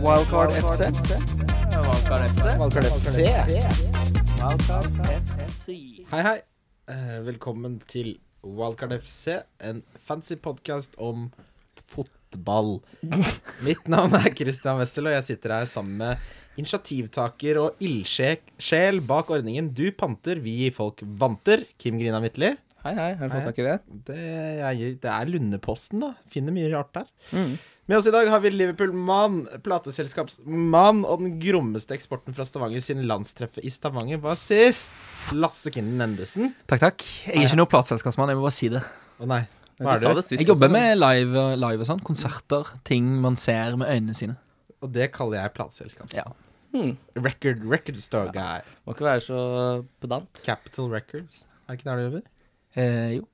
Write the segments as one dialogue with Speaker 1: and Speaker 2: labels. Speaker 1: Wildcard FC.
Speaker 2: Valkar FC.
Speaker 3: Valgkart FC.
Speaker 2: FC.
Speaker 3: Hei, hei. Eh, Velkommen til Wildcard FC, en fancy podkast om fotball. Mitt navn er Christian Wessel, og jeg sitter her sammen med initiativtaker og ildsjel bak ordningen Du panter, vi gir folk vanter. Kim Grina Midtli.
Speaker 4: Hei, hei. Har du
Speaker 3: Hei.
Speaker 4: fått tak i det?
Speaker 3: Det, jeg, det er Lundeposten, da. Finner mye rart der. Med oss i dag har vi Liverpool-mann, plateselskapsmann og den grommeste eksporten fra Stavanger siden landstreffet i Stavanger var sist. Lasse Kinden Endresen.
Speaker 5: Takk, takk. Jeg er ikke noen plateselskapsmann, jeg må bare si det.
Speaker 3: Å nei,
Speaker 2: Du
Speaker 3: hva
Speaker 2: sa
Speaker 3: er
Speaker 2: det
Speaker 3: du?
Speaker 2: sist
Speaker 5: Jeg jobber
Speaker 2: også, men-
Speaker 5: med live, live og sånn. Konserter, ting man ser med øynene sine.
Speaker 3: Og det kaller jeg plateselskap.
Speaker 5: Ja.
Speaker 2: Hmm.
Speaker 3: Record, record store guy.
Speaker 2: Må ikke være så pedant.
Speaker 3: Capital Records. Er det ikke der du jobber?
Speaker 5: Eh, jo.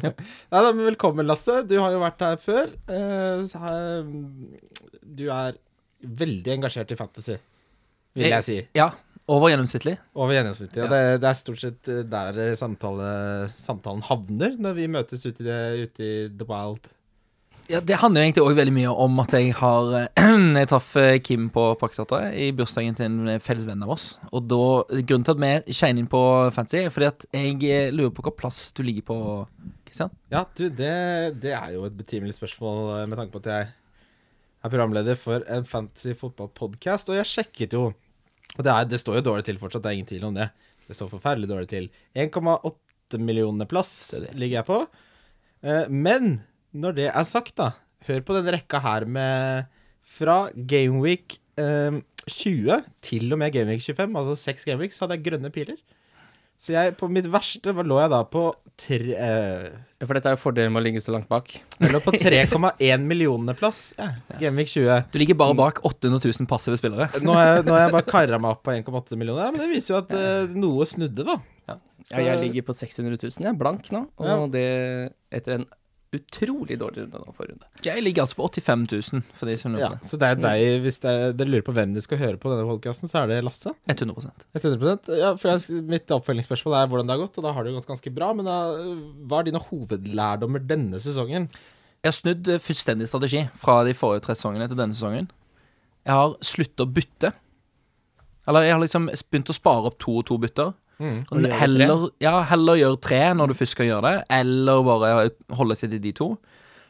Speaker 3: Nei da, men velkommen, Lasse. Du har jo vært her før. Eh, så har jeg- Du er veldig engasjert i fantasy, vil jeg si.
Speaker 5: Ja. Over gjennomsnittlig.
Speaker 3: Over gjennomsnittet. Ja.
Speaker 5: Ja.
Speaker 3: Det, det er stort sett eh, der eh, samtale, samtalen havner når vi møtes ute i, det, ute i the wild.
Speaker 5: Ja, det handler jo egentlig òg veldig mye om at jeg har Jeg traff eh, Kim på Parkteatret i bursdagen til en eh, felles venn av oss. Og da, grunnen til at vi shiner inn på fancy, er fordi at jeg eh, lurer på hvilken plass du ligger på, Kristian.
Speaker 3: Ja, du, det, det er jo et betimelig spørsmål eh, med tanke på at jeg er programleder for en fantasy fotballpodkast, og jeg sjekket jo Og det, er, det står jo dårlig til fortsatt, det er ingen tvil om det. Det står forferdelig dårlig til. 1,8 millioner plass
Speaker 5: Det er det.
Speaker 3: ligger jeg på. Eh, Men når det er sagt, da Hør på den rekka her med Fra Gameweek eh, 20 til og med Gameweek 25, altså seks Gameweeks, hadde jeg grønne piler. Så jeg, på mitt verste, hva lå jeg da på tre eh,
Speaker 2: Ja, for dette er jo fordelen med å ligge så langt bak.
Speaker 3: jeg lå på 3,1 millioner plass. Ja. Gamevik 20.
Speaker 5: Du ligger bare bak 800 000 passive spillere.
Speaker 3: Nå har jeg, nå har jeg bare karra meg opp på 1,8 millioner, ja, men det viser jo at eh, noe snudde, da.
Speaker 2: Ja, jeg ligger på 600 000, jeg er blank nå. Og
Speaker 3: Ja.
Speaker 2: det etter en utrolig dårlig runde nå forrige runde.
Speaker 5: Jeg ligger altså på 85 000, for de som
Speaker 3: Ja, Mm.
Speaker 5: lurer på det.
Speaker 3: så det er deg, hvis det er- dere lurer på hvem dere skal høre på denne podkasten, så er det Lasse.
Speaker 5: 100
Speaker 3: 100 ja, for jeg, Mitt oppfølgingsspørsmål er hvordan det har gått, og da har det jo gått ganske bra. Men da, hva er dine hovedlærdommer denne sesongen?
Speaker 5: Jeg har snudd eh, fullstendig strategi fra de forrige tre sesongene til denne sesongen. Jeg har sluttet å bytte. Eller jeg har liksom begynt å spare opp to og to bytter. Og
Speaker 2: Og gjøre
Speaker 5: heller, ja, heller gjøre tre når du først skal gjøre det, eller bare holde til de- de to.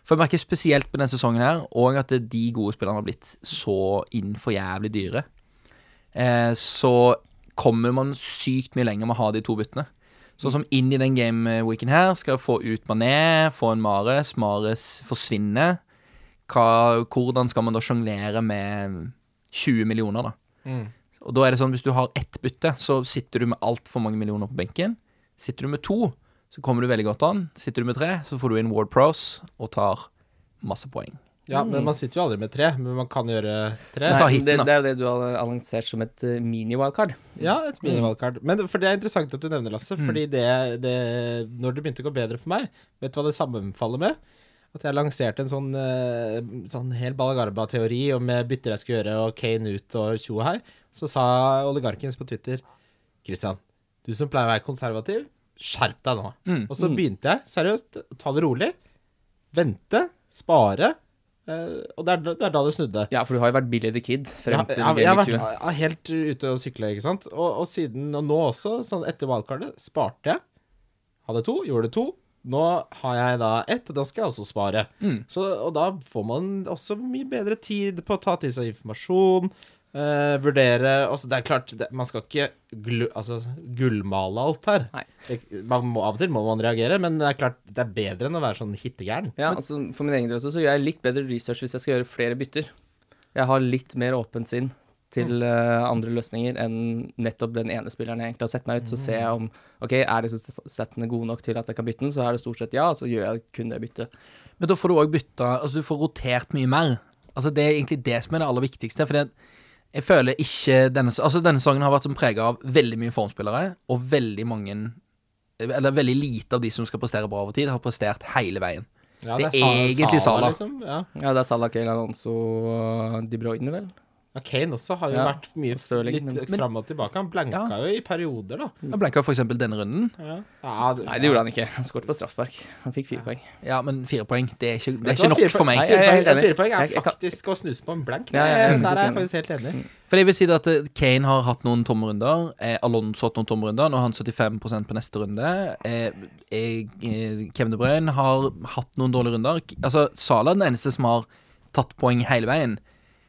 Speaker 5: For jeg merker spesielt på denne sesongen her, og at det- de gode spillerne har blitt så inn for jævlig dyre. Eh, så kommer man sykt mye lenger med å ha de to byttene. Sånn som inn i den gameweeken her, skal jeg få ut Mané, få en Mares, Mares forsvinner. Hva, hvordan skal man da sjonglere med 20 millioner, da? Og da er det sånn, hvis du har ett bytte, så sitter du med altfor mange millioner på benken. Sitter du med to, så kommer du veldig godt an. Sitter du med tre, så får du inn Ward Pros og tar masse poeng.
Speaker 3: Ja, men Man sitter jo aldri med tre, men man kan gjøre tre.
Speaker 5: Jeg tar
Speaker 2: Nei,
Speaker 5: hiten,
Speaker 2: det,
Speaker 5: da.
Speaker 2: det er jo det du har annonsert som et eh, mini-wildcard.
Speaker 3: Ja, et minivalgkart. Men for det er interessant at du nevner, Lasse, fordi det, det Når det begynte å gå bedre for meg, vet du hva det sammenfaller med? At jeg lanserte en sånn, eh, sånn hel Balagarba-teori om eh, bytter jeg skulle gjøre, og Kane ut og tjo og hei. Så sa oligarkens på Twitter Kristian, du som pleier å være konservativ, skjerp deg nå. Og så begynte jeg, seriøst, ta det rolig, vente, spare, eh, og det er, da- det er da det snudde.
Speaker 2: Ja, for du har jo vært Billy the Kid frem
Speaker 3: Ja,
Speaker 2: til
Speaker 3: jeg, jeg, har vært
Speaker 2: Gamevik 20.
Speaker 3: jeg er helt ute og sykle, ikke sant. Og, og siden og nå også, sånn etter valgkartet, sparte jeg. Hadde to, gjorde to. Nå har jeg da ett, og da skal jeg også spare. Så, og da får man også mye bedre tid på å ta til seg informasjon, eh, vurdere altså, Det er klart, det, man skal ikke glu, altså, gullmale alt her.
Speaker 2: Nei.
Speaker 3: Det- Man må, av og til må man reagere, men det er klart, det er bedre enn å være sånn hittegæren.
Speaker 2: Ja, altså For min egen del også, så gjør jeg litt bedre research hvis jeg skal gjøre flere bytter. Jeg har litt mer åpent sinn til eh, andre løsninger enn nettopp den ene spilleren jeg egentlig har sett meg ut. Så ser jeg om ok, er disse st- settene gode nok til at jeg kan bytte den, så er det stort sett ja, så gjør jeg kun det byttet.
Speaker 5: Men da får du òg bytta Altså, du får rotert mye mer. Altså, det er egentlig det som er det aller viktigste. For jeg føler ikke denne Altså, denne sesongen har vært som prega av veldig mye formspillere, og veldig mange Eller veldig lite av de som skal prestere bra over tid, har prestert hele veien.
Speaker 3: Ja,
Speaker 5: Det er
Speaker 3: Sa-
Speaker 5: egentlig Salah.
Speaker 3: liksom. Ja.
Speaker 2: Ja, det er Salah Kale Alonso og De Bruyne, vel?
Speaker 3: Ja, Kane også har jo
Speaker 2: Ja,
Speaker 3: vært mye
Speaker 2: og Sterling,
Speaker 3: litt
Speaker 2: men-
Speaker 3: fram og tilbake. Han blanka
Speaker 5: Ja.
Speaker 3: jo i perioder, da.
Speaker 5: Han blanka f.eks. denne runden.
Speaker 3: Ja. Ja,
Speaker 2: Nei, det gjorde han ikke. Han skåret på straffespark. Han fikk fire poeng.
Speaker 5: Ja, men fire poeng, det er ikke, det er
Speaker 3: Vet du hva,
Speaker 5: ikke nok
Speaker 3: fire
Speaker 5: for
Speaker 3: poeng-
Speaker 5: meg.
Speaker 2: Nei,
Speaker 3: Fire
Speaker 2: jeg er helt
Speaker 3: poeng,
Speaker 2: enig.
Speaker 3: fire poeng er
Speaker 2: Jeg- jeg kan-
Speaker 3: faktisk å snuse på en blank.
Speaker 2: Ja, Mm. jeg er
Speaker 3: Det- Der er jeg
Speaker 2: faktisk
Speaker 3: faktisk helt enig.
Speaker 5: For jeg vil si det at eh, Kane har hatt noen tomme runder. Eh, Alonso har hatt noen tomme runder. Nå har han 75 på neste runde. Eh, eh, eh, Kevin De Bruyne har hatt noen dårlige runder. K- Altså, Salah er den eneste som har tatt poeng hele veien.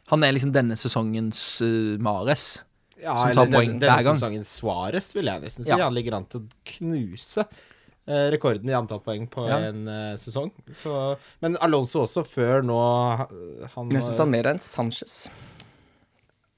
Speaker 5: Han er liksom denne sesongens eh, Mares.
Speaker 3: Ja,
Speaker 5: Som tar
Speaker 3: eller
Speaker 5: poeng
Speaker 3: denne,
Speaker 5: hver
Speaker 3: denne
Speaker 5: gang.
Speaker 3: sesongen Suárez, vil jeg nesten si.
Speaker 5: Ja.
Speaker 3: Han ligger an til å knuse eh, rekorden i antall poeng på
Speaker 5: Ja.
Speaker 3: en eh, sesong. Så, men Alonso også, før nå eh, han,
Speaker 2: Jeg syns han mer er en Sanchez.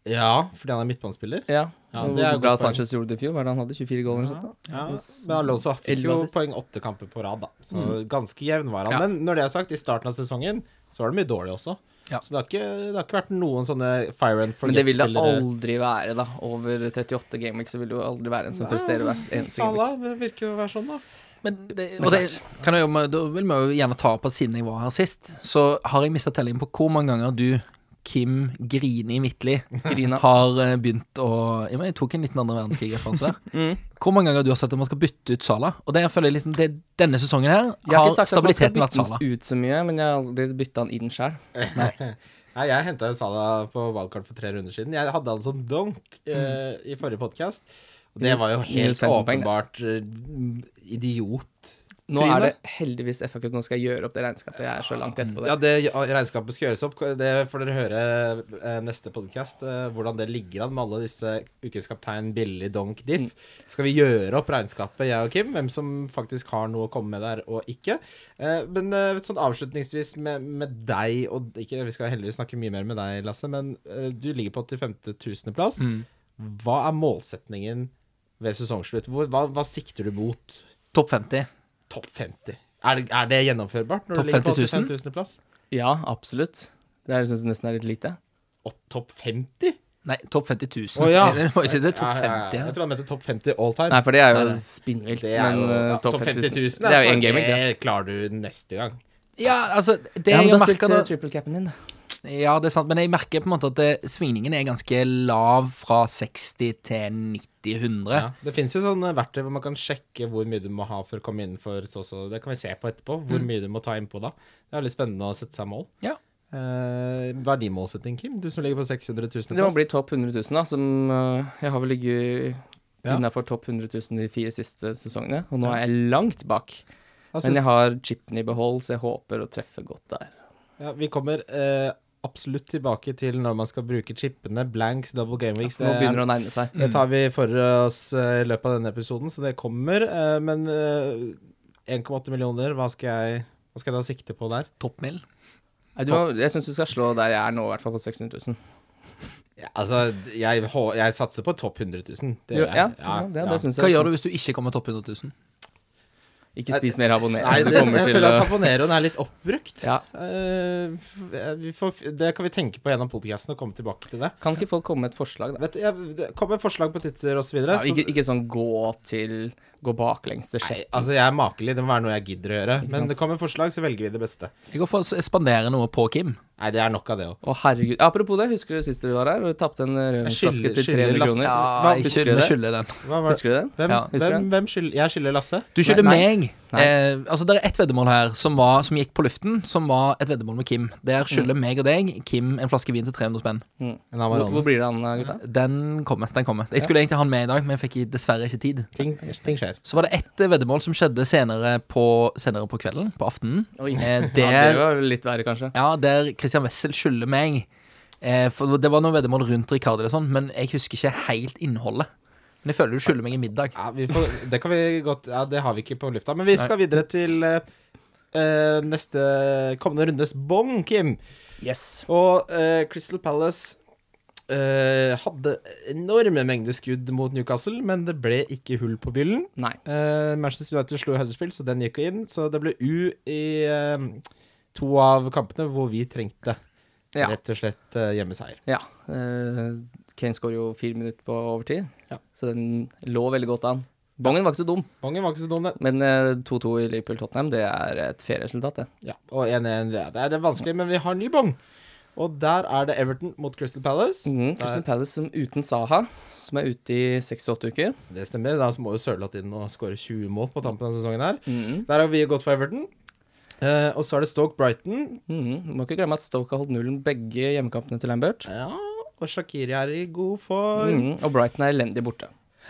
Speaker 3: Ja, fordi han er midtbanespiller.
Speaker 2: Ja,
Speaker 3: Ja,
Speaker 2: og
Speaker 3: det er
Speaker 2: Hvor
Speaker 3: et
Speaker 2: bra
Speaker 3: godt poeng.
Speaker 2: Sanchez gjorde det i fjor. Var det han hadde 24 goal eller noe sånt? da?
Speaker 3: Ja, men Alonso fikk
Speaker 2: Elleve
Speaker 3: jo
Speaker 2: assist.
Speaker 3: poeng åtte kamper på rad, da. Så
Speaker 2: Mm.
Speaker 3: ganske jevn var han.
Speaker 5: Ja.
Speaker 3: Men når det er sagt, i starten av sesongen så var det mye dårlig også.
Speaker 5: Ja.
Speaker 3: Så det har, ikke, det har ikke vært noen sånne fire and
Speaker 2: Men det vil det
Speaker 3: forget-spillere.
Speaker 2: aldri være, da. Over 38 gameweek så vil det jo aldri være en som presterer hver eneste gameweek.
Speaker 3: Salah det virker jo å være sånn, da.
Speaker 5: Men det, og det kan jeg jo, da vil vi jo gjerne ta opp at siden jeg var her sist, så har jeg mista tellingen på hvor mange ganger du, Kim Grini Midtli,
Speaker 2: Grina.
Speaker 5: har eh, begynt å jeg, mener, jeg tok en liten andre verdenskrig-referanse der.
Speaker 2: Mm.
Speaker 5: Hvor mange ganger du har sett at man skal bytte ut Sala? Og det jeg føler liksom, det, Denne sesongen her
Speaker 2: Jeg har
Speaker 5: har
Speaker 2: ikke sagt at man skal
Speaker 5: stabiliteten vært
Speaker 2: bytte
Speaker 5: Sala.
Speaker 2: den ut så mye, men jeg har aldri bytta den inn sjøl.
Speaker 3: Nei, jeg henta jo Salah på valgkart for tre runder siden. Jeg hadde han som donk eh, i forrige podkast. Og det var jo
Speaker 2: Mm. Minus
Speaker 3: helt
Speaker 2: 15 poeng, det.
Speaker 3: åpenbart eh, idiot.
Speaker 2: Nå er det
Speaker 3: Trine?
Speaker 2: heldigvis FA Cup, nå skal jeg gjøre opp det regnskapet. Jeg er så langt etterpå
Speaker 3: Ja,
Speaker 2: det.
Speaker 3: det regnskapet skal gjøres opp. Det får dere høre eh, neste podkast, eh, hvordan det ligger an med alle disse ukens kaptein Billy Donk Diff. Skal vi gjøre opp regnskapet, jeg og Kim, hvem som faktisk har noe å komme med der og ikke. Eh, Men eh, sånn avslutningsvis med, med deg og ikke, Vi skal heldigvis snakke mye mer med deg, Lasse, men eh, du ligger på 85. 000. plass. Hva er målsetningen ved sesongslutt? Hvor, hva, hva sikter du mot
Speaker 5: Topp 50.
Speaker 3: topp 50? Er det, er det gjennomførbart når
Speaker 5: Topp
Speaker 3: du ligger på
Speaker 5: 50 000?
Speaker 3: 85 000. plass?
Speaker 2: Ja, absolutt. Det er- jeg synes nesten er litt lite.
Speaker 3: Og topp 50?
Speaker 5: Nei, topp 50 000.
Speaker 3: Å, ja.
Speaker 5: Det var ikke det,
Speaker 3: Ja,
Speaker 5: topp
Speaker 3: ja, ja.
Speaker 5: 50.
Speaker 3: Jeg
Speaker 5: her.
Speaker 3: tror han mente topp 50 all time.
Speaker 2: Nei, for det er jo
Speaker 5: Nei, nei.
Speaker 2: spinnvilt.
Speaker 3: det er
Speaker 2: Men
Speaker 3: jo ja,
Speaker 2: eh, topp 50 000
Speaker 3: er
Speaker 2: Det er jo
Speaker 3: for
Speaker 2: én gaming, det.
Speaker 3: det klarer du neste gang.
Speaker 5: Ja, altså det
Speaker 2: Ja, men
Speaker 5: jeg
Speaker 2: da spilte
Speaker 5: merker
Speaker 2: du
Speaker 5: da,
Speaker 2: triple capen din, da.
Speaker 5: Ja, det er sant, men jeg merker på en måte at eh, svingningen er ganske lav fra 60 til 90-100.
Speaker 3: Ja. Det fins jo sånne verktøy hvor man kan sjekke hvor mye du må ha for å komme innenfor så så Det kan vi se på etterpå, hvor
Speaker 2: Mm.
Speaker 3: mye du må ta innpå da. Det er litt spennende å sette seg mål.
Speaker 5: Ja.
Speaker 3: Eh, hva er din målsetting, Kim? Du som ligger på 600 000
Speaker 2: Det må bli topp 100 000, da, som eh, Jeg har vel ligget
Speaker 3: Ja.
Speaker 2: innenfor topp 100 000 de fire siste sesongene, og nå er jeg langt bak.
Speaker 3: Altså,
Speaker 2: Men jeg har chipen i behold, så jeg håper å treffe godt der.
Speaker 3: ja, vi kommer eh, absolutt tilbake til når man skal bruke chipene, blanks, double game weeks.
Speaker 2: Nå
Speaker 3: det er
Speaker 2: begynner det å nærme seg.
Speaker 3: Det tar vi for oss eh, i løpet av denne episoden, så det kommer. eh, Men eh, 1,8 millioner, hva skal, jeg, hva skal jeg da sikte på der?
Speaker 5: Toppmil.
Speaker 2: Nei, du må, jeg syns du skal slå der jeg er nå, i hvert fall på 600 000.
Speaker 3: altså, jeg, hå- jeg satser på topp 100 000. Det
Speaker 2: Du,
Speaker 3: gjør
Speaker 2: ja,
Speaker 3: jeg.
Speaker 2: ja,
Speaker 3: Ja,
Speaker 2: det,
Speaker 3: ja.
Speaker 2: det syns jeg.
Speaker 5: Hva gjør du hvis du ikke kommer topp 100 000?
Speaker 2: Ikke spis mer abonner.
Speaker 3: Nei,
Speaker 2: du
Speaker 3: det,
Speaker 2: kommer
Speaker 3: jeg
Speaker 2: til
Speaker 3: føler at
Speaker 2: å
Speaker 3: Caponeroen er litt oppbrukt.
Speaker 2: Ja.
Speaker 3: Eh, f- vi får, f- det kan vi tenke på gjennom podcasten og komme tilbake til det.
Speaker 2: Kan ikke folk komme med et forslag, da?
Speaker 3: Vet, du, jeg, det kom med forslag på Twitter osv.
Speaker 2: Ja, ikke, ikke sånn gå til Gå baklengs til
Speaker 3: Nei,
Speaker 2: sjekk.
Speaker 3: altså, jeg er makelig. Det må være noe jeg gidder å gjøre. Men
Speaker 2: sant?
Speaker 3: det kommer forslag, så velger vi det beste.
Speaker 5: Jeg går for å spandere noe på Kim.
Speaker 3: Nei, det er nok av det òg.
Speaker 2: Å, herregud. Apropos det, husker du sist du var her og tapte en eh, rødvinsflaske
Speaker 3: skylder-
Speaker 2: til
Speaker 3: skylder
Speaker 2: 300
Speaker 3: Lasse.
Speaker 2: kroner?
Speaker 3: Ja,
Speaker 5: jeg
Speaker 2: husker
Speaker 5: skyld-
Speaker 2: du det?
Speaker 5: skylder den.
Speaker 3: Hva var det?
Speaker 2: Husker du det?
Speaker 3: Hvem,
Speaker 5: Ja,
Speaker 2: husker
Speaker 3: hvem, hvem skyld, jeg skylder Lasse.
Speaker 5: Du skylder
Speaker 2: Nei,
Speaker 5: meg.
Speaker 2: Nei.
Speaker 5: Eh, altså, det er ett veddemål her som, var, som gikk på luften, som var et veddemål med Kim. Der
Speaker 2: Mm.
Speaker 5: skylder meg og deg, Kim, en flaske vin til 300 spenn.
Speaker 3: En
Speaker 2: Hvor,
Speaker 3: Amarone.
Speaker 2: hvor blir det av den, gutta?
Speaker 5: Den kommer. den kommer Jeg skulle egentlig ha den med i dag, men jeg fikk dessverre ikke tid.
Speaker 3: Ting, ting skjer.
Speaker 5: Så var det ett eh, veddemål som skjedde senere på, senere på kvelden, på aftenen.
Speaker 2: Oi.
Speaker 5: Eh,
Speaker 2: Ja, det
Speaker 5: der,
Speaker 2: var litt verre, kanskje.
Speaker 5: ja, der Christian Wessel skylder meg. Eh, for det var noe veddemål rundt Ricardi og sånn, men jeg husker ikke helt innholdet. Men jeg føler du skylder meg en middag.
Speaker 3: Ja, vi får, det kan vi godt Ja, det har vi ikke på lufta. Men vi skal videre til eh, eh, neste kommende rundes bong, Kim.
Speaker 2: Yes.
Speaker 3: Og eh, Crystal Palace eh, hadde enorme mengder skudd mot Newcastle, men det ble ikke hull på byllen.
Speaker 2: Nei.
Speaker 3: Eh, Manchester United slo Huddersfield, så den gikk jo inn. Så det ble U i eh, to av kampene hvor vi trengte
Speaker 2: Ja.
Speaker 3: rett og slett eh, hjemmeseier.
Speaker 2: Ja. eh, Kane skårer jo fire minutter på overtid,
Speaker 3: Ja.
Speaker 2: så den lå veldig godt an. Bongen var ikke så dum,
Speaker 3: Bongen var ikke så dum, den.
Speaker 2: men eh, 2-2 i Liverpool-Tottenham, det er et ferieresultat, det.
Speaker 3: Ja, og 1-1 det, er- det er vanskelig, men vi har ny bong. Og der er det Everton mot Crystal Palace.
Speaker 2: Mm,
Speaker 3: Der-
Speaker 2: Crystal Palace som uten Saha, som er ute i seks til åtte uker.
Speaker 3: Det stemmer. Da må jo Sørloth inn og skåre 20 mål på tampen av sesongen her.
Speaker 2: Mhm.
Speaker 3: Der har vi gått for Everton. Eh, og så er det Stoke Brighton.
Speaker 2: Mhm. Må ikke glemme at Stoke har holdt nullen begge hjemmekampene til Lambert.
Speaker 3: Ja, og Shakiri er i god form.
Speaker 2: Mhm. Og Brighton er elendig borte.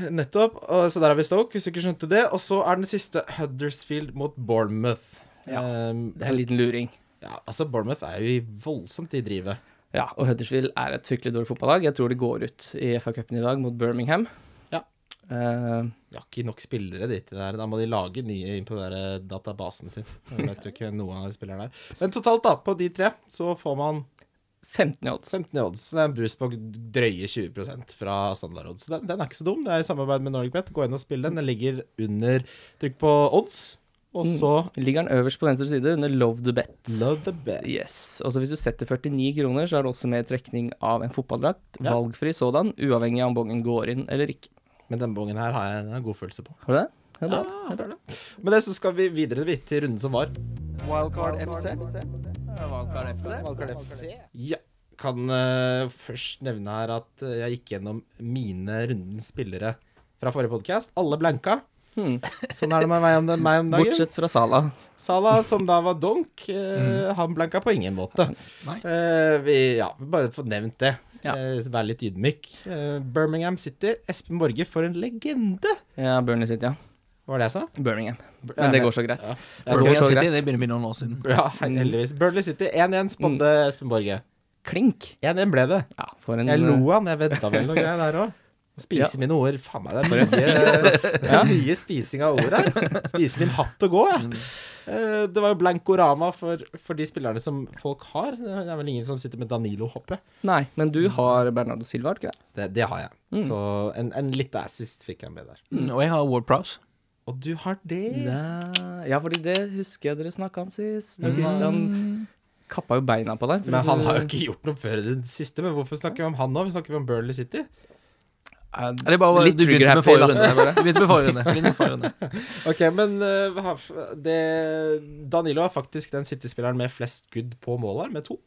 Speaker 3: Nettopp. Og, så der har vi Stoke, hvis du ikke skjønte det. Og så er den siste Huddersfield mot Bournemouth.
Speaker 2: Ja,
Speaker 3: Ehm,
Speaker 2: Det er en liten luring.
Speaker 3: ja, altså Bournemouth er jo i voldsomt i drivet.
Speaker 2: Ja, og Huddersfield er et fryktelig dårlig fotballag. Jeg tror det går ut i FA-cupen i dag mot Birmingham.
Speaker 3: Ja.
Speaker 2: Eh,
Speaker 3: De har ikke nok spillere dit til det her. Da må de lage nye inn på den der eh, databasen sin. Jeg vet jo ikke noen av de spillerne her. Men totalt, da, på de tre, så får man
Speaker 2: 15 i odds.
Speaker 3: 15 i odds. Det er en boost på drøye 20 fra standardodds. Den, den er ikke så dum. Det er i samarbeid med NordicBet. Gå inn og spill den. Den ligger under Trykk på odds, og så
Speaker 2: Ligger den øverst på venstre side under Love the Bet.
Speaker 3: Love the bet.
Speaker 2: Yes. Og så hvis du setter 49 kroner, så er det også med trekning av en fotballdrakt.
Speaker 3: Ja.
Speaker 2: Valgfri sådan, uavhengig av om bongen går inn eller ikke.
Speaker 3: Men denne bongen her har jeg en god følelse på.
Speaker 2: Har du det? Ja, bra.
Speaker 3: Ja, det er det. Med det så skal vi videre vidt til runden som var.
Speaker 5: Wildcard FC.
Speaker 3: Ja. Kan eh, først nevne her at eh, jeg gikk gjennom mine rundens spillere fra forrige podkast. Alle blanka.
Speaker 2: Hmm.
Speaker 3: Sånn er det med meg om, meg om dagen.
Speaker 2: Bortsett fra Sala.
Speaker 3: Salah, som da var donk, eh,
Speaker 2: Mm.
Speaker 3: han blanka på ingen måte.
Speaker 5: Nei.
Speaker 3: Eh, vi, ja, bare få nevnt det.
Speaker 2: Ja.
Speaker 3: Eh, Vær litt ydmyk. Eh, Birmingham City, Espen Borge, for en legende!
Speaker 2: Ja, Burnley City, ja.
Speaker 3: Var det jeg sa?
Speaker 2: Birmingham. Men det går så greit.
Speaker 3: Ja.
Speaker 2: Det går
Speaker 5: Birmingham
Speaker 2: så
Speaker 5: City,
Speaker 2: greit.
Speaker 5: det begynner å bli noen år siden.
Speaker 3: Bra, heldigvis. Burnley City 1-1, spådde
Speaker 2: Mm.
Speaker 3: Espen Borge.
Speaker 2: Klink.
Speaker 3: 1-1 ble det.
Speaker 2: Ja, for en
Speaker 3: Jeg lo han, jeg vedda vel noe greier der òg. Spise mine ord. Faen meg, det er mye, det er mye spising av ord her. Spise min hatt og gå, jeg. Eh, Det var jo blankorama for, for de spillerne som folk har. Det er vel ingen som sitter med Danilo, håper jeg.
Speaker 2: Nei, men du har Bernardo Silva, har du ikke det?
Speaker 3: Det, det har jeg. Så en, en liten assist fikk jeg med der.
Speaker 5: Mm, Og jeg har Ward Prowse.
Speaker 3: Og du har det.
Speaker 2: Ja, ja fordi det husker jeg dere snakka om sist. Og Christian kappa jo beina på deg. for
Speaker 3: Mm. Men
Speaker 2: du-
Speaker 3: han har jo ikke gjort noe før i det siste. Men hvorfor snakker vi om han nå? Vi snakker vi om Burnley City.
Speaker 2: Ja,
Speaker 5: Ja, Det er bare
Speaker 2: Litt
Speaker 5: du begynte med
Speaker 2: trigger-happy,
Speaker 5: forrige
Speaker 2: Lasse,
Speaker 5: runde. Du begynte med forrige runde. Begynte med forrige runde.
Speaker 3: Ok, men eh, hva f- det, Danilo er faktisk den City-spilleren med flest skudd på mål her, med to.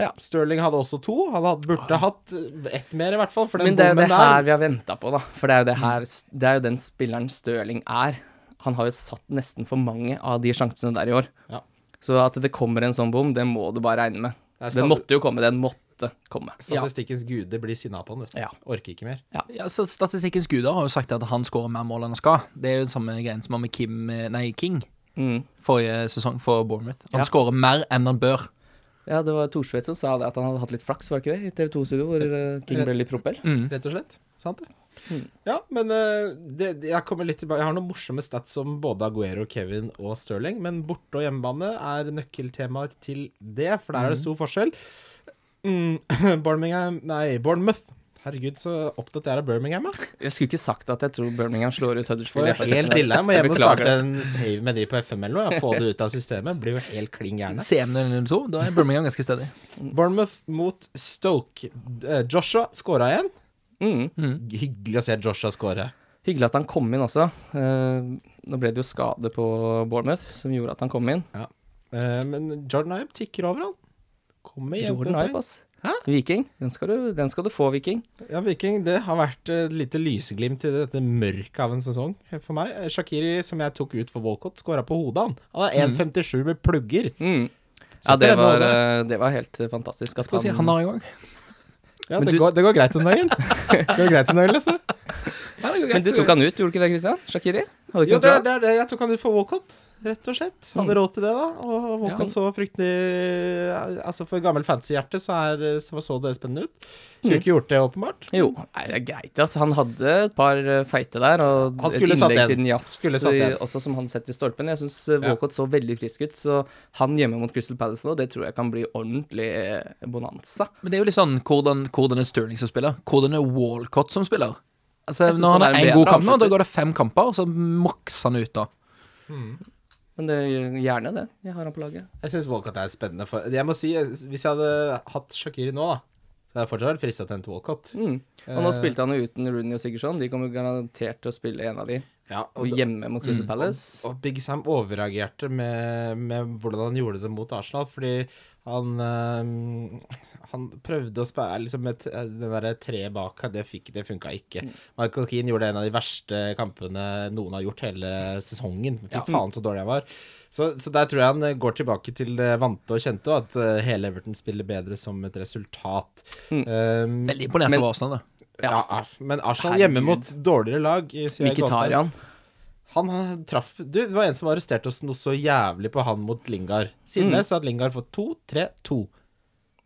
Speaker 2: Ja.
Speaker 3: Sterling hadde også to. Han hadde, burde hatt eh, ett mer, i hvert fall. For den
Speaker 2: Men det er jo det
Speaker 3: bommen
Speaker 2: her
Speaker 3: der.
Speaker 2: vi har venta på, da. For det er jo, det her, det er jo den spilleren Stirling er. Han har jo satt nesten for mange av de sjansene der i år.
Speaker 3: Ja.
Speaker 2: Så at det kommer en sånn bom, det må du bare regne med.
Speaker 3: Det er
Speaker 2: Den
Speaker 3: stabil-
Speaker 2: måtte jo komme. Den måtte komme.
Speaker 3: Statistikkens gude blir sinna på han, vet du.
Speaker 2: Ja.
Speaker 3: Orker ikke mer.
Speaker 5: Ja, så Statistikkens guder har jo sagt at han skårer mer mål enn han skal. Det er jo den samme greien som var med Kim, eh, nei, King
Speaker 2: Mm.
Speaker 5: forrige sesong for Bournemouth. Han
Speaker 2: Ja.
Speaker 5: skårer mer enn han bør.
Speaker 2: Ja, det var Thorsvedt som sa det, at han hadde hatt litt flaks, var det ikke det? I TV 2-studio, hvor eh, King ble litt propell.
Speaker 3: Rett og slett. Sant det? Ja, men eh, det, det- jeg kommer litt tilbake Jeg har noen morsomme stats om både Aguero, Kevin og Sterling, men borte- og hjemmebane er nøkkeltemaer til det, for der er det stor forskjell. Mm, Birmingham Nei, Bournemouth. Herregud, så opptatt jeg er av Birmingham, ja.
Speaker 2: Jeg skulle ikke sagt at jeg tror Birmingham slår ut Huddersfield.
Speaker 3: Får
Speaker 2: i FA
Speaker 3: jo
Speaker 2: -cupen.
Speaker 3: helt ille. Jeg må
Speaker 2: Jeg
Speaker 3: hjem og
Speaker 2: beklager
Speaker 3: starte en save med de på FM eller noe. Jeg Få det ut av systemet. Blir jo helt kling gærne.
Speaker 5: CM002, da er Birmingham ganske stedig.
Speaker 3: Bournemouth mot Stoke. Eh, Joshua scora igjen.
Speaker 2: Mm.
Speaker 3: Hyggelig å se Joshua score.
Speaker 2: Hyggelig at han kom inn også. Eh, nå ble det jo skade på Bournemouth som gjorde at han kom inn.
Speaker 3: Eh, men Jordan Ibe tikker over, han. Kommer hjem på
Speaker 2: Jordan Ibe,
Speaker 3: poeng.
Speaker 2: ass.
Speaker 3: Hæ?
Speaker 2: Viking. Den skal, du, den skal du få, Viking.
Speaker 3: Ja, Viking, det har vært et lite lyseglimt i dette mørket av en sesong for meg. Eh, Shakiri, som jeg tok ut for Walcott, scora på hodet, han. Han er 1,57 med plugger.
Speaker 2: Mm. Ja,
Speaker 3: Satt i
Speaker 2: det
Speaker 3: den
Speaker 2: var,
Speaker 3: hodet.
Speaker 2: eh, det var helt eh, fantastisk. At
Speaker 5: Skal jeg si, han har jeg òg.
Speaker 3: Ja,
Speaker 2: Men
Speaker 3: det,
Speaker 2: du-
Speaker 3: går, det går greit om dagen. Det går greit om dagen, altså.
Speaker 2: men du tok han ut, gjorde du ikke det, Christian? Shakiri? Hadde
Speaker 3: Jo,
Speaker 2: ikke
Speaker 3: det
Speaker 2: noe
Speaker 3: er, det er det. Jeg tok han ut for Walcott, rett og slett.
Speaker 2: Mm.
Speaker 3: Hadde råd til det, da. Og Walcott
Speaker 5: Ja.
Speaker 3: så fryktelig Altså, for gammel fancy-hjerte så, er- så så det spennende ut.
Speaker 2: Mm.
Speaker 3: Skulle ikke gjort det, åpenbart.
Speaker 2: Jo, nei, det er greit. Altså. Han hadde et par eh, feite der, og
Speaker 3: Han
Speaker 2: et
Speaker 3: skulle satt
Speaker 2: innlegg
Speaker 3: en.
Speaker 2: til Njas
Speaker 3: Skulle satt en.
Speaker 2: også som han setter i stolpen. Jeg syns Walcott så veldig frisk ut, så han hjemme mot Crystal Palace nå, det tror jeg kan bli ordentlig eh, bonanza.
Speaker 5: Men det er jo litt sånn hvordan, hvordan er Sterling som spiller? Hvordan er Walcott som spiller? Altså,
Speaker 2: Jeg synes
Speaker 5: når han
Speaker 2: han er
Speaker 5: har
Speaker 2: en
Speaker 5: én
Speaker 2: bedre
Speaker 5: god kamp nå, da
Speaker 2: avslutter.
Speaker 5: går det fem kamper, så makser han ut, da.
Speaker 2: Men det, gjerne det. Jeg har han på laget.
Speaker 3: Jeg syns Walcott er spennende. For, jeg må si, hvis jeg hadde hatt Shakiri nå, da, så hadde jeg fortsatt vært frista til å hente Walcott.
Speaker 2: Mm. Og nå spilte han jo uten Rooney og Sigurdsson. De kommer garantert til å spille en av de.
Speaker 3: Ja, og,
Speaker 2: Og
Speaker 3: da-
Speaker 2: hjemme mot
Speaker 3: Mm.
Speaker 2: Crystal Palace.
Speaker 3: og Big Sam overreagerte med, med hvordan han gjorde det mot Arsenal, fordi han eh, Han prøvde å spille liksom med t- den derre tre bak, det, fikk- det funka ikke.
Speaker 2: Mm.
Speaker 3: Michael Keane gjorde en av de verste kampene noen har gjort hele sesongen. Fy faen så dårlig han var. Så, så der tror jeg han eh, går tilbake til det vante og kjente, og at eh, hele Everton spiller bedre som et resultat. Um,
Speaker 5: Veldig imponert
Speaker 2: Mm. Men-
Speaker 5: over Arsenal, da.
Speaker 3: ja, Ar- men Arsenal hjemme mot dårligere lag eh, sier jeg Gåstein.
Speaker 2: Mkhitaryan.
Speaker 3: Han eh, traff Du, det var en som arresterte oss noe så jævlig på han mot Lingard. Siden det så hadde Lingard fått 2-3-2.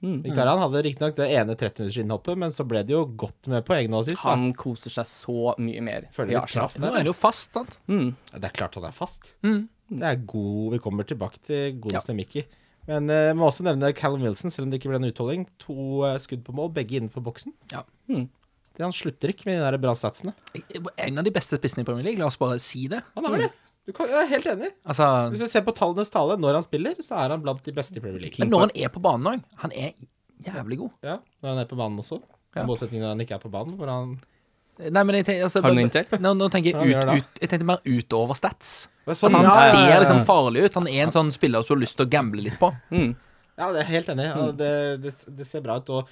Speaker 2: Mm.
Speaker 3: Mkhitaryan hadde riktignok det ene 30 minutters innhoppet, men så ble det jo godt med poeng nå sist. Da.
Speaker 2: Han koser seg så mye mer
Speaker 3: Føler
Speaker 2: i
Speaker 3: litt
Speaker 2: Arsenal.
Speaker 3: kraft
Speaker 5: Nå
Speaker 3: der.
Speaker 5: er det jo fast, sant?
Speaker 2: Mm.
Speaker 3: Ja, Det er klart han er fast.
Speaker 5: Mm.
Speaker 3: Det er god Vi kommer tilbake til godeste Mickey. Men eh, må også nevne Callum Wilson, selv om det ikke ble en utholding. To eh, skudd på mål, begge innenfor boksen.
Speaker 5: Ja.
Speaker 2: Mm.
Speaker 3: Det, han slutter ikke med de der bra statsene.
Speaker 5: En av de beste spissene i Premier League, la oss bare si det.
Speaker 3: Han har det. Du kan, jeg er helt enig.
Speaker 5: Altså,
Speaker 3: Hvis du ser på tallenes tale, når han spiller, så er han blant de beste i Premier League.
Speaker 5: men når han er på banen òg, han er jævlig god.
Speaker 3: Ja, når han er på banen også. I
Speaker 5: Ja.
Speaker 3: motsetning når han ikke er på banen, hvor han
Speaker 5: Nei, men jeg tenker, altså,
Speaker 2: Har du noe inntil?
Speaker 5: Nå, nå tenker
Speaker 3: Ja,
Speaker 5: jeg,
Speaker 3: gjør
Speaker 5: ut,
Speaker 3: det.
Speaker 5: ut, jeg tenkte mer utover stats.
Speaker 3: Sånn,
Speaker 5: Han
Speaker 3: ja, ja, ja, ja.
Speaker 5: ser liksom farlig ut. Han er en sånn spiller som du har lyst til å gamble litt på.
Speaker 2: Mm.
Speaker 3: Ja, det er jeg helt enig. i. Ja, det, det, det ser bra ut. Og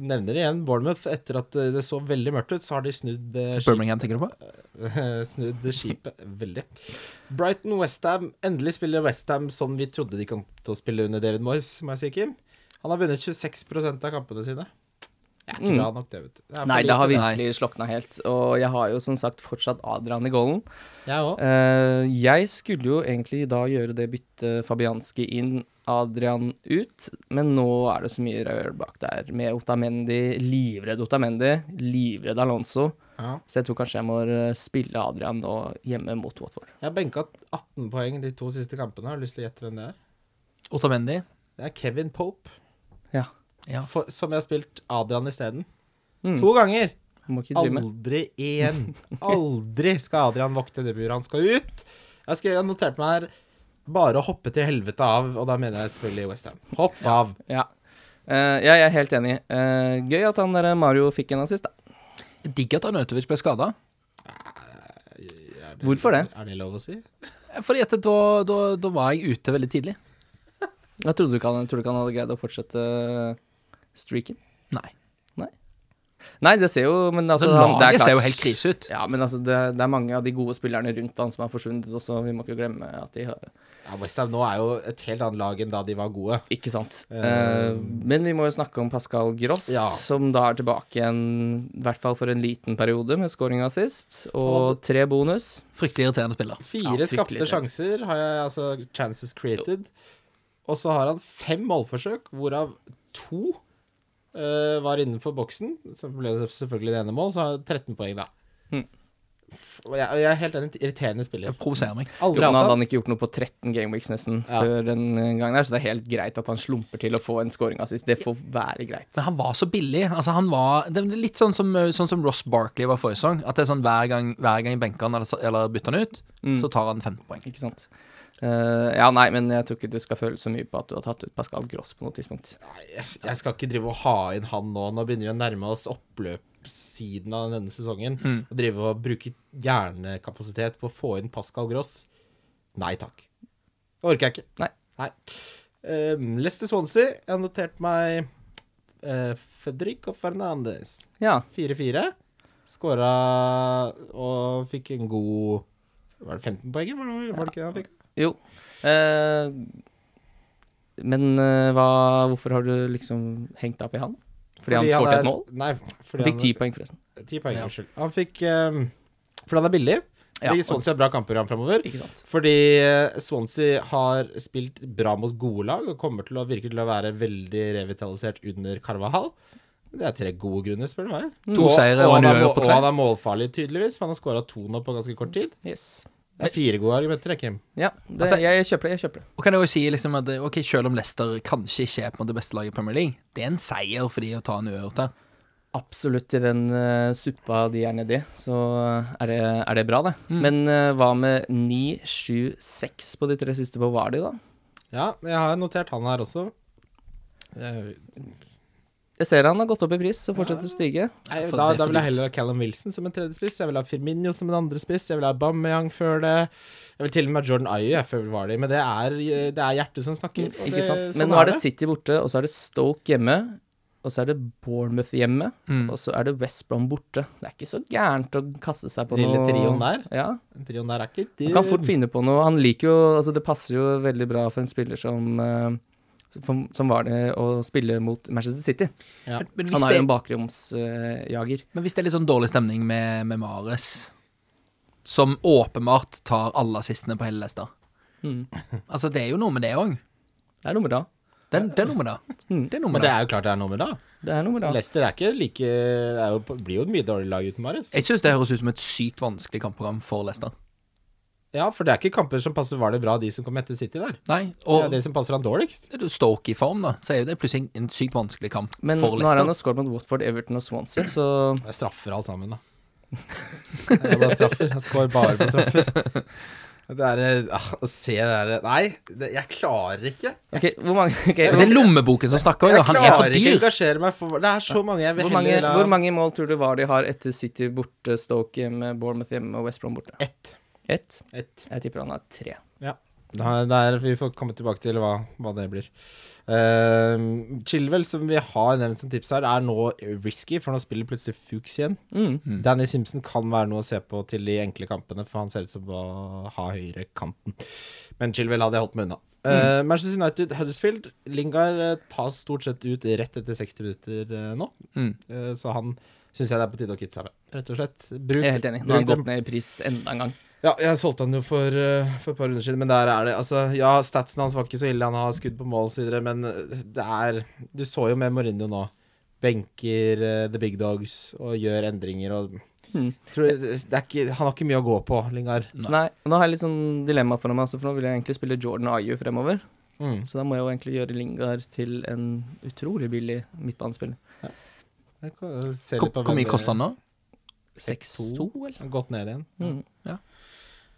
Speaker 3: nevner igjen Bournemouth. Etter at eh, det så veldig mørkt ut, så har de snudd, eh, skip,
Speaker 5: Birmingham, tenker du på?
Speaker 3: snudd skipet veldig. Brighton Westham. Endelig spiller Westham som vi trodde de kom til å spille under David Moyes, må jeg si, Kim. Han har vunnet 26 av kampene sine. Det er ikke
Speaker 2: Mm.
Speaker 3: bra nok, det, vet du. Det er for
Speaker 2: Nei, det har
Speaker 3: lite.
Speaker 2: virkelig slokna helt. Og jeg har jo som sagt fortsatt Adrian i goalen.
Speaker 3: Jeg òg.
Speaker 2: Eh, jeg skulle jo egentlig da gjøre det byttet Fabianski inn, Adrian ut, men nå er det så mye rør bak der. Med Otamendi, livredd Otamendi, livredd Alonso.
Speaker 3: Ja.
Speaker 2: Så jeg tror kanskje jeg må eh, spille Adrian nå hjemme mot Watford.
Speaker 3: Jeg har benka 18 poeng de to siste kampene. Har du lyst til å gjette hvem det er?
Speaker 5: Otamendi.
Speaker 3: Det er Kevin Pope.
Speaker 2: Ja.
Speaker 5: Ja.
Speaker 3: for, som jeg har spilt Adrian isteden.
Speaker 2: Mm.
Speaker 3: To ganger!
Speaker 2: jeg Må ikke drive med.
Speaker 3: Aldri igjen. Aldri skal Adrian vokte det buret. Han skal ut. Jeg skrev- jeg har notert meg her bare å hoppe til helvete av, og da mener jeg selvfølgelig Westham. Hopp av.
Speaker 2: Ja. Eh, ja, jeg er helt enig. Eh, gøy at han der Mario fikk en assist, da.
Speaker 5: Digg at Arnautovic ble skada.
Speaker 3: Er
Speaker 2: Hvorfor det?
Speaker 3: Er det lov å si?
Speaker 5: Fordi at da, da, da var jeg ute veldig tidlig.
Speaker 2: Jeg trodde ikke han, tror du ikke han hadde greid å fortsette eh, streaken.
Speaker 5: Nei.
Speaker 2: Nei, det ser jo Men altså,
Speaker 5: Altså,
Speaker 2: han- det er
Speaker 5: laget ser jo
Speaker 2: klart-
Speaker 5: helt krise ut.
Speaker 2: Ja, men altså, det, det er mange av de gode spillerne rundt han som har forsvunnet også. Vi må ikke glemme at de har
Speaker 3: Ja, Westham nå er jo et helt annet lag enn da de var gode.
Speaker 2: Ikke sant.
Speaker 3: Eh.
Speaker 2: Eh, men vi må jo snakke om Pascal Gross,
Speaker 3: Ja.
Speaker 2: som da er tilbake igjen, i hvert fall for en liten periode, med scoring assist og
Speaker 3: Og
Speaker 2: tre bonus.
Speaker 5: Fryktelig irriterende spiller.
Speaker 3: Fire
Speaker 2: Ja, fryktelig
Speaker 3: skapte
Speaker 2: det.
Speaker 3: sjanser, har jeg, altså chances created. Og så har han fem målforsøk, hvorav to eh, var innenfor boksen. Så ble det selvfølgelig det ene mål, så har han 13 poeng, da.
Speaker 2: Mm.
Speaker 3: Og jeg, og jeg er helt enig, irriterende spiller.
Speaker 5: Jeg provoserer meg.
Speaker 2: Jo,
Speaker 3: Aldri
Speaker 2: men
Speaker 3: hatt
Speaker 2: hadde
Speaker 3: han.
Speaker 2: han ikke gjort noe på 13 gameweeks nesten
Speaker 3: Ja.
Speaker 2: før den gangen der, så det er helt greit at han slumper til å få en scoring assist. Det får være greit.
Speaker 5: Men han var så billig. Altså, han var, det er litt sånn som, sånn som Ross Barkley var forrige sesong. At det er sånn hver gang, hver gang jeg benker han eller, eller bytter han ut,
Speaker 2: Mm.
Speaker 5: så tar han 15 poeng.
Speaker 2: Ikke sant. Eh, ja, nei, men jeg tror ikke du skal føle så mye på at du har tatt ut Pascal Gross på noe tidspunkt.
Speaker 3: Jeg, jeg skal ikke drive og ha inn han nå. Nå begynner vi å nærme oss oppløpssiden av denne sesongen.
Speaker 2: Mm.
Speaker 3: Og drive og bruke hjernekapasitet på å få inn Pascal Gross. Nei takk. Det orker jeg ikke.
Speaker 2: Nei.
Speaker 3: Nei. Ehm, Leicester Swansea. Jeg har notert meg uh, Federico Fernandes.
Speaker 2: Ja.
Speaker 3: 4-4. Skåra og fikk en god Var det 15 poeng? Var det, var det ikke det han fikk?
Speaker 2: Jo. Eh, men eh, hva, hvorfor har du liksom hengt deg opp i han? Fordi, han skåret
Speaker 3: er-
Speaker 2: et mål?
Speaker 3: Nei, fordi
Speaker 2: Han fikk ti poeng, forresten.
Speaker 3: han, 10 poeng.
Speaker 5: Ja.
Speaker 3: Unnskyld. Han fikk ehm, Fordi han er billig.
Speaker 2: Ja,
Speaker 3: Fordi
Speaker 2: og-
Speaker 3: Swansea har bra kampprogram framover.
Speaker 2: Ikke sant.
Speaker 3: Fordi eh, Swansea har spilt bra mot gode lag og kommer til å virke til å være veldig revitalisert under Carvahall. Det er tre gode grunner, spør du meg.
Speaker 5: To seire og
Speaker 3: og, han
Speaker 5: en
Speaker 3: er, må-
Speaker 5: uavgjort på
Speaker 3: og
Speaker 5: tre.
Speaker 3: han er målfarlig, tydeligvis, for han har skåra to nå på ganske kort tid.
Speaker 2: Yes.
Speaker 3: Det er fire gode argumenter, jeg, Kim.
Speaker 2: Ja, det,
Speaker 5: Altså-
Speaker 2: jeg kjøper det. Jeg kjøper det.
Speaker 5: Og kan jeg jo si liksom at ok, Selv om Leicester kanskje ikke er på en måte det beste laget i Premier League, det er en seier for de å ta en uavgjort her.
Speaker 2: Absolutt i den eh, suppa de er nedi, så eh, er det, er det bra, det. Men eh, hva med 9, 7, 6 på de tre siste på Vardy, da?
Speaker 3: Ja, jeg har notert han her også. Eh,
Speaker 2: Jeg ser han har gått opp i pris og fortsetter å stige.
Speaker 3: Nei,
Speaker 5: For
Speaker 3: da,
Speaker 5: det er
Speaker 3: da
Speaker 5: for
Speaker 3: vil jeg
Speaker 5: dyrt.
Speaker 3: heller ha Callum Wilson som en tredjespiss. Jeg vil ha Firmino som en andrespiss. Jeg vil ha Bameyang før det. Jeg vil til og med ha Jordan Ayew. Jeg føler var det, men det er, det er hjertet som snakker. og
Speaker 2: Ikke sant?
Speaker 3: sånn
Speaker 2: Men nå er det City borte, og så er det Stoke hjemme. Og så er det Bournemouth hjemme,
Speaker 5: Mm.
Speaker 2: og så er det West Brom borte. Det er ikke så gærent å kaste seg på
Speaker 3: Lille
Speaker 2: noe.
Speaker 3: trioen der.
Speaker 2: Ja,
Speaker 3: Den trioen der er ikke
Speaker 2: Han kan fort finne på noe. Han liker jo Altså, det passer jo veldig bra for en spiller som eh, som, som var det å spille mot Manchester City.
Speaker 3: Ja.
Speaker 5: Men, men,
Speaker 2: Han
Speaker 5: hvis
Speaker 2: er
Speaker 5: det,
Speaker 2: jo en bakromsjager.
Speaker 5: men hvis det er litt sånn dårlig stemning med, med Mares, som åpenbart tar alle assistene på hele Leicester
Speaker 2: Mm.
Speaker 5: Altså, det er jo noe med det òg.
Speaker 2: Det er noe med da.
Speaker 5: Det, er- det er noe med det.
Speaker 2: Mm.
Speaker 5: Det er noe
Speaker 3: Men
Speaker 5: med
Speaker 3: det
Speaker 5: det.
Speaker 3: er jo klart det er noe med da.
Speaker 2: Det er noe med da.
Speaker 3: Leicester er ikke like er jo, blir jo et mye dårligere lag uten Marius.
Speaker 5: Jeg syns det høres ut som et sykt vanskelig kampprogram for Leicester.
Speaker 3: Ja, for det er ikke kamper som passer Var det bra, de som kom etter City der.
Speaker 5: Nei,
Speaker 3: Det er
Speaker 5: og
Speaker 3: det som passer han dårligst.
Speaker 5: er du Stoke i form, da, så er jo det plutselig en sykt vanskelig kamp
Speaker 2: Men
Speaker 5: for
Speaker 2: nå har han
Speaker 5: Leicester.
Speaker 2: jo skåret mot Watford, Everton og Swansea, så
Speaker 3: Det er straffer alt sammen, da. Det er bare straffer. Han scorer bare på straffer. Det er eh, ah, Å se det der Nei, det, jeg klarer ikke.
Speaker 2: Ok, hvor mange, ok,
Speaker 5: Det er
Speaker 2: hvor,
Speaker 5: lommeboken som snakker òg,
Speaker 3: Jeg
Speaker 5: da. Han er
Speaker 3: klarer
Speaker 5: for
Speaker 3: ikke å
Speaker 5: dyr.
Speaker 3: engasjere meg for Det er så mange jeg vil
Speaker 2: hvor, mange,
Speaker 3: heller la-
Speaker 2: hvor mange mål tror du var de har etter City borte, Stoke hjemme, Bournemouth hjemme og West Brom borte?
Speaker 3: Ett.
Speaker 2: Ett?
Speaker 3: Ett.
Speaker 2: Jeg tipper han har tre.
Speaker 3: Da- der, vi får komme tilbake til hva, hva det blir. Uh, Chilwell, som vi har nevnt som tips her, er nå risky, for nå spiller plutselig Fuchs igjen.
Speaker 2: Mm.
Speaker 3: Danny Simpson kan være noe å se på til de enkle kampene, for han ser ut som å ha høyre kanten. Men Chilwell hadde jeg holdt meg unna.
Speaker 2: Mm.
Speaker 3: Eh, Manchester United, Huddersfield. Lingard eh, tas stort sett ut rett etter 60 minutter eh, nå,
Speaker 5: Mm.
Speaker 3: Eh, så han syns jeg det er på tide å kvitte seg med, rett og slett. Bruk,
Speaker 2: Jeg er helt enig. Nå har han gått ned i pris enda en gang.
Speaker 3: ja, jeg solgte han jo for, eh, for et par runder siden, men der er det Altså, ja, statsen hans var ikke så ille, han har skudd på mål osv., men eh, det er Du så jo med Mourinho nå. Benker eh, the big dogs og gjør endringer og
Speaker 2: Mm.
Speaker 3: tror, eh, det er ikke, Han har ikke mye å gå på, Lingard.
Speaker 5: Nei.
Speaker 2: Nei. og Nå har jeg litt sånn dilemma foran meg, altså, for nå vil jeg egentlig spille Jordan og Ayu fremover.
Speaker 3: Mm.
Speaker 2: Så da må jeg jo egentlig gjøre Lingard til en utrolig billig midtbanespiller.
Speaker 3: Jeg kan se
Speaker 5: Hvor
Speaker 3: litt på
Speaker 5: hvor
Speaker 3: hvem
Speaker 5: mye
Speaker 3: det-
Speaker 5: koster han nå?
Speaker 2: 6-2, eller?
Speaker 3: Han har Gått ned igjen.
Speaker 2: Mm.
Speaker 3: Ja,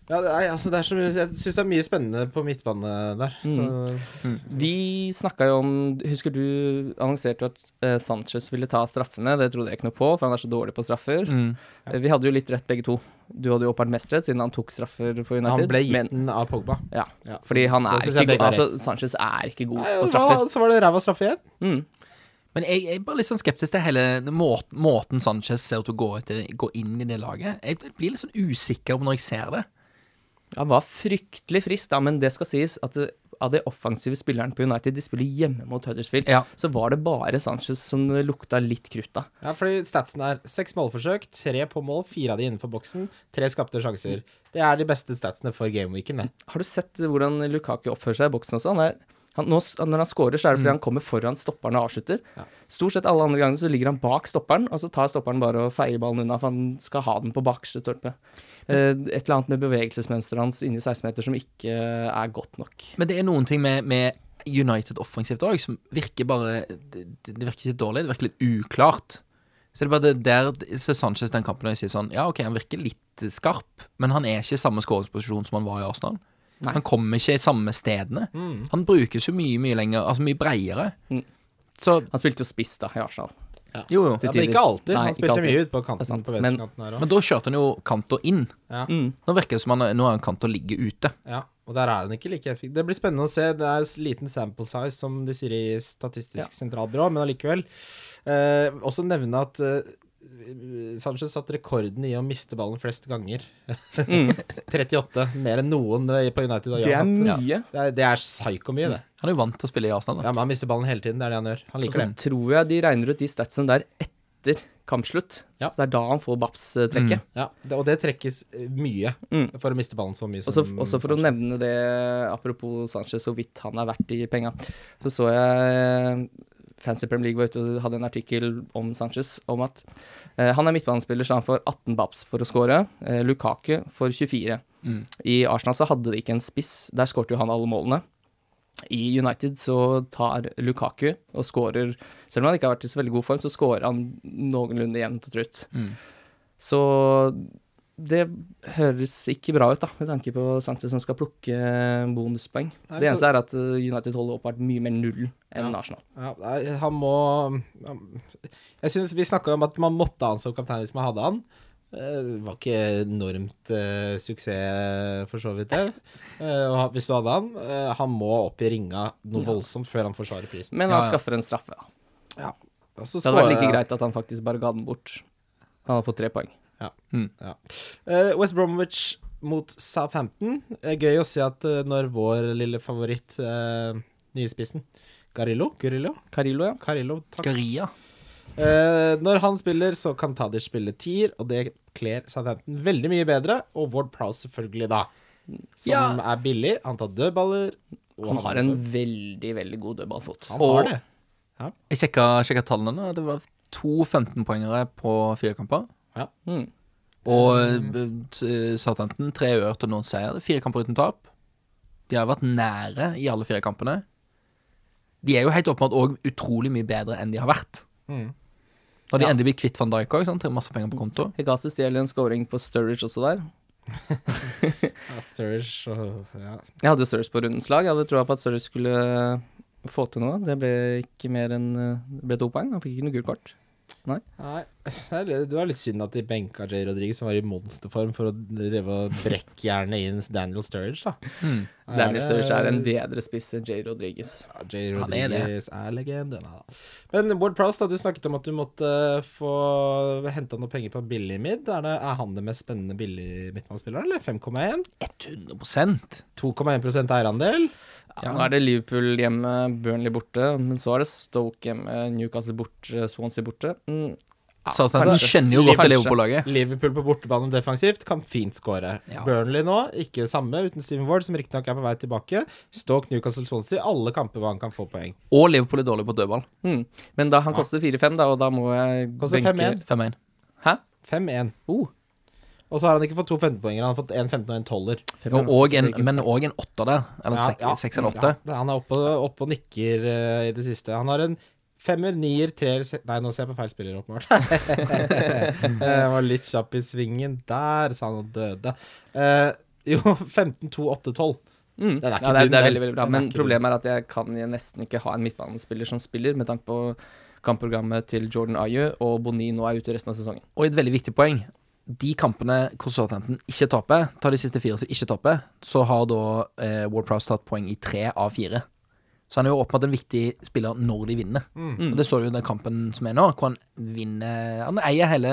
Speaker 3: det er, altså, det er så, mye- jeg syns det er mye spennende på midtbane der,
Speaker 2: Mm.
Speaker 3: så
Speaker 2: Vi snakka jo om Husker du annonserte jo at eh, Sanchez ville ta straffene? Det trodde jeg ikke noe på, for han er så dårlig på straffer.
Speaker 5: Mm.
Speaker 2: Eh, Vi hadde jo litt rett begge to. Du hadde jo åpenbart mest rett, siden han tok straffer for United.
Speaker 3: Han ble
Speaker 2: men-
Speaker 3: gitt den av Pogba.
Speaker 2: Ja,
Speaker 3: Ja, så
Speaker 2: fordi han
Speaker 3: det
Speaker 2: er ikke
Speaker 3: synes jeg begge
Speaker 2: god
Speaker 3: har
Speaker 2: Altså,
Speaker 3: rett.
Speaker 2: Sanchez er ikke god
Speaker 3: Nei, altså,
Speaker 2: på
Speaker 3: og
Speaker 2: straffer.
Speaker 3: så var det ræva straffe igjen.
Speaker 2: Mm.
Speaker 5: Men jeg, jeg er bare litt sånn skeptisk til hele måten, måten Sanchez ser ut til å gå, etter, gå inn i det laget. Jeg blir litt sånn usikker når jeg ser det.
Speaker 2: Han var fryktelig frisk, da, men det skal sies at eh, av de offensive spillerne på United, de spiller hjemme mot Huddersfield,
Speaker 5: Ja.
Speaker 2: så var det bare Sanchez som det lukta litt krutt av.
Speaker 3: Ja, fordi statsen er seks målforsøk, tre på mål, fire av de innenfor boksen, tre skapte sjanser. Det er de beste statsene for gameweeken, det.
Speaker 2: Har du sett hvordan Lukaku oppfører seg i boksen også? Han er, han, nå, s- når han scorer, så er det fordi han kommer foran stopperen og avslutter.
Speaker 3: Mm. Ja.
Speaker 2: Stort sett alle andre ganger så ligger han bak stopperen, og så tar stopperen bare og feier ballen unna, for han skal ha den på bakerste stolpe. Eh, Et eller annet med bevegelsesmønsteret hans inni 16-meter som ikke eh, er godt nok.
Speaker 5: Men det er noen ting med, med United offensivt òg som virker bare det, det virker litt dårlig, det virker litt uklart. Så det er bare det der så Sanchez den kampen og jeg sier sånn Ja, OK, han virker litt skarp, men han er ikke i samme skåringsposisjon som han var i Arsenal.
Speaker 2: Nei.
Speaker 5: Han kommer ikke i samme stedene. Han brukes jo mye, mye lenger, altså mye breiere.
Speaker 2: Mm.
Speaker 5: Så
Speaker 2: Han spilte jo spiss da, i Arsenal.
Speaker 5: jo, jo.
Speaker 3: Ja, men ikke alltid.
Speaker 2: Nei,
Speaker 3: han
Speaker 2: ikke
Speaker 3: spilte
Speaker 2: alltid.
Speaker 3: mye ut på
Speaker 2: Det er
Speaker 3: kanten
Speaker 2: sant,
Speaker 3: på
Speaker 2: men-
Speaker 3: venstrekanten her òg.
Speaker 5: Men da kjørte han jo Kanto inn.
Speaker 3: Ja.
Speaker 2: Mm.
Speaker 5: Nå virker det som han, nå er han Kanto ligge ute.
Speaker 3: Ja, og der er han ikke like effektiv. Det blir spennende å se. Det er s- liten sample size, som de sier i Statistisk
Speaker 2: Ja.
Speaker 3: sentralbyrå, men allikevel. Eh, også nevne at eh, Sanchez satte rekorden i å miste ballen flest ganger. 38. Mer enn noen eh, på United. har
Speaker 2: Mm. Det er
Speaker 3: hatt.
Speaker 2: mye.
Speaker 3: Det er, det er psyko mye, det.
Speaker 5: Han er jo vant til å spille i Arsenal, da.
Speaker 3: Ja, men han mister ballen hele tiden. Det er det han gjør.
Speaker 2: Og
Speaker 3: Han liker
Speaker 2: så
Speaker 3: det.
Speaker 2: tror jeg de regner ut de statsene der etter kampslutt.
Speaker 3: Ja.
Speaker 2: Så det er da han får eh, Babs-trekket.
Speaker 3: Ja, det, og det trekkes eh, mye
Speaker 2: Mm.
Speaker 3: for å miste ballen så mye
Speaker 2: Også,
Speaker 3: som
Speaker 2: også for å nevne det, apropos Sanchez, så vidt han er verdt de penga, så så jeg Fancy Premier League var ute og hadde en artikkel om Sanchez om at eh, han er midtbanespiller, så han får 18 babs for å score. Eh, Lukaku får 24.
Speaker 5: Mm.
Speaker 2: I Arsenal så hadde de ikke en spiss, der skårte jo han alle målene. I United så tar Lukaku og skårer Selv om han ikke har vært
Speaker 3: Mm.
Speaker 2: i så veldig god form, så skårer han noenlunde jevnt og trutt.
Speaker 5: Mm.
Speaker 2: Så det høres ikke bra ut, da, med tanke på Sanchez som skal plukke bonuspoeng.
Speaker 3: Nei,
Speaker 2: det
Speaker 3: så-
Speaker 2: eneste er at eh, United holder åpenbart mye mer nullen enn
Speaker 3: Ja.
Speaker 2: Arsenal.
Speaker 3: Ja, nei, han må han- Jeg syns vi snakka om at man måtte ha han som kaptein hvis man hadde han. Eh, Det var ikke enormt eh, suksess, for så vidt, det. Eh, og han- hvis du hadde han. eh, han må opp i ringa noe voldsomt før han forsvarer prisen.
Speaker 2: Men
Speaker 5: Ja,
Speaker 2: han
Speaker 5: ja.
Speaker 2: skaffer en straffe, da.
Speaker 3: Ja. Og så
Speaker 2: Det hadde vært
Speaker 3: skårer
Speaker 2: like
Speaker 3: han.
Speaker 2: greit at han faktisk bare ga den bort. Han hadde fått tre poeng.
Speaker 3: Ja. Eh, West Bromwich mot Southampton. Eh, gøy å se at eh, når vår lille favoritt, uh, nye spissen Garillo? Gurillo?
Speaker 2: Carillo, ja.
Speaker 3: Carillo, takk.
Speaker 5: Garia.
Speaker 3: Eh, når han spiller, så kan Tadic spille tier, og det kler Southampton veldig mye bedre. Og Ward Prowse selvfølgelig, da. Som
Speaker 5: Ja.
Speaker 3: er billig. Han tar dødballer. og
Speaker 2: Han har en veldig, veldig god dødballfot.
Speaker 3: Han har
Speaker 5: og-
Speaker 3: det.
Speaker 5: Jeg sjekka, sjekka tallene. nå. Det var to 15-poengere på fire kamper.
Speaker 2: Mm.
Speaker 5: Og eh, Southampton tre uavgjort og noen seier. Det er Fire kamper uten tap. De har vært nære i alle fire kampene. De er jo helt åpenbart òg utrolig mye bedre enn de har vært.
Speaker 3: Mm.
Speaker 5: Når de
Speaker 2: Ja.
Speaker 5: endelig blir kvitt van Dijk òg, trenger masse penger på konto.
Speaker 2: Hegasi stjeler en scoring på Sturridge også der.
Speaker 3: Ja, Sturridge og ja.
Speaker 2: Jeg hadde jo Sturridge på rundens lag. Jeg hadde troa på at Sturridge skulle eh, få til noe. Det ble ikke mer enn eh, Det ble to poeng. Han fikk ikke noe gult kort.
Speaker 3: Nei, det er litt- det var litt synd at de benka J. Rodriguez, som var i monsterform, for å drive og brekke jernet inn Daniel Sturridge, da. Er
Speaker 2: Hmm. Daniel
Speaker 3: det-
Speaker 2: Sturridge er en bedre spiss enn Jay Rodriguez.
Speaker 3: Ja, J.
Speaker 5: Han er det.
Speaker 3: Rodriguez er legenden. Ja. Men Ward Prowse, da, du snakket om at du måtte få henta noe penger på billig mid. Er, det, er han den mest spennende billig midtbanespilleren, eller? 5,1?
Speaker 5: 100
Speaker 3: 2,1 eierandel.
Speaker 2: Ja, nå er det Liverpool hjemme, Burnley borte, men så er det Stoke hjemme, Newcastle borte, Swansea borte. Mm. Ja,
Speaker 5: Southampton
Speaker 2: kanskje.
Speaker 5: skjønner jo godt
Speaker 2: Kanskje.
Speaker 5: til Liverpool-laget.
Speaker 3: Liverpool på bortebane defensivt kan fint skåre.
Speaker 5: Ja.
Speaker 3: Burnley nå, ikke det samme, uten Steven Ward, som riktignok er på vei tilbake. Stoke, Newcastle, Swansea, alle kamper hvor han kan få poeng.
Speaker 5: Og Liverpool er dårlig på dødball.
Speaker 2: Mm. Men da han koster 4-5, da, og da må jeg
Speaker 3: Koster 5-1.
Speaker 5: 5-1.
Speaker 2: Hæ?
Speaker 3: 5-1.
Speaker 2: Oh,
Speaker 3: Og så har han ikke fått to 15-poenger, han har fått en 15 og en 12-er.
Speaker 5: Og, og en, men òg en åtter der. Eller sek- seks eller åtte.
Speaker 3: Ja, han er oppe, oppe og nikker eh, i det siste. Han har en femmer, nier, treer se- Nei, nå ser jeg på feil spiller, åpenbart. jeg var litt kjapp i svingen der, sa han og døde. Eh, jo, 15, 2, 8, 12.
Speaker 2: Mm.
Speaker 3: Den er ikke
Speaker 2: ja, det, er,
Speaker 3: dum,
Speaker 2: det er
Speaker 3: den.
Speaker 2: veldig, veldig bra.
Speaker 3: Den er
Speaker 2: Men
Speaker 3: ikke dum.
Speaker 2: problemet er at jeg kan jo nesten ikke ha en midtbanespiller som spiller, med tanke på kampprogrammet til Jordan Ayew, og Boni nå er ute resten av sesongen.
Speaker 5: Og et veldig viktig poeng. De kampene hvor Southampton ikke taper, tar de siste fire som ikke taper, så har da eh, Ward Prowse tatt poeng i tre av fire. Så han er jo åpenbart en viktig spiller når de vinner.
Speaker 3: Mm.
Speaker 5: Og Det så du jo i den kampen som er nå, hvor han vinner Han eier hele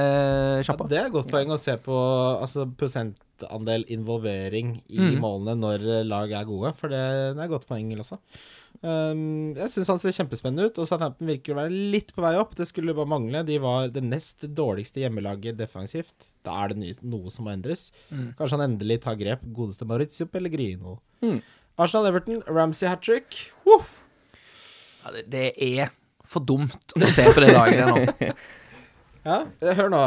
Speaker 3: Ja,
Speaker 5: sjappa.
Speaker 3: det er et godt poeng å se på altså, prosentandel involvering i
Speaker 2: Mm.
Speaker 3: målene når eh, lag er gode, for det, det er et godt poeng, Lasse. Um, jeg syns han ser kjempespennende ut, og Southampton virker å være litt på vei opp. Det skulle bare mangle. De var det nest dårligste hjemmelaget defensivt. Da er det ny- noe som må endres. Kanskje han endelig tar grep. Godeste Maurizio Pellegrino.
Speaker 2: Mm.
Speaker 3: Arsenal-Everton, Ramsey hat trick.
Speaker 5: Ja, det, det er for dumt å se på det laget der nå.
Speaker 3: Ja, hør nå.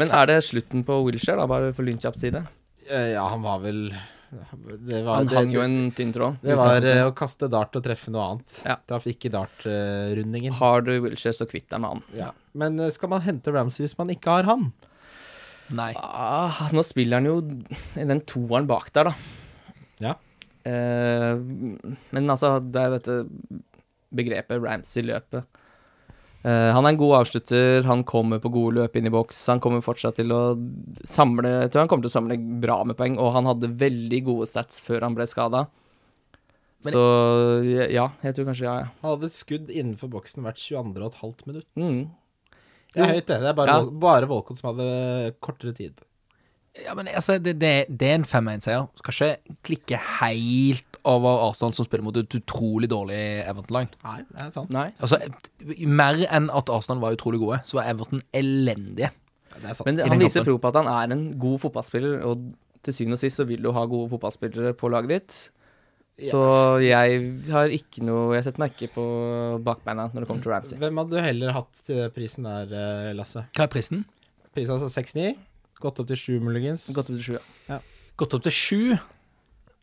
Speaker 2: Men er det slutten på Wilshere, da, bare for Lynkjaps side?
Speaker 3: Eh, ja, han var vel det var,
Speaker 2: Han
Speaker 3: det-
Speaker 2: hang
Speaker 3: det-
Speaker 2: jo en tynn tråd.
Speaker 3: Det var eh, å kaste dart og treffe noe annet.
Speaker 2: Ja.
Speaker 3: Traff ikke dartrundingen.
Speaker 2: Har du Wilshere, så kvitt deg med han.
Speaker 3: ja. Men eh, skal man hente Ramsey hvis man ikke har han?
Speaker 5: Nei.
Speaker 2: Ah, nå spiller han jo i den toeren bak der, da.
Speaker 3: Ja.
Speaker 2: Eh, men altså, det er dette begrepet Ramsey-løpet. Eh, han er en god avslutter, han kommer på gode løp inn i boks. Han kommer fortsatt til å samle Jeg tror han kommer til å samle bra med poeng, og han hadde veldig gode stats før han ble skada.
Speaker 5: Men-
Speaker 2: Så ja, jeg tror kanskje ja, ja.
Speaker 3: Han hadde et skudd innenfor boksen hvert 22,5 minutt.
Speaker 2: Mm.
Speaker 3: Det er høyt, det. Det er bare,
Speaker 2: Ja.
Speaker 3: Vol- bare Volkot som hadde kortere tid.
Speaker 5: Ja, men altså, det, det, det er en 5-1-seier. Skal ikke klikke helt over Arsenal, som spiller mot et utrolig dårlig Everton-lag.
Speaker 3: Nei, det er sant.
Speaker 2: Nei.
Speaker 5: Altså, mer enn at Arsenal var utrolig gode, så var Everton elendige.
Speaker 3: Det er sant.
Speaker 2: Men det,
Speaker 5: i
Speaker 2: han
Speaker 5: den
Speaker 2: viser
Speaker 5: kampen.
Speaker 2: prov på at han er en god fotballspiller, og til syvende og sist så vil du ha gode fotballspillere på laget ditt. Så jeg har ikke noe Jeg setter meg ikke på bakbeina når det kommer til Ramsey.
Speaker 3: Hvem hadde du heller hatt til prisen der, eh, Lasse?
Speaker 5: Hva er prisen?
Speaker 3: Prisen altså 6,9. Gått opp til 7, muligens.
Speaker 2: Godt opp til sju. ja.
Speaker 5: Gått opp til sju.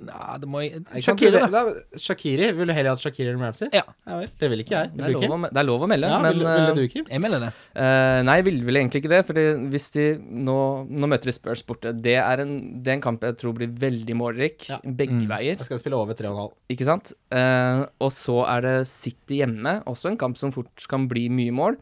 Speaker 5: Nei, det må jeg
Speaker 3: Jeg kan ikke-
Speaker 5: Shakira, da.
Speaker 3: da. Shakiri. Vil du heller hatt Shakiri enn Ramsey?
Speaker 5: Ja.
Speaker 3: vel, det vil ikke jeg.
Speaker 2: Det
Speaker 3: Vil
Speaker 2: er
Speaker 3: du
Speaker 2: lov
Speaker 3: ikke?
Speaker 2: å, me- det er lov å melde,
Speaker 3: Ja,
Speaker 2: men
Speaker 3: ville, ville
Speaker 2: eh,
Speaker 3: du ikke?
Speaker 5: Jeg mener det.
Speaker 2: eh, Nei, jeg ville vel egentlig ikke det. For hvis de nå, nå møter de Spurs borte. Det er, en, det er en kamp jeg tror blir veldig målrik
Speaker 3: Ja.
Speaker 2: begge
Speaker 5: Mm.
Speaker 2: veier.
Speaker 3: Jeg skal spille over 3,5.
Speaker 2: Ikke sant? Eh, og så er det City hjemme, også en kamp som fort kan bli mye mål.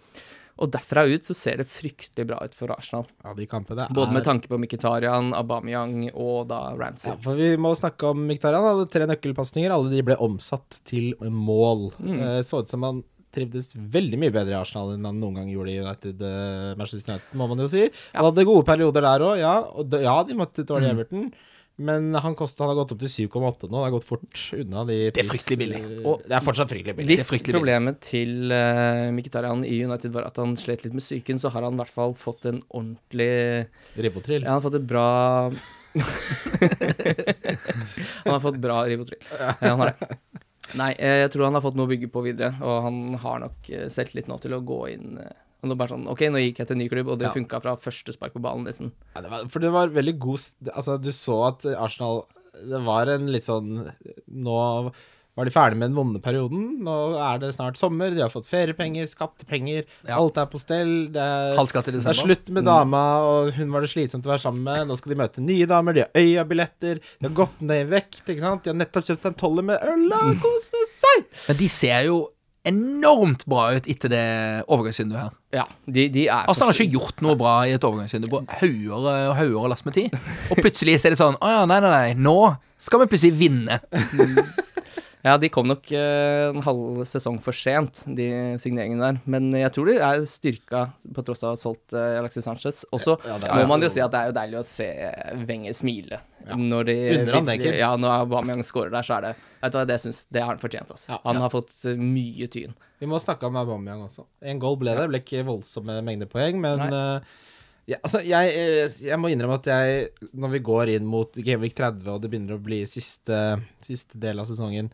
Speaker 2: Og derfra ut så ser det fryktelig bra ut for Arsenal.
Speaker 3: Ja, de kampene er
Speaker 2: Både med tanke på Mkhitarian, Aubameyang og da Ramsey.
Speaker 3: Ja, for vi må snakke om Miktarian. Han hadde tre nøkkelpasninger. Alle de ble omsatt til mål. Eh, så ut som han trivdes veldig mye bedre i Arsenal enn han noen gang gjorde i United, eh, Manchester United, må man jo si. Han hadde gode perioder der òg, ja. Og det- ja, de måtte dårlig Everton. Men han, kostet, han har gått opp til 7,8 nå. Han har gått fort unna de
Speaker 5: Det er
Speaker 3: pris-
Speaker 5: fryktelig billig.
Speaker 2: Og-
Speaker 3: det er fortsatt fryktelig billig.
Speaker 2: Hvis
Speaker 5: Det er fryktelig
Speaker 2: problemet til uh, Mkhitarian i United var at han slet litt med psyken, så har han i hvert fall fått en ordentlig
Speaker 3: Ribotril.
Speaker 2: Ja, han har fått et bra Han har fått bra Rivotril. Ja, han har det. Nei, eh, jeg tror han har fått noe å bygge på videre, og han har nok eh, selvtillit nå til å gå inn eh, og nå bare sånn, OK, nå gikk jeg til en ny klubb, og det
Speaker 3: Ja.
Speaker 2: funka fra første spark på ballen, nesten.
Speaker 3: Ja, det var, for det var veldig god st- Altså, du så at Arsenal Det var en litt sånn Nå var de ferdig med den vonde perioden. Nå er det snart sommer, de har fått feriepenger, skapt penger,
Speaker 5: Ja.
Speaker 3: alt er på stell. Det er,
Speaker 5: Halv skatt i
Speaker 3: det er
Speaker 5: desember. Mm.
Speaker 3: slutt med dama, og hun var det slitsomt å være sammen med. Nå skal de møte nye damer, de har øyabilletter, de har gått ned i vekt, ikke sant. De har nettopp kjøpt seg en toller med øl og kose seg!
Speaker 5: Men de ser jo enormt bra ut etter det overgangsvinduet her.
Speaker 2: Ja, de, de er
Speaker 5: Altså, han har
Speaker 2: forskjellige.
Speaker 5: ikke gjort noe bra i et overgangsvindu på hauger og hauger og lass med tid. Og plutselig så er det sånn Å ja, nei, nei, nei. Nå skal vi plutselig vinne.
Speaker 2: Ja, de kom nok eh, en halv sesong for sent, de signeringene der. Men jeg tror de er styrka på tross av å ha solgt eh, Alexis Sanchez. Også
Speaker 3: Ja, det er-
Speaker 2: må man jo si at det er jo deilig å se Wenger smile. Når de
Speaker 3: Unner han det,
Speaker 2: virkelig-
Speaker 3: Kim?
Speaker 2: Ja, når Aubameyang scorer der, så er det Vet du hva, det syns Det har han fortjent, altså.
Speaker 3: Ja,
Speaker 2: han
Speaker 3: ja.
Speaker 2: har fått eh, mye tyn.
Speaker 3: Vi må snakke om Aubameyang også. En goal ble det. Det ble ikke voldsomme mengder poeng, men eh, ja, altså, jeg, eh, jeg må innrømme at jeg, når vi går inn mot Gameweek 30, og det begynner å bli siste, siste del av sesongen,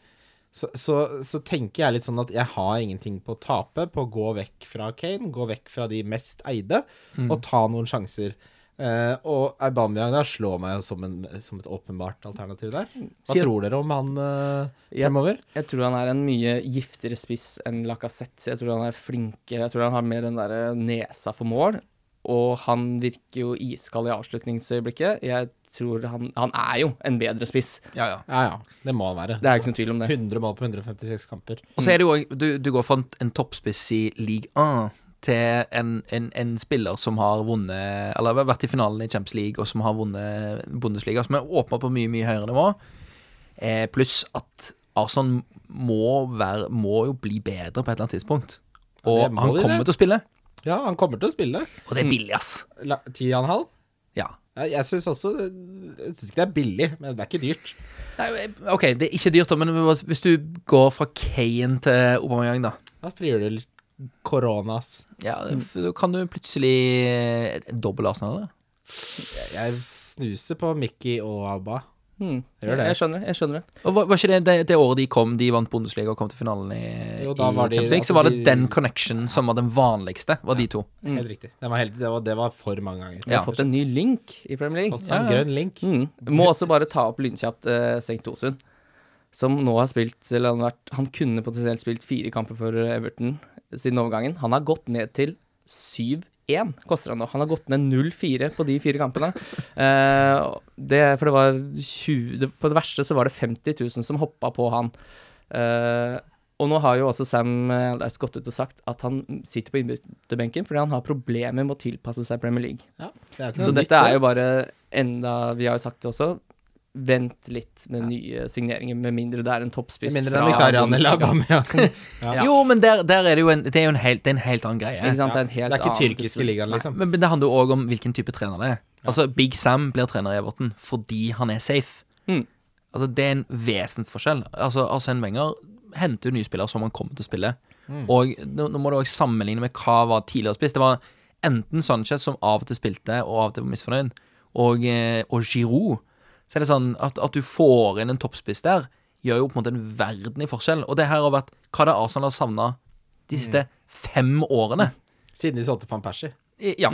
Speaker 3: så, så, så tenker jeg litt sånn at jeg har ingenting på å tape på å gå vekk fra Kane, gå vekk fra de mest eide,
Speaker 2: Mm.
Speaker 3: og ta noen sjanser. Eh, og Aubameyang der slår meg jo som, en, som et åpenbart alternativ der. Hva
Speaker 2: Sier-
Speaker 3: tror dere om han eh,
Speaker 2: Ja.
Speaker 3: fremover?
Speaker 2: Jeg tror han er en mye giftigere spiss enn Lacassette. Jeg tror han er flinkere. Jeg tror han har mer den derre nesa for mål. Og han virker jo iskald i avslutningsøyeblikket. Jeg tror han Han er jo en bedre spiss.
Speaker 5: Ja, ja.
Speaker 3: Ja ja, det må han være.
Speaker 2: Det er ikke noe tvil om det.
Speaker 3: 100 mål på 156 kamper.
Speaker 5: Og så er det jo òg du, du går fra en, en toppspiss i league 1 til en, en, en spiller som har vunnet Eller har vært i finalen i Champions League, og som har vunnet Bundesliga, som er åpna på mye, mye høyere nivå. Eh, pluss at Arsenal må, være, må jo bli bedre på et eller annet tidspunkt. Og
Speaker 3: Ja, det må
Speaker 5: han
Speaker 3: de,
Speaker 5: kommer
Speaker 3: det. Mm.
Speaker 5: til å spille,
Speaker 3: Ja, han kommer til å spille.
Speaker 5: og det er billig, ass.
Speaker 3: La- Ti og en halv.
Speaker 5: Ja.
Speaker 3: Ja, Jeg syns også Jeg syns ikke det er billig, men det er ikke dyrt.
Speaker 5: Nei, OK, det er ikke dyrt, da, men hvis du går fra Kane til Aubameyang, da.
Speaker 3: Da frigjør du litt koronas.
Speaker 5: Ja,
Speaker 3: Mm.
Speaker 5: Da kan du plutselig doble Arsenal. Da.
Speaker 3: Jeg- Jeg snuser på Mickey og Abba.
Speaker 2: Hmm.
Speaker 3: Gjør det.
Speaker 2: Jeg skjønner det. Jeg skjønner det.
Speaker 5: Og var, var ikke det, det det året de kom, de vant Bundesliga og kom til finalen i,
Speaker 3: Jo,
Speaker 5: i
Speaker 3: da var de-
Speaker 5: Champions League? Så
Speaker 3: altså,
Speaker 5: var det
Speaker 3: de-
Speaker 5: den connection som var den vanligste, var de to.
Speaker 2: Mm.
Speaker 3: Helt riktig. Det var, helt, det, var, det var for mange ganger.
Speaker 2: Vi har fått en ny link i Premier League.
Speaker 3: Fått seg en
Speaker 5: Ja, ja.
Speaker 3: grønn link.
Speaker 2: Mm. Må også bare ta opp lynkjapt eh, Sengt Osund, som nå har spilt eller han, har vært, han kunne potensielt spilt fire kamper for Everton siden overgangen. Han har gått ned til 7-1, koster han nå. Han har gått ned 0-4 på de fire kampene. Eh, det, for det var 20 det, På det verste så var det 50 000 som hoppa på han. Eh, og nå har jo også Sam Allardyce gått ut og sagt at han sitter på innbytterbenken fordi han har problemer med å tilpasse seg Premier League.
Speaker 3: Ja, det er ikke
Speaker 2: Så
Speaker 3: noe nytt,
Speaker 2: dette er
Speaker 3: det.
Speaker 2: jo bare enda Vi har jo sagt det også. Vent litt med nye signeringer, med mindre det er en toppspiss.
Speaker 3: Med mindre det er
Speaker 2: fra
Speaker 3: Mkhitaryan eller
Speaker 2: Bundesliga.
Speaker 3: Aubameyang. Ja.
Speaker 5: Jo, men der, der er det jo en, det er jo en, helt, det er en helt annen greie.
Speaker 2: Ikke sant? Det er en
Speaker 3: Det
Speaker 2: helt
Speaker 3: er ikke
Speaker 2: annen
Speaker 3: tyrkiske ligaen,
Speaker 5: Nei,
Speaker 3: liksom.
Speaker 5: men, men det handler jo òg om hvilken type trener det er. Altså, Big Sam blir trener i Everton fordi han er safe.
Speaker 2: Mm.
Speaker 5: Altså, Det er en vesensforskjell. Altså, Arsene Wenger henter jo nye spillere som han kommer til å spille. Og nå, nå må du òg sammenligne med hva var tidligere spiss. Det var enten Sanchez, som av og til spilte og av og til var misfornøyd, og, eh, og Giroud. Så er det sånn at, at du får inn en toppspiss der, gjør jo på en måte en verden i forskjell. Og det her har vært hva det er Arsenal har savna de siste fem årene.
Speaker 3: Siden de solgte van Persie,
Speaker 5: I- Ja,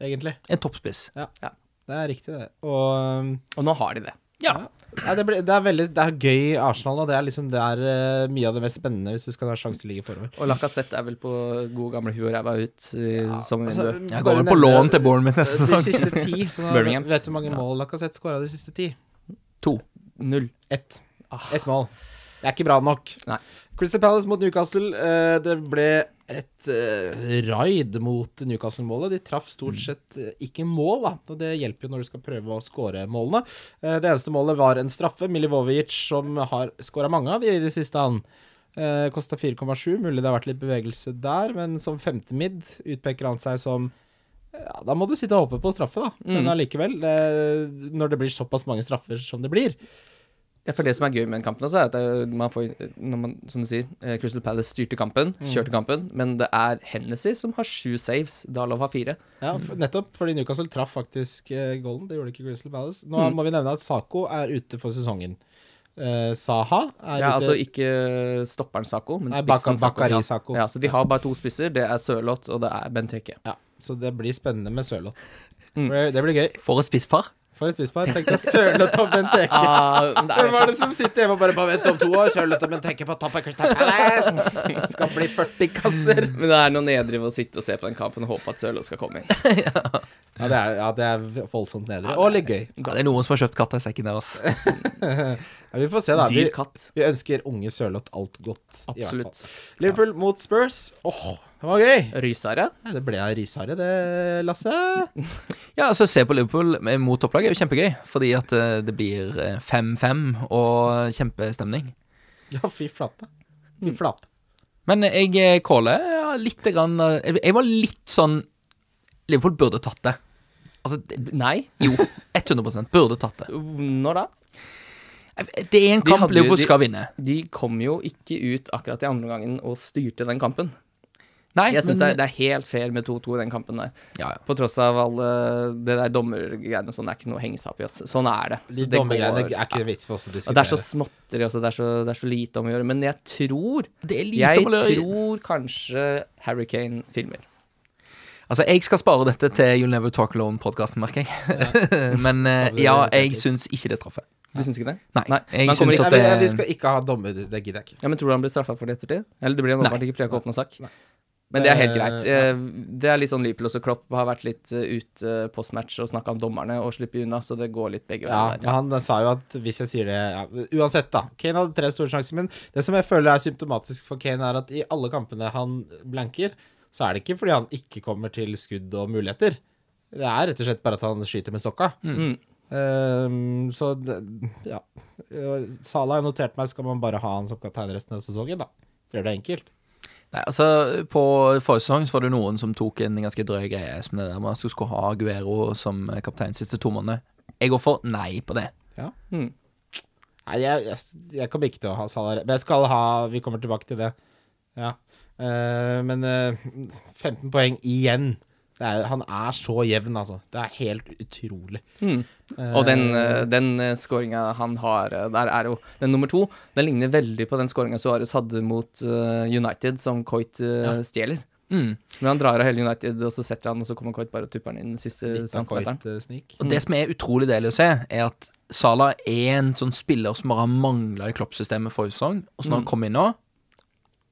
Speaker 3: egentlig.
Speaker 5: en toppspiss.
Speaker 3: Det er riktig, det. Og um,
Speaker 2: Og nå har de det.
Speaker 5: Ja.
Speaker 3: Nei, det, blir- det, er veldig, det er gøy Arsenal, og det er liksom det er eh, mye av det mest spennende hvis du skal ha en sjanse til å ligge forover.
Speaker 2: Og Lacassette er vel på god gamle huet og ræva ut i sommervinduet.
Speaker 3: Altså,
Speaker 5: Jeg
Speaker 3: bare
Speaker 5: går vel på
Speaker 3: nevne
Speaker 5: lån til Bournemouth neste
Speaker 3: De
Speaker 5: sesong.
Speaker 3: siste ti. Så da
Speaker 2: Birmingham.
Speaker 3: vet du hvor mange mål Lacassette skåra de siste ti?
Speaker 5: To.
Speaker 2: Null.
Speaker 3: Ett. Ett mål. Det er ikke bra nok.
Speaker 2: Nei.
Speaker 3: Crystal Palace mot Newcastle. eh, det ble et eh, raid mot Newcastle-målet. De traff stort sett eh, ikke mål, da. Og det hjelper jo når du skal prøve å skåre målene. Eh, det eneste målet var en straffe. Milivojevic, som har skåra mange av de i det siste, han. Uh, Kosta 4,7. Mulig det har vært litt bevegelse der, men som femte midd utpeker han seg som ja, Da må du sitte og håpe på straffe, da. Men allikevel, eh, når det blir såpass mange straffer som det blir,
Speaker 2: Ja, for det som er gøy med den kampen, også, er at eh, man får, når man, som du sier, eh, Crystal Palace styrte kampen,
Speaker 3: Mm.
Speaker 2: kjørte kampen, men det er Hennessy som har sju saves. Dalov har fire.
Speaker 3: Ja, for, nettopp, fordi Newcastle traff faktisk eh, goalen. Det gjorde ikke Crystal Palace. Nå må vi nevne at Sako er ute for sesongen. Eh, Saha er
Speaker 2: Ja,
Speaker 3: ute
Speaker 2: altså ikke stopperen Sako, men
Speaker 3: Nei,
Speaker 2: spissen
Speaker 3: Baka-
Speaker 2: Sakho.
Speaker 3: Bakari Sakho.
Speaker 2: Ja, så de har bare to spisser. Det er Sørloth, og det er Benteke.
Speaker 3: ja, Så det blir spennende med Sørloth.
Speaker 2: Mm.
Speaker 3: Det- Det blir gøy.
Speaker 5: For et spisspar.
Speaker 3: For et spisspar. Tenk deg Sørloth og Bent Eke.
Speaker 2: Ah, men det er
Speaker 3: Hvem er det som sitter hjemme og bare, bare vent om to år? Sørloth og Bent Eke på topp av Crystal Palace! Det skal bli 40 kasser.
Speaker 2: Men det er noe nedrig å sitte og se på den kampen og håpe at Sørloth skal komme inn.
Speaker 3: Ja, det er, ja, det er voldsomt nedre. Og litt gøy.
Speaker 5: Ja, det er noen som har kjøpt katta i sekken deres.
Speaker 3: Ja, vi får se, da. Vi,
Speaker 2: Dyr katt.
Speaker 3: vi ønsker unge Sørloth alt godt. i hvert fall.
Speaker 2: Absolutt.
Speaker 3: Liverpool mot Spurs. Åh, det var gøy!
Speaker 2: Rysare?
Speaker 3: Nei, Det ble av rishare, det, Lasse.
Speaker 5: Ja, altså se på Liverpool eh, mot topplaget er jo kjempegøy, fordi at eh, det blir eh, 5-5 og kjempestemning.
Speaker 3: Ja, fy flate. Fy flate.
Speaker 5: Men jeg eh, caller ja, litt grann, eh, jeg- Jeg var litt sånn Liverpool burde tatt det. Altså, det,
Speaker 2: Nei.
Speaker 5: jo, 100 burde tatt det.
Speaker 2: Når da?
Speaker 5: Det er en
Speaker 2: De
Speaker 5: kamp
Speaker 2: hadde jo-
Speaker 5: Liverpool
Speaker 2: de-
Speaker 5: skal vinne.
Speaker 2: De kom jo ikke ut akkurat i andre omgangen og styrte den kampen.
Speaker 5: Nei,
Speaker 2: Jeg syns det,
Speaker 5: men-
Speaker 2: er- det er helt fair med 2-2 i den kampen der.
Speaker 5: ja, ja.
Speaker 2: På tross av alle det der dommergreiene og sånn, det er ikke noe å henge seg opp i. ass. Sånn er det. Så
Speaker 3: De
Speaker 2: det
Speaker 3: dommergreiene
Speaker 2: går-
Speaker 3: er ikke vits for oss å
Speaker 2: Og det
Speaker 3: diskutere.
Speaker 2: er så småtteri også, det er så, det er så lite om å gjøre. Men jeg tror
Speaker 5: Det er lite
Speaker 2: Jeg
Speaker 5: om å gjøre-
Speaker 2: tror kanskje Harry Kane filmer.
Speaker 5: Altså, jeg skal spare dette til You'll Never Talk Alone-podkasten, merker jeg. Men eh,
Speaker 3: det-
Speaker 5: ja,
Speaker 3: det er
Speaker 5: jeg
Speaker 3: fint.
Speaker 5: syns ikke det er straffe.
Speaker 2: Du syns ikke det?
Speaker 5: Nei, jeg
Speaker 2: Man kommer
Speaker 5: synes
Speaker 2: ikke-
Speaker 5: at
Speaker 3: Nei,
Speaker 5: det-
Speaker 3: vi, vi skal ikke ha dommer, det gidder jeg ikke.
Speaker 2: Ja, men tror du han blir straffa for det i ettertid? Eller det blir han
Speaker 5: Nei.
Speaker 2: åpenbart ikke, for jeg har ikke åpna sak.
Speaker 3: Nei.
Speaker 2: Men det er helt
Speaker 3: Det-
Speaker 2: greit. Eh, Det er litt sånn Liverpool også. Klopp har vært litt eh, ute postmatch og snakka om dommerne og sluppet unna, så det går litt begge
Speaker 3: Ja,
Speaker 2: veier.
Speaker 3: men Han sa jo at hvis jeg sier det ja, Uansett, da. Kane hadde tre store sjanser, men det som jeg føler er symptomatisk for Kane, er at i alle kampene han blanker, så er det ikke fordi han ikke kommer til skudd og muligheter. Det er rett og slett bare at han skyter med sokka.
Speaker 2: Mm.
Speaker 3: Ehm, så det, ja Eh, Salah har notert meg, skal man bare ha han som kaptein resten av sesongen, da. Gjør det enkelt.
Speaker 5: Nei, altså, På forrige sesong så var det noen som tok en ganske drøy greie som det der med at du skulle ha Aguero som eh, kaptein siste to månedene. Jeg går for nei på det.
Speaker 3: Nei, jeg, jeg, jeg kommer ikke til å ha Salah Men jeg skal ha Vi kommer tilbake til det. Ja. Eh, men eh, 15 poeng igjen. Det er, han er så jevn, altså. Det er helt utrolig.
Speaker 2: Mm.
Speaker 3: Eh,
Speaker 2: Og den, eh, den eh, scoringa han har eh, der, er jo den nummer to. Den ligner veldig på den scoringa Suárez hadde mot eh, United, som Coit eh, stjeler.
Speaker 5: Mm.
Speaker 2: Men han drar av hele United, og så setter han, og så kommer Coit bare og tupper den inn den siste
Speaker 3: litt av
Speaker 2: centimeteren.
Speaker 3: Coit, eh, snik.
Speaker 5: Og det som er utrolig deilig å se, er at Salah er en sånn spiller som bare har mangla i kloppsystemet forrige sesong, og så når han kommer inn nå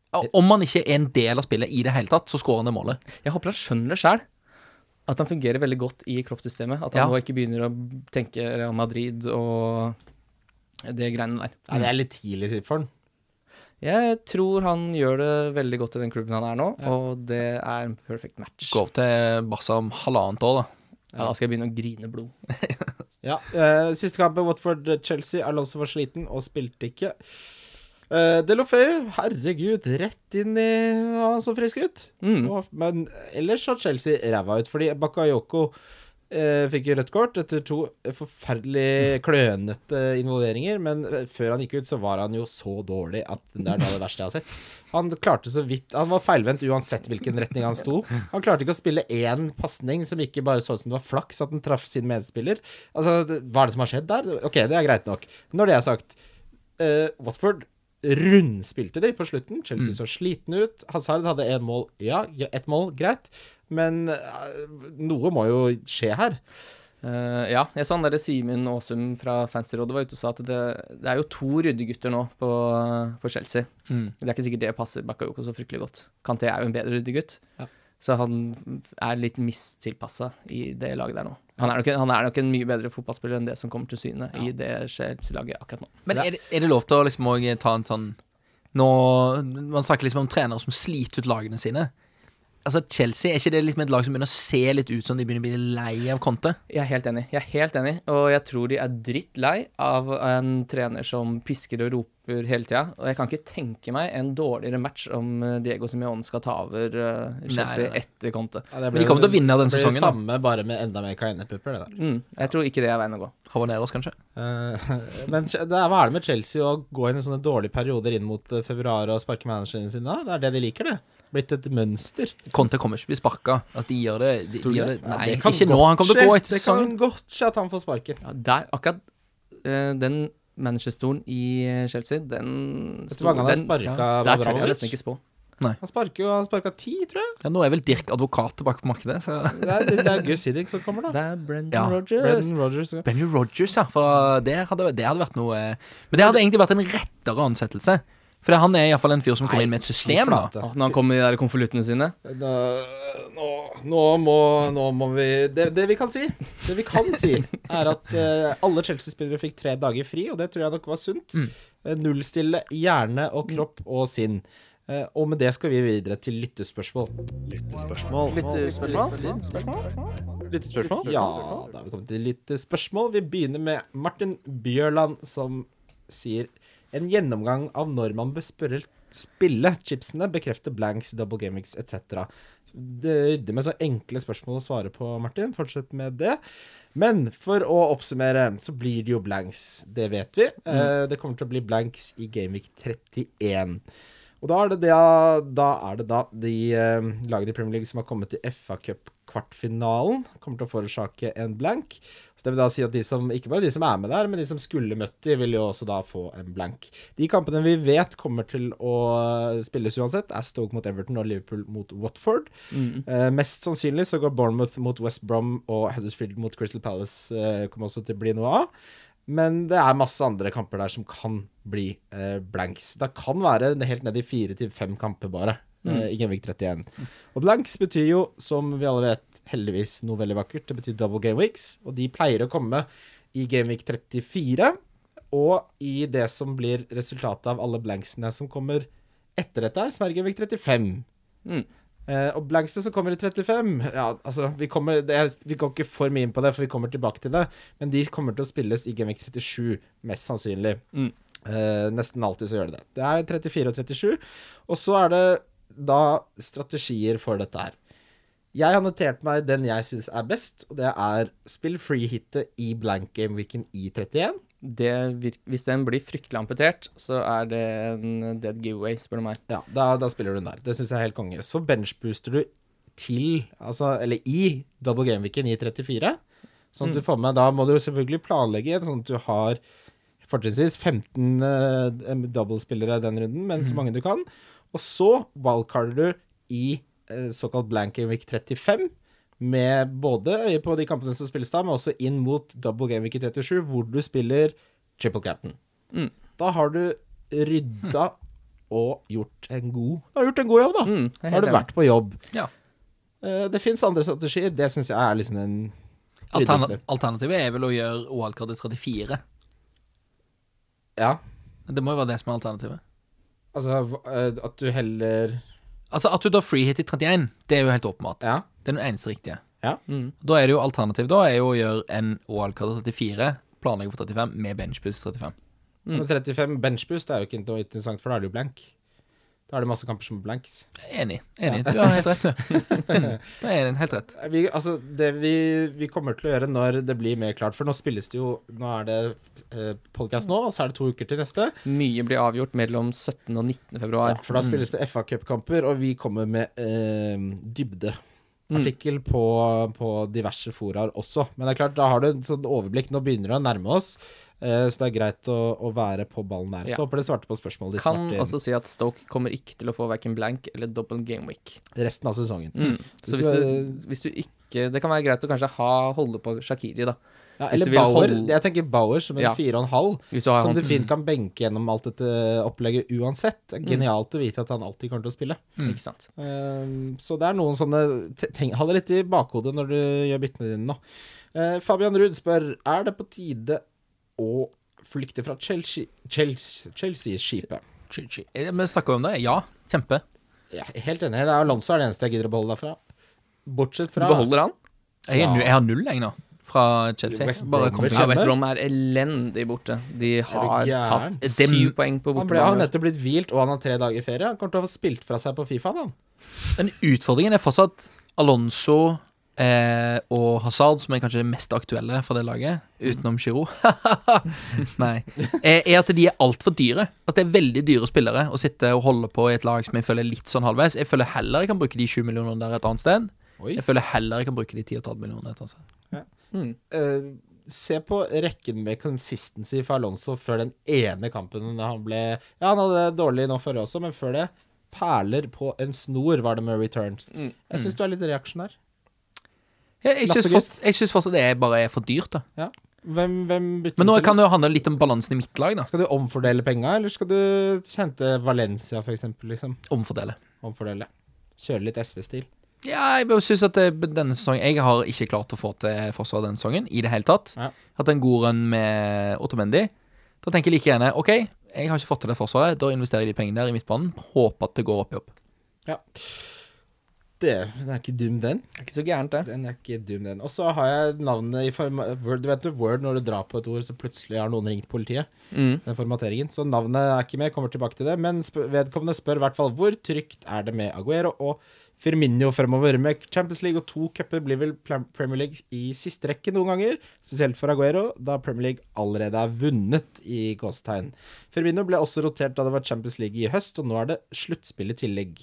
Speaker 5: ja, Om han ikke er en del av spillet i det hele tatt, så skårer han det målet.
Speaker 2: Jeg håper han skjønner det sjøl. At han fungerer veldig godt i kroppssystemet. At han
Speaker 5: Ja.
Speaker 2: nå ikke begynner å tenke Real Madrid og det greiene der.
Speaker 3: Nei, det er litt tidlig for han.
Speaker 2: Jeg tror han gjør det veldig godt i den klubben han er nå, og det er en perfect match.
Speaker 5: Går over til Barca om halvannet år, da.
Speaker 2: Ja, da skal jeg begynne å grine blod.
Speaker 3: Ja, eh, Siste kampen Watford-Chelsea. Alonso var sliten og spilte ikke. Uh, Delofeu, herregud, rett inn i Han så frisk ut.
Speaker 2: Mm.
Speaker 3: Og, men ellers så Chelsea ræva ut, fordi Bakayoko eh, fikk jo rødt kort etter to forferdelig klønete involveringer. Men eh, før han gikk ut, så var han jo så dårlig at det er noe av det verste jeg har sett. Han klarte så vidt Han var feilvendt uansett hvilken retning han sto. Han klarte ikke å spille én pasning som ikke bare så ut som det var flaks at den traff sin medspiller. Altså, det- hva er det som har skjedd der? Ok, det er greit nok. Når det er sagt, eh, Watford rundspilte de på slutten. Chelsea så slitne ut. Hazard hadde én mål. Ja, gre- ett mål, greit. Men eh, noe må jo skje her.
Speaker 2: Eh, ja, jeg så han derre Simen Aasum fra Fancyrådet var ute og sa at det, det er jo to ryddegutter nå på, på Chelsea.
Speaker 5: Mm.
Speaker 2: Det er ikke sikkert det passer Bakayoko så fryktelig godt. Kanté er jo en bedre ryddegutt,
Speaker 3: Ja.
Speaker 2: så han er litt mistilpassa i det laget der nå. Han er, nok, han er nok en mye bedre fotballspiller enn det som kommer til syne i det Chelsea-laget akkurat nå.
Speaker 5: Men er det, er det lov til å liksom òg ta en sånn Nå, Man snakker liksom om trenere som sliter ut lagene sine. Altså Chelsea, Er ikke det liksom et lag som begynner å se litt ut som de begynner å bli lei av Conte?
Speaker 2: Jeg er helt enig, jeg er helt enig, og jeg tror de er drittlei av en trener som pisker og roper hele tida. Og jeg kan ikke tenke meg en dårligere match om eh, Diego Simeone skal ta over eh, Chelsea
Speaker 5: Nei, nei, nei.
Speaker 2: etter Conte.
Speaker 3: Ja, det
Speaker 5: Men de kommer til å vinne den
Speaker 3: det blir
Speaker 5: sesongen, da.
Speaker 3: Samme, bare med enda mer kainepupper, det der.
Speaker 2: Mm, jeg tror ikke det er veien å gå.
Speaker 5: Havaneros, kanskje?
Speaker 3: Eh, men Ch- det er, hva er det med Chelsea å gå inn i sånne dårlige perioder inn mot eh, februar og sparke managerne sine da? Det er det de liker, det. Blitt et mønster.
Speaker 5: Conte kommer ikke til å bli sparka. Altså, de gjør det, de,
Speaker 2: Tror
Speaker 5: de
Speaker 2: du
Speaker 5: gjør det.
Speaker 2: det?
Speaker 5: Nei,
Speaker 3: det kan
Speaker 5: ikke nå.
Speaker 3: godt
Speaker 5: Han kommer til å
Speaker 3: skje.
Speaker 5: gå etter
Speaker 3: Det
Speaker 5: sesongen.
Speaker 3: kan godt skje at han får sparken.
Speaker 2: Ja, der, akkurat eh, den managerstolen i eh, Chelsea, den
Speaker 3: Vet du hvor mange han har
Speaker 2: den-
Speaker 3: sparka
Speaker 5: ja,
Speaker 2: Der tør jeg nesten
Speaker 3: Abramovic?
Speaker 2: ikke spå.
Speaker 3: Han sparker jo, han sparka ti, tror jeg.
Speaker 5: Ja, nå er vel Dirk advokat tilbake på markedet. Så.
Speaker 3: Det er, det er Gus Hiddink som kommer, da.
Speaker 2: Det er Brendan
Speaker 5: Ja,
Speaker 2: Rodgers.
Speaker 3: Brendan Rodgers.
Speaker 5: Benny Rogers, ja. For det hadde, det hadde vært noe Men det hadde egentlig vært en rettere ansettelse. For det- han er iallfall en fyr som kommer inn med et system, da.
Speaker 2: Å, når han kommer med de der konvoluttene sine.
Speaker 3: Nå, nå, nå, må, nå må vi det, det vi kan si, det vi kan si, er at eh, alle Chelsea-spillere fikk tre dager fri, og det tror jeg nok var sunt.
Speaker 2: Mm.
Speaker 3: Eh, Nullstille hjerne og kropp og sinn. Eh, og med det skal vi videre til lyttespørsmål.
Speaker 1: Lyttespørsmål. Lyttespørsmål?
Speaker 3: Ja, da har vi kommet til lyttespørsmål. Vi begynner med Martin Bjørland, som sier en gjennomgang av når man bør spørre, spille chipsene, bekrefte blanks, double gamics etc. Det rydder med så enkle spørsmål å svare på, Martin. Fortsett med det. Men for å oppsummere, så blir det jo blanks. Det vet vi. Eh, Det kommer til å bli blanks i Gameweek 31. Og da er det da, da, er det da de eh, lagene i Premier League som har kommet til FA-cup-kvartfinalen, kommer til å forårsake en blank. Så det vil da si at de som, ikke bare de som er med der, men de som skulle møtt de, vil jo også da få en blank. De kampene vi vet kommer til å eh, spilles uansett, er Stoke mot Everton og Liverpool mot Watford. Eh, mest sannsynlig så går Bournemouth mot West Brom og Huddersfield mot Crystal Palace eh, kommer også til å bli noe av. Men det er masse andre kamper der som kan bli eh, blanks. Det kan være helt ned i fire til fem kamper bare eh, i Genvik 31. Og blanks betyr jo, som vi alle vet, heldigvis noe veldig vakkert. Det betyr double game weeks, og de pleier å komme i Genvik 34. Og i det som blir resultatet av alle blanksene som kommer etter dette, her, som er Genvik 35.
Speaker 2: Mm.
Speaker 3: Eh, og Blankstead som kommer i 35 Ja, altså, vi, kommer, det, er- vi går ikke for mye inn på det, for vi kommer tilbake til det. Men de kommer til å spilles i Gameweek 37, mest sannsynlig.
Speaker 2: Mm.
Speaker 3: Eh, nesten alltid så gjør det det. Det er 34 og 37. Og så er det da strategier for dette her. Jeg har notert meg den jeg syns er best, og det er spill free-hitet i blank game-weeken i 31.
Speaker 2: Det virk, hvis den blir fryktelig amputert, så er det en dead giveaway, spør du meg.
Speaker 3: Ja, da, da spiller du den der. Det syns jeg er helt konge. Så benchbooster du til, altså, eller i, double game-weeken i 34. Sånn at du får med Da må du jo selvfølgelig planlegge sånn at du har fortrinnsvis 15 uh, double-spillere den runden, men så mange du kan. Og så wildcarder du i eh, såkalt blank game week 35. Med både øye på de kampene som spilles da, men også inn mot double game week i 37, hvor du spiller triple cap'n. Da har du rydda og gjort en god Du har gjort en god jobb, da.
Speaker 2: Mm, jeg er
Speaker 3: da
Speaker 2: helt
Speaker 3: har du
Speaker 2: enig.
Speaker 3: vært på jobb.
Speaker 5: Ja.
Speaker 3: Eh, Det fins andre strategier. Det syns jeg er liksom en
Speaker 5: Alterna- Alternativet er vel å gjøre OL-kartet 34.
Speaker 3: Ja.
Speaker 5: Det må jo være det som er alternativet.
Speaker 3: Altså hva- eh, at du heller
Speaker 5: Altså At du tar free hit i 31, det er jo helt åpenbart.
Speaker 3: Ja.
Speaker 5: Det er den eneste riktige.
Speaker 3: Ja.
Speaker 2: Mm.
Speaker 5: Da er det jo alternativet da er jo å gjøre en OL-kartet 34, planlegge for 35, med benchboost 35.
Speaker 2: Mm.
Speaker 3: Men 35 benchboost er jo ikke noe interessant, for da er du jo blank. Da er det masse kamper som er blanks.
Speaker 5: Enig. enig. Du har helt rett, du. Enig. Du er enig, helt rett.
Speaker 3: Vi, altså, det vi, vi kommer til å gjøre når det blir mer klart, for nå spilles det jo Nå er det eh, podcast nå, og så er det to uker til neste.
Speaker 2: Mye blir avgjort mellom 17. og 19.
Speaker 3: Ja,
Speaker 2: februar.
Speaker 3: for da spilles det FA Cup-kamper, og vi kommer med eh, dybde.
Speaker 2: Mm.
Speaker 3: Artikkel på, på diverse foraer også. Men det er klart, da har du en sånn overblikk. Nå begynner det å nærme oss. Eh, Så det er greit å, å være på ballen der.
Speaker 2: Ja.
Speaker 3: Så håper det svarte på spørsmålet ditt,
Speaker 2: Kan
Speaker 3: Martin.
Speaker 2: også si at Stoke kommer ikke til å få verken blank eller double game week.
Speaker 3: Resten av sesongen.
Speaker 2: Mm. Så hvis du, hvis du ikke Det kan være greit å kanskje ha, holde på Shakiri, da.
Speaker 3: Ja,
Speaker 2: hvis
Speaker 3: eller
Speaker 2: du vil
Speaker 3: Bauer.
Speaker 2: holde-
Speaker 3: Jeg tenker Bauer som en
Speaker 2: Ja.
Speaker 3: fire og en halv.
Speaker 2: Hvis du har
Speaker 3: Som
Speaker 2: han
Speaker 3: du fint kan benke gjennom alt dette opplegget uansett. Det er
Speaker 2: Mm.
Speaker 3: Genialt å vite at han alltid kommer til å spille.
Speaker 2: Ikke sant.
Speaker 3: Ehm, så det er noen sånne te- ting Ha det litt i bakhodet når du gjør byttene dine nå. Eh, Fabian Ruud spør Er det på tide å flykte fra Chelsea- Chelsea- Chelsea-skipet.
Speaker 5: Eh, Vi snakker jo om det. Ja, kjempe.
Speaker 3: Ja, helt enig. Det er Alonso er det eneste jeg gidder å beholde derfra. Bortsett
Speaker 2: Du
Speaker 3: fra
Speaker 2: beholder han?
Speaker 5: Jeg, er
Speaker 3: Ja.
Speaker 5: nu, jeg har null, jeg, nå. Fra Chelsea.
Speaker 3: West
Speaker 5: Bare
Speaker 3: Bromwich.
Speaker 5: kom til
Speaker 2: Ja,
Speaker 3: Skjønner.
Speaker 2: West Brom er elendig borte. De har
Speaker 3: gæren?
Speaker 2: tatt syv poeng på
Speaker 3: Han ble, har
Speaker 2: bortebane.
Speaker 3: nettopp blitt hvilt, og han har tre dager ferie. Han kommer til å ha spilt fra seg på Fifa, han.
Speaker 5: Men utfordringen er fortsatt Alonso eh, og Hazard, som er kanskje det mest aktuelle for det laget, utenom Giro. Nei. Eh, er at de er altfor dyre. At det er veldig dyre spillere å sitte og holde på i et lag som jeg føler er litt sånn halvveis. Jeg føler heller jeg kan bruke de 20 millionene der et annet sted.
Speaker 3: Oi.
Speaker 5: Jeg føler heller jeg kan bruke de 10,5 millionene et annet sted.
Speaker 2: Mm.
Speaker 3: Eh, se på rekken med consistency for Alonso før den ene kampen da han ble Ja, han hadde det dårlig nå forrige også, men før det Perler på en snor, var det med returns.
Speaker 2: Mm.
Speaker 3: Jeg syns du er litt reaksjonær.
Speaker 5: Jeg, jeg, syns
Speaker 3: Lassegutt.
Speaker 5: fortsatt, jeg syns fortsatt det er bare er for dyrt, da.
Speaker 3: Ja. Hvem, hvem bytter
Speaker 5: Men nå
Speaker 3: du til?
Speaker 5: kan det jo handle litt om balansen i mitt lag, da.
Speaker 3: Skal du omfordele penga, eller skal du hente Valencia, for eksempel, liksom?
Speaker 5: Omfordele.
Speaker 3: Omfordele. Kjøre litt SV-stil.
Speaker 5: Ja, jeg bare synes at det, denne sesongen Jeg har ikke klart å få til forsvar denne sesongen i det hele tatt.
Speaker 3: Ja.
Speaker 5: Hatt en god run med Ottomendi. Da tenker jeg like gjerne OK, jeg har ikke fått til det forsvaret. Da investerer jeg de pengene der i midtbanen. Håper at det går opp i opp.
Speaker 3: Ja. Det, den er ikke dum, den.
Speaker 2: Det er ikke så gærent, det.
Speaker 3: Den er ikke dum, den. Og så har jeg navnet i form Word. Du vet jo Word, når du drar på et ord, så plutselig har noen ringt politiet.
Speaker 2: Mm.
Speaker 3: Den formateringen. Så navnet er ikke med, kommer tilbake til det. Men sp vedkommende spør i hvert fall hvor trygt er det med Aguero og Firmino fremover. Med Champions League og to cuper blir vel Pla- Premier League i siste rekke noen ganger. Spesielt for Aguero, da Premier League allerede er vunnet i gåstegn. Firmino ble også rotert da det var Champions League i høst, og nå er det sluttspill i tillegg.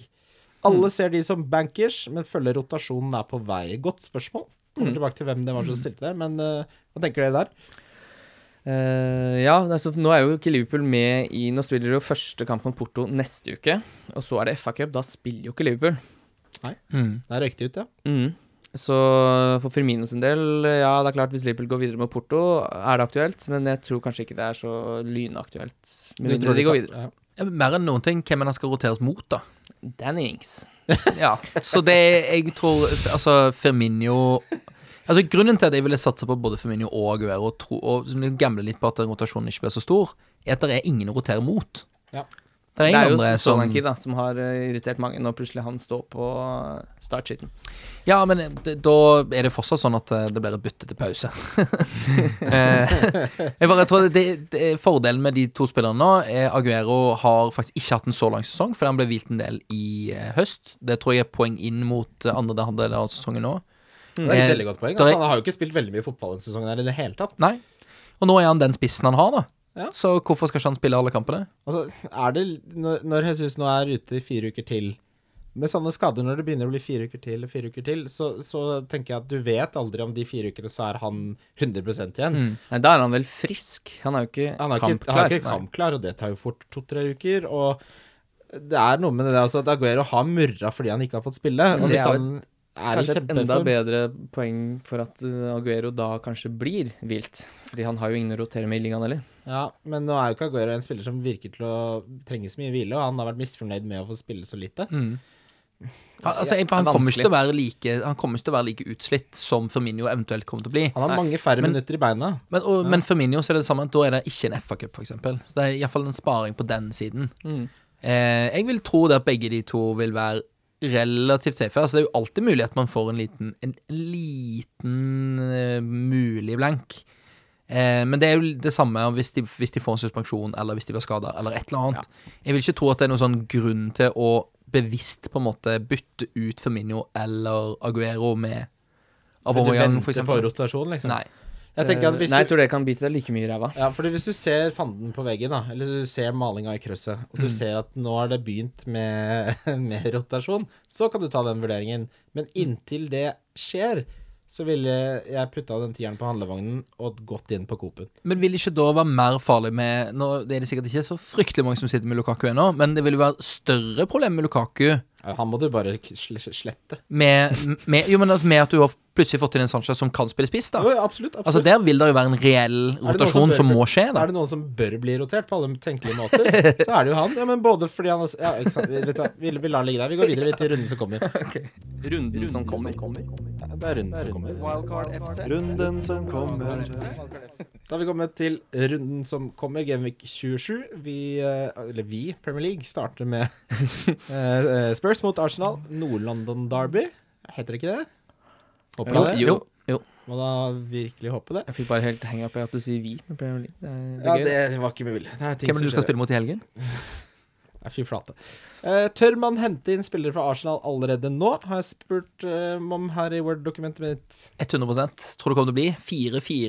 Speaker 3: Alle ser de som bankers, men følger rotasjonen er på vei. Godt spørsmål. Kommer tilbake til hvem det var som stilte det, men eh, hva tenker dere der?
Speaker 2: Eh, ja, altså, nå er jo ikke Liverpool med i Nå spiller de jo første kamp mot Porto neste uke, og så er det FA-cup. Da spiller jo ikke Liverpool.
Speaker 3: Der røyk det ut, ja.
Speaker 2: Mm. Så for Firmino sin del, ja, det er klart hvis Liverpool går videre med Porto, er det aktuelt, men jeg tror kanskje ikke det er så lynaktuelt.
Speaker 3: Du
Speaker 2: Med mindre
Speaker 3: tror de
Speaker 2: de går
Speaker 3: tar-
Speaker 2: videre.
Speaker 3: ja.
Speaker 5: Ja, men Mer enn noen ting hvem enn han skal roteres mot, da.
Speaker 2: Danny Ings.
Speaker 5: Ja, Så det jeg tror Altså, Firmino Altså Grunnen til at jeg ville satse på både Firmino og Aguero, og, tro, og som liksom gamble litt på at rotasjonen ikke ble så stor, er at det er ingen å rotere mot.
Speaker 3: Ja.
Speaker 2: Det
Speaker 5: Det er ingen
Speaker 2: er jo
Speaker 5: andre som
Speaker 2: Solanki, da, som har eh, irritert mange når plutselig han står på startsheeten.
Speaker 5: Ja, men det, da er det fortsatt sånn at eh, det blir et bytte til pause. Eh, jeg bare tror det, det, Fordelen med de to spillerne nå er Aguero har faktisk ikke hatt en så lang sesong, fordi han ble hvilt en del i eh, høst. Det tror jeg er poeng inn mot eh, andre halvdel av sesongen nå.
Speaker 3: Det er et
Speaker 5: Eh,
Speaker 3: veldig godt poeng. Altså,
Speaker 5: da er-
Speaker 3: Han har jo ikke spilt veldig mye fotball denne sesongen her i det hele tatt.
Speaker 5: Nei. Og nå er han den spissen han har, da.
Speaker 3: Ja.
Speaker 5: Så hvorfor skal ikke han spille alle kampene?
Speaker 3: Altså, er det, når- når Jesus nå er ute i fire uker til med sånne skader, når det begynner å bli fire uker til og fire uker til, så, så tenker jeg at du vet aldri om de fire ukene så er han 100 igjen.
Speaker 2: Nei, da er han vel frisk. Han er jo ikke
Speaker 3: Han er ikke, han
Speaker 2: Mm. kampklar.
Speaker 3: er ikke kampklar, og det tar jo fort to-tre uker. Og det er noe med det altså, at Aguero har murra fordi han ikke har fått spille.
Speaker 2: Mm.
Speaker 3: Og
Speaker 2: det
Speaker 3: hvis
Speaker 2: er jo
Speaker 3: han er i
Speaker 2: Kanskje et enda
Speaker 3: kjempeform
Speaker 2: bedre poeng for at eh, Aguero da kanskje blir vilt. Fordi han har jo ingen å rotere med i ligaen heller.
Speaker 3: Ja, men nå er jo ikke Aguero en spiller som virker til å trenge så mye hvile, og han har vært misfornøyd med å få spille så lite.
Speaker 5: Han, altså, jeg, han,
Speaker 2: det er
Speaker 5: kommer ikke til å være like, han kommer ikke til å være like utslitt som Firmino eventuelt kommer til å bli.
Speaker 3: Han har mange færre
Speaker 5: men-
Speaker 3: minutter i beina.
Speaker 5: Men, og, men for Minio så er det det samme, at da er det ikke en FA-cup, f.eks. Så det er iallfall en sparing på den siden.
Speaker 3: Mm.
Speaker 5: Eh, jeg vil tro det at begge de to vil være relativt safe. Altså, det er jo alltid mulig at man får en liten, en liten eh, mulig blank. Eh, men det er jo det samme om hvis de, hvis de får en suspensjon, eller hvis de blir skada, eller et eller annet. Jeg vil ikke tro at det er noen sånn grunn til å bevisst på en måte bytte ut Firmino eller Aguero med
Speaker 3: For du
Speaker 5: Abomoyan,
Speaker 3: venter på
Speaker 5: f.eks.
Speaker 3: rotasjon, liksom.
Speaker 5: Nei.
Speaker 3: Jeg tenker at
Speaker 2: Eh,
Speaker 3: hvis
Speaker 2: Nei, jeg
Speaker 3: du,
Speaker 2: tror det kan bite deg like mye i ræva.
Speaker 3: ja, fordi hvis du ser fanden på veggen, da, eller du ser malinga i krøsset, og du ser at nå har det begynt med, med rotasjon, så kan du ta den vurderingen. Men inntil det skjer, så ville jeg putta den tieren på handlevognen og gått inn på Coop-en.
Speaker 5: Men vil det ikke da være mer farlig med nå, Det er det sikkert ikke så fryktelig mange som sitter med Lukaku ennå, men det vil jo være større problem med Lukaku
Speaker 3: Ja, Han må du bare k- sl- slette.
Speaker 5: med, med, jo, men altså med at du har plutselig fått inn en Sanchez som kan spille spiss, da.
Speaker 3: Jo, ja, absolutt. absolutt.
Speaker 5: Altså Der vil det jo være en reell
Speaker 3: Er det noe som
Speaker 5: rotasjon
Speaker 3: bør-
Speaker 5: som må skje, da.
Speaker 3: Er det noen som bør bli rotert på alle tenkelige måter, så er det jo han. Ja, men både fordi han har s- Ja, ikke sant. Vi- Vet du hva, vi, vi lar han ligge der. Vi går videre til runden som kommer.
Speaker 2: Runden som kommer.
Speaker 3: Det er runden som kommer.
Speaker 1: Runden som kommer.
Speaker 3: Da har vi kommet til runden som kommer, Gameweek 27. Vi, eh, eller vi, Premier League, starter med eh, Spurs mot Arsenal. Nord-London Derby. Heter det ikke det? Håper
Speaker 2: Jo,
Speaker 3: jeg det.
Speaker 2: jo,
Speaker 5: Jo.
Speaker 2: jo.
Speaker 3: Må da virkelig håpe det.
Speaker 2: Jeg fikk bare helt henge opp i at du sier vi med Premier League. Det er, det
Speaker 3: Ja,
Speaker 2: er gøy.
Speaker 3: det var ikke med vilje. Det er ting
Speaker 5: Hvem er
Speaker 3: som
Speaker 5: det du skal
Speaker 3: skjer.
Speaker 5: spille mot i helgen?
Speaker 3: Nei, Fy flate. Eh, tør man hente inn spillere fra Arsenal allerede nå? Har jeg spurt eh, om her i Word-dokumentet mitt.
Speaker 5: 100 tror det kommer til å bli.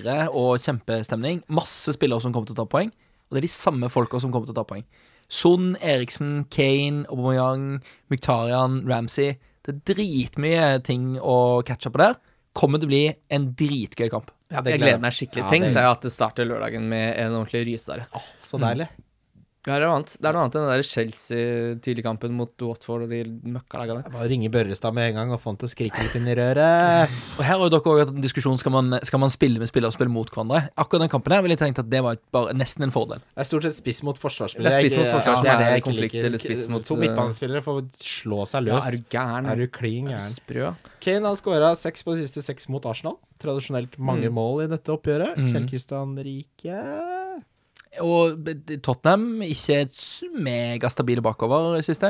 Speaker 5: 4-4 og kjempestemning. Masse spillere som kommer til å ta poeng. Og det er de samme folka som kommer til å ta poeng. Son, Eriksen, Kane, Aubameyang, Muktarian, Ramsey. Det er dritmye ting å catche på der. Kommer til å bli en dritgøy kamp.
Speaker 3: Ja,
Speaker 2: Jeg gleder meg skikkelig.
Speaker 3: Ja,
Speaker 2: Tenk
Speaker 3: det-
Speaker 2: deg at det starter lørdagen med en ordentlig rysare.
Speaker 3: Så deilig.
Speaker 2: Det er noe annet, det er noe annet enn den der Chelsea-tidligkampen mot Watford og de møkkalagene.
Speaker 3: Jeg bare ringer Børrestad med en gang og få han til å skrike litt inn i røret.
Speaker 5: Og her har jo dere også hatt en diskusjon skal man, skal man spille med spillere og spille mot hverandre. Akkurat den kampen her ville jeg tenkt at det var et, bare, nesten en fordel.
Speaker 3: Det er stort sett spiss mot forsvarsspillere.
Speaker 2: Det er spiss
Speaker 3: Jeg-
Speaker 2: mot forsvar
Speaker 3: ja,
Speaker 2: som
Speaker 3: det
Speaker 2: er
Speaker 3: det jeg ikke
Speaker 2: konflikt,
Speaker 3: liker.
Speaker 2: eller spiss mot- eh,
Speaker 3: To midtbanespillere får slå seg løs.
Speaker 2: Ja, er du gæren?
Speaker 3: er du klin
Speaker 2: Er du
Speaker 3: gæren?
Speaker 2: sprø?
Speaker 3: Kane har skåra seks på de siste seks mot Arsenal. Tradisjonelt
Speaker 2: Mm.
Speaker 3: mange mål i dette oppgjøret.
Speaker 5: Mm.
Speaker 3: Kjell Kristian Rike
Speaker 5: Og b- Tottenham ikke s- megastabile bakover i det siste.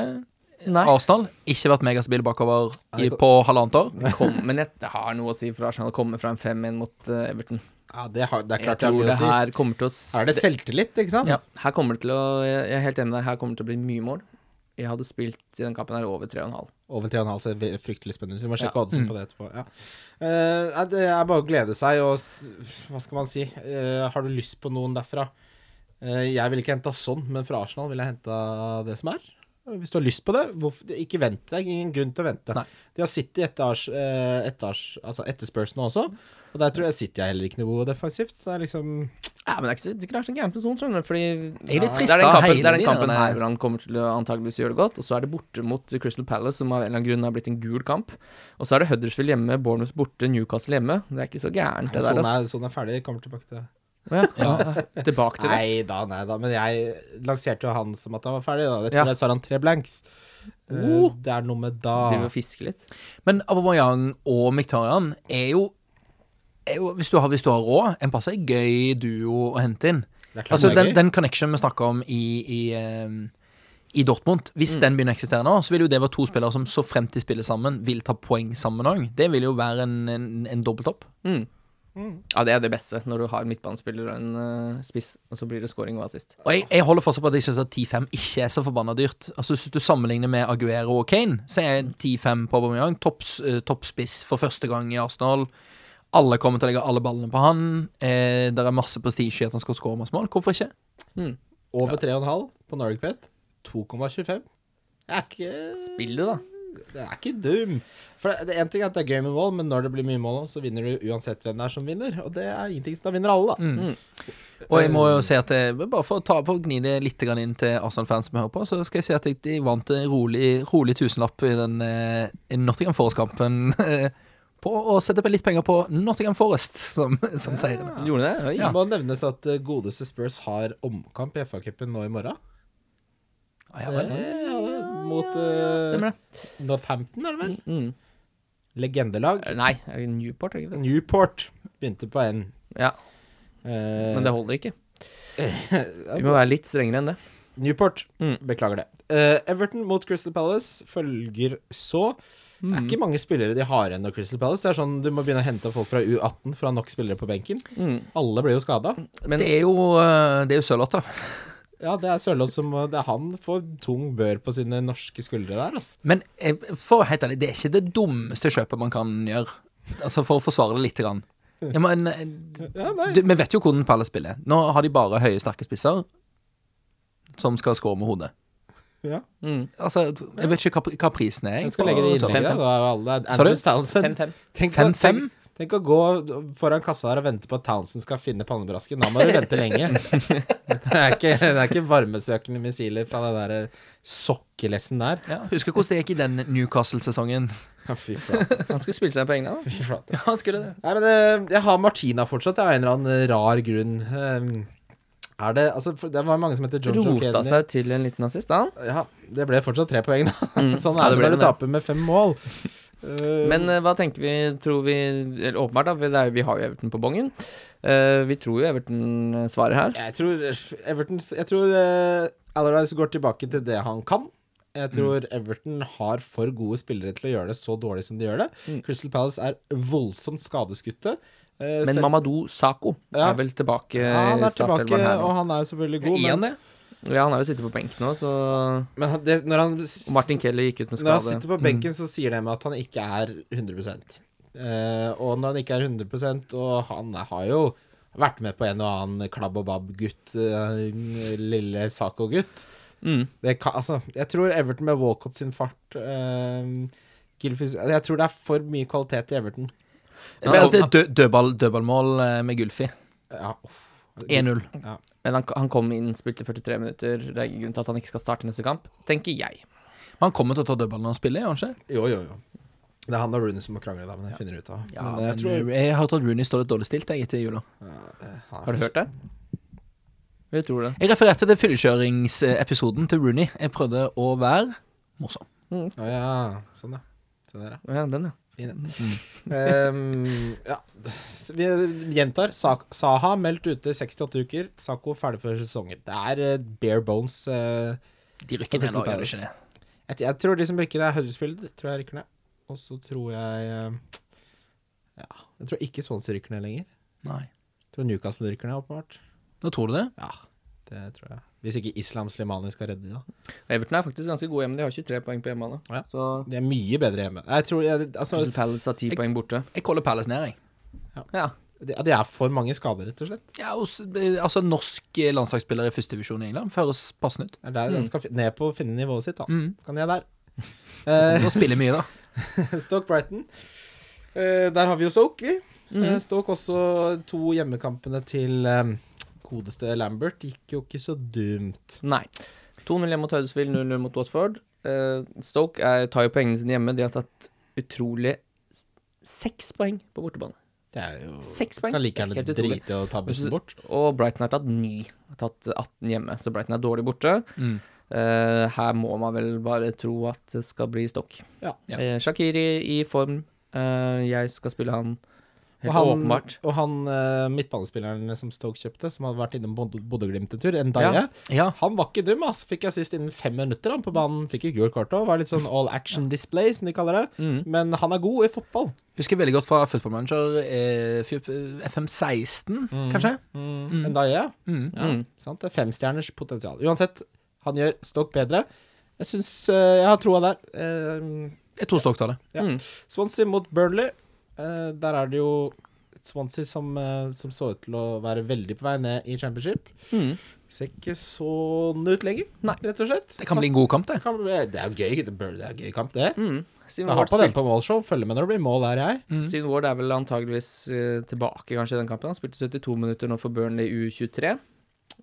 Speaker 2: Nei.
Speaker 5: Arsenal ikke vært megastabile bakover i,
Speaker 3: Nei, det-
Speaker 5: på halvannet år.
Speaker 2: Kom, men jeg det har noe å si for Arsenal å komme fra en 5-1 mot eh, Everton.
Speaker 3: Ja, det, har, det er
Speaker 2: Jeg
Speaker 3: klart det er
Speaker 2: tror
Speaker 3: mye
Speaker 2: det
Speaker 3: å si.
Speaker 2: her kommer til å s-
Speaker 3: Er det selvtillit, ikke sant?
Speaker 5: Ja.
Speaker 2: Her kommer det til å Jeg er helt enig med deg, her kommer det til å bli mye mål. Jeg hadde spilt i den kampen her over 3,5.
Speaker 3: Over 3,5 ser ve- fryktelig spennende ut. Vi må
Speaker 2: Ja.
Speaker 3: sjekke oddsen på det etterpå. Ja. Eh, nei, det er bare å glede seg, og s- hva skal man si Eh, Har du lyst på noen derfra? Eh, jeg ville ikke henta sånn, men fra Arsenal ville jeg henta det som er. Eh, Hvis du har lyst på det, hvorfor, det- ikke vent. Det er ingen grunn til å vente.
Speaker 5: Nei.
Speaker 3: De har City etter, Ars- eh, etter, Ars- altså etter Spurs nå også, og der tror jeg City er heller ikke noe god defensivt. Det er liksom
Speaker 2: Ja, men det er ikke så, det er ikke så gæren person, skjønner du. Fordi
Speaker 5: Jeg er litt
Speaker 2: Ja, det
Speaker 5: fristet
Speaker 2: er den kampen,
Speaker 5: hele
Speaker 2: det er den
Speaker 5: tiden,
Speaker 2: kampen
Speaker 5: denne-
Speaker 2: her hvor han kommer til å antageligvis gjøre det godt. Og så er det borte mot Crystal Palace, som av en eller annen grunn har blitt en gul kamp. Og så er det Huddersfield hjemme, Bournemouth borte, Newcastle hjemme. Det er ikke så gærent, det
Speaker 3: Sånn
Speaker 2: der. Altså.
Speaker 3: er, sånn er ferdig. Kommer tilbake til det.
Speaker 2: Å Ja, ja. Tilbake til det.
Speaker 3: Nei da, nei da. Men jeg lanserte jo han som at han var ferdig, da. Etter
Speaker 2: Ja.
Speaker 3: det så har han tre blanks.
Speaker 5: Oh.
Speaker 3: Eh, det er noe med
Speaker 2: Driver
Speaker 3: da
Speaker 2: og fisker litt.
Speaker 5: Men Aubameyang og Miktarian er jo, er jo hvis, du har, hvis du har råd, en passe gøy duo å hente inn.
Speaker 3: Det er klart
Speaker 5: Altså
Speaker 3: det er
Speaker 5: Den,
Speaker 3: gøy.
Speaker 5: den connection vi snakka om i, i, ehm, i Dortmund,
Speaker 3: Mm.
Speaker 5: hvis den begynner å eksistere nå, så vil jo det være to spillere som så frem til spiller sammen, vil ta poeng sammen òg. Det vil jo være en, en, en dobbeltopp.
Speaker 2: Mm. Ja, det er det beste, når du har midtbanespiller og en eh, spiss, og så blir det scoring og assist.
Speaker 5: Og jeg, jeg holder fortsatt på at jeg syns at 10-5 ikke er så forbanna dyrt. Altså Hvis du sammenligner med Aguero og Kane, så er 10-5 på Aubameyang topps- eh, toppspiss for første gang i Arsenal. Alle kommer til å legge alle ballene på han. Eh, det er masse prestisje i at han skal skåre masse mål. Hvorfor ikke?
Speaker 3: Over 3,5 på Nordic Pet. 2,25. Det er ikke
Speaker 2: Spill det, da.
Speaker 3: Det er ikke dum. For det- det er en ting er at det er gøy med mål, men når det blir mye mål, så vinner du uansett hvem det er som vinner. Og det er ingenting. Da vinner alle, da.
Speaker 5: Mm. Og jeg må jo si at eh, Bare for å ta på og gni det litt grann inn til Arsenal-fans som hører på, så skal jeg si at jeg- de vant en rolig, rolig tusenlapp i den eh, i Nottingham Forest-kampen. eh, På å sette på litt penger på Nottingham Forest som, som seirende.
Speaker 2: Gjorde det? Oi.
Speaker 3: Det må nevnes at eh, godeste Spurs har omkamp i FA-cupen nå i morgen.
Speaker 5: Ah, ja,
Speaker 3: Eh,
Speaker 5: vel.
Speaker 3: ja, det er mot eh,
Speaker 2: Stemmer det.
Speaker 3: Northampton, er det vel?
Speaker 2: Mm.
Speaker 3: Legendelag.
Speaker 2: Nei, er det Newport? Er det ikke det?
Speaker 3: Newport begynte på N.
Speaker 2: Ja,
Speaker 3: Eh,
Speaker 2: men det holder ikke. Vi må være litt strengere enn det.
Speaker 3: Newport.
Speaker 2: Mm.
Speaker 3: Beklager det. Eh, Everton mot Crystal Palace følger så. Det
Speaker 2: Mm.
Speaker 3: er ikke mange spillere de har igjen av Crystal Palace. Det er sånn Du må begynne å hente folk fra U18 for å ha nok spillere på benken.
Speaker 2: Mm.
Speaker 3: Alle blir jo skada.
Speaker 2: Men
Speaker 5: Det er jo, eh, det er jo Sørloth, da.
Speaker 3: Ja, det er Sørloth som må- det er Han får tung bør på sine norske skuldre der, altså.
Speaker 5: Men eh, for å være helt ærlig, det er ikke det dummeste kjøpet man kan gjøre. Altså For å forsvare det litt. Grann. Ja, men, eh,
Speaker 3: Ja, nei.
Speaker 5: du, vi vet jo hvordan Palace spiller. Nå har de bare høye, sterke spisser som skal score med hodet.
Speaker 3: Ja.
Speaker 2: mm.
Speaker 5: Altså, Jeg vet ikke hva, hva prisen er. jeg,
Speaker 3: Jeg skal
Speaker 5: på-
Speaker 3: legge det i
Speaker 5: altså.
Speaker 3: innlegget. da, alle-
Speaker 5: Sa du?
Speaker 3: Andrew Townsend.
Speaker 2: 5-5.
Speaker 3: Tenk-
Speaker 5: 5-5?
Speaker 3: tenk- Tenk å gå foran kassa der og vente på at Townsend skal finne pannebrasken. Da må du vente lenge. Det er ikke, det er ikke varmesøkende missiler fra den der eh, sokkelessen der.
Speaker 5: Ja, husker hvordan det gikk i den Newcastle-sesongen.
Speaker 3: Ja, fy flate.
Speaker 2: Han skulle spille seg på egne. da.
Speaker 3: Fy flate.
Speaker 5: Ja, han skulle det.
Speaker 3: Nei, men eh, jeg har Martina fortsatt, av en eller annen rar grunn. Eh, Er det Altså, for det var mange som heter John John
Speaker 2: Rota seg til en liten nazist, da. han.
Speaker 3: Ja, det ble fortsatt tre poeng, da.
Speaker 2: Mm. Ja,
Speaker 3: Sånn er
Speaker 2: det
Speaker 3: det
Speaker 2: ble
Speaker 3: når du
Speaker 2: det.
Speaker 3: taper med fem mål. Eh,
Speaker 2: Men eh, hva tenker vi, tror vi eller, Åpenbart, da. for Det er, jo- vi har jo Everton på bongen. Eh, vi tror jo Everton eh, svarer her.
Speaker 3: Jeg tror Everton Jeg tror eh, Allardyce går tilbake til det han kan.
Speaker 2: Mm.
Speaker 3: Jeg tror Everton har for gode spillere til å gjøre det så dårlig som de gjør det.
Speaker 2: Mm.
Speaker 3: Crystal Palace er voldsomt skadeskutte. Eh,
Speaker 2: Men
Speaker 3: selv-
Speaker 2: Mamadou Sako
Speaker 3: Ja.
Speaker 2: er vel tilbake
Speaker 3: ja, han
Speaker 2: i
Speaker 3: er tilbake,
Speaker 2: startelveren her.
Speaker 3: og
Speaker 2: nå.
Speaker 3: han er selvfølgelig god,
Speaker 5: Er han
Speaker 3: men,
Speaker 5: det?
Speaker 2: Ja, han er jo sittet på benk nå, så
Speaker 3: men han- det, når, han, s-
Speaker 2: og Martin Kelly gikk ut med
Speaker 3: når
Speaker 2: skade.
Speaker 3: han
Speaker 2: Mm.
Speaker 3: sitter på benken, så sier det meg at han ikke er 100 Eh, Og når han ikke er 100 og han er, har jo vært med på en og annen klabb og babb-gutt, eh, lille Sako-gutt
Speaker 2: Mm.
Speaker 3: det kan, altså, jeg tror Everton med Walcott sin fart eh, Gylfis, Jeg tror det er for mye kvalitet i Everton.
Speaker 5: Det ble alltid dø eh, dødball, dødballmål eh, med Gylfi.
Speaker 3: Ja, uff.
Speaker 5: 1-0.
Speaker 2: Men han, han kom inn, spilte 43 minutter. Det er ingen grunn til at han ikke skal starte neste kamp, tenker jeg.
Speaker 5: Han kommer til å ta dødball når han spiller, gjør han ikke?
Speaker 3: Jo, jo, jo. Det er han og Rooney som må krangle, da, men jeg finner ut av
Speaker 5: Ja,
Speaker 3: Men eh,
Speaker 5: men
Speaker 3: jeg tror,
Speaker 5: jeg har hørt at Rooney står litt dårlig stilt jeg, etter jula.
Speaker 2: Har du hørt det? Eller tror du det?
Speaker 5: Jeg refererte til fyllekjøringsepisoden til Rooney. Jeg prøvde å være morsom.
Speaker 3: Å ja. Sånn, ja. Se der, ja.
Speaker 2: Å Ja, den, ja.
Speaker 3: Fin, ja. Ehm, ja. S- Vi eh, gjentar. Sa- Saha meldt ute 68 uker. Sako ferdig for sesongen. Det er eh, bare bones. eh.
Speaker 5: De rykker ned nå, gjør de ikke det?
Speaker 3: jeg, jeg tror de som rykker ned, er Huddersfield. Tror jeg rykker ned. Og så tror jeg eh, Ja. Jeg tror ikke Swansea rykker ned lenger.
Speaker 5: Nei.
Speaker 3: Jeg tror Newcastle rykker ned, åpenbart.
Speaker 5: Nå tror du det?
Speaker 3: Ja, det tror jeg. Hvis ikke Islam Slimani skal redde dem, da.
Speaker 2: Og Everton er faktisk ganske gode hjemme. De har 23 poeng på hjemmebane.
Speaker 3: Ja.
Speaker 2: Så
Speaker 3: De er mye bedre hjemme. Nei, Jeg tror, jeg, altså,
Speaker 2: Crystal Palace har 10 poeng borte.
Speaker 5: Jeg caller Palace ned, jeg.
Speaker 2: Ja.
Speaker 3: de, ja, de er for mange skader, rett og slett.
Speaker 5: Ja, og s- altså Norsk eh, landslagsspiller i førstedivisjon i England høres passende ut.
Speaker 3: Det er der Den skal fi- ned på å finne nivået sitt, da.
Speaker 5: Mm.
Speaker 3: Skal ned der.
Speaker 5: Nå spiller mye, da.
Speaker 3: Eh, Stoke Brighton. Eh, der har vi jo Stoke, vi. Eh, Stoke også to hjemmekampene til eh, godeste Lambert. Gikk jo ikke så dumt.
Speaker 2: Nei. 2-0 hjemme mot Huddersfield, 0-0 mot Watford. Eh, Stoke er, tar jo poengene sine hjemme. De har tatt utrolig s- seks poeng på bortebane.
Speaker 3: Det er jo
Speaker 2: Seks poeng.
Speaker 3: Kan like gjerne
Speaker 2: Helt utrolig.
Speaker 3: drite i å ta bussen bort.
Speaker 2: Og Brighton har tatt ni. Har tatt 18 hjemme, så Brighton er dårlig borte.
Speaker 5: Mm.
Speaker 2: Eh, her må man vel bare tro at det skal bli stokk.
Speaker 3: Ja.
Speaker 5: Ja.
Speaker 2: Eh, Shakiri i form. Eh, jeg skal spille han helt
Speaker 3: og han,
Speaker 2: åpenbart.
Speaker 3: Og han eh, midtbanespilleren som Stoke kjøpte, som hadde vært innom Bod- Bodø-Glimt en tur, Ndaye,
Speaker 2: Ja.
Speaker 5: Ja.
Speaker 3: han var ikke dum, ass. Fikk assist innen fem minutter han på banen. Fikk et gult kort òg. Var litt sånn all action display, som de kaller det. Men han er god i fotball.
Speaker 5: Husker veldig godt fra Football Manager eh, fy- FM16, kanskje?
Speaker 3: Ndaye.
Speaker 5: Mm.
Speaker 3: Ja, sant? Det er femstjerners potensial. Uansett, han gjør Stoke bedre. Jeg syns Jeg har troa der. Eh,
Speaker 5: Jeg tror Stoke tar det.
Speaker 3: ja.
Speaker 2: Mm.
Speaker 3: Swansea mot Burnley. Eh, der er det jo Swansea som, eh, som så ut til å være veldig på vei ned i championship.
Speaker 2: Mm.
Speaker 3: Ser ikke sånn ut lenger, rett og slett.
Speaker 5: Det kan bli en god kamp, det.
Speaker 3: Kan bli- Det er jo gøy, det bør- det er en gøy kamp, det.
Speaker 2: Mm. Steven
Speaker 3: Jeg har
Speaker 2: Ward
Speaker 3: på den
Speaker 2: spilte-
Speaker 3: på målshow. Følger med når det blir mål her, jeg.
Speaker 2: Steven Ward er vel antageligvis eh, tilbake kanskje i den kampen. Han spilte 72 minutter nå for Burnley U23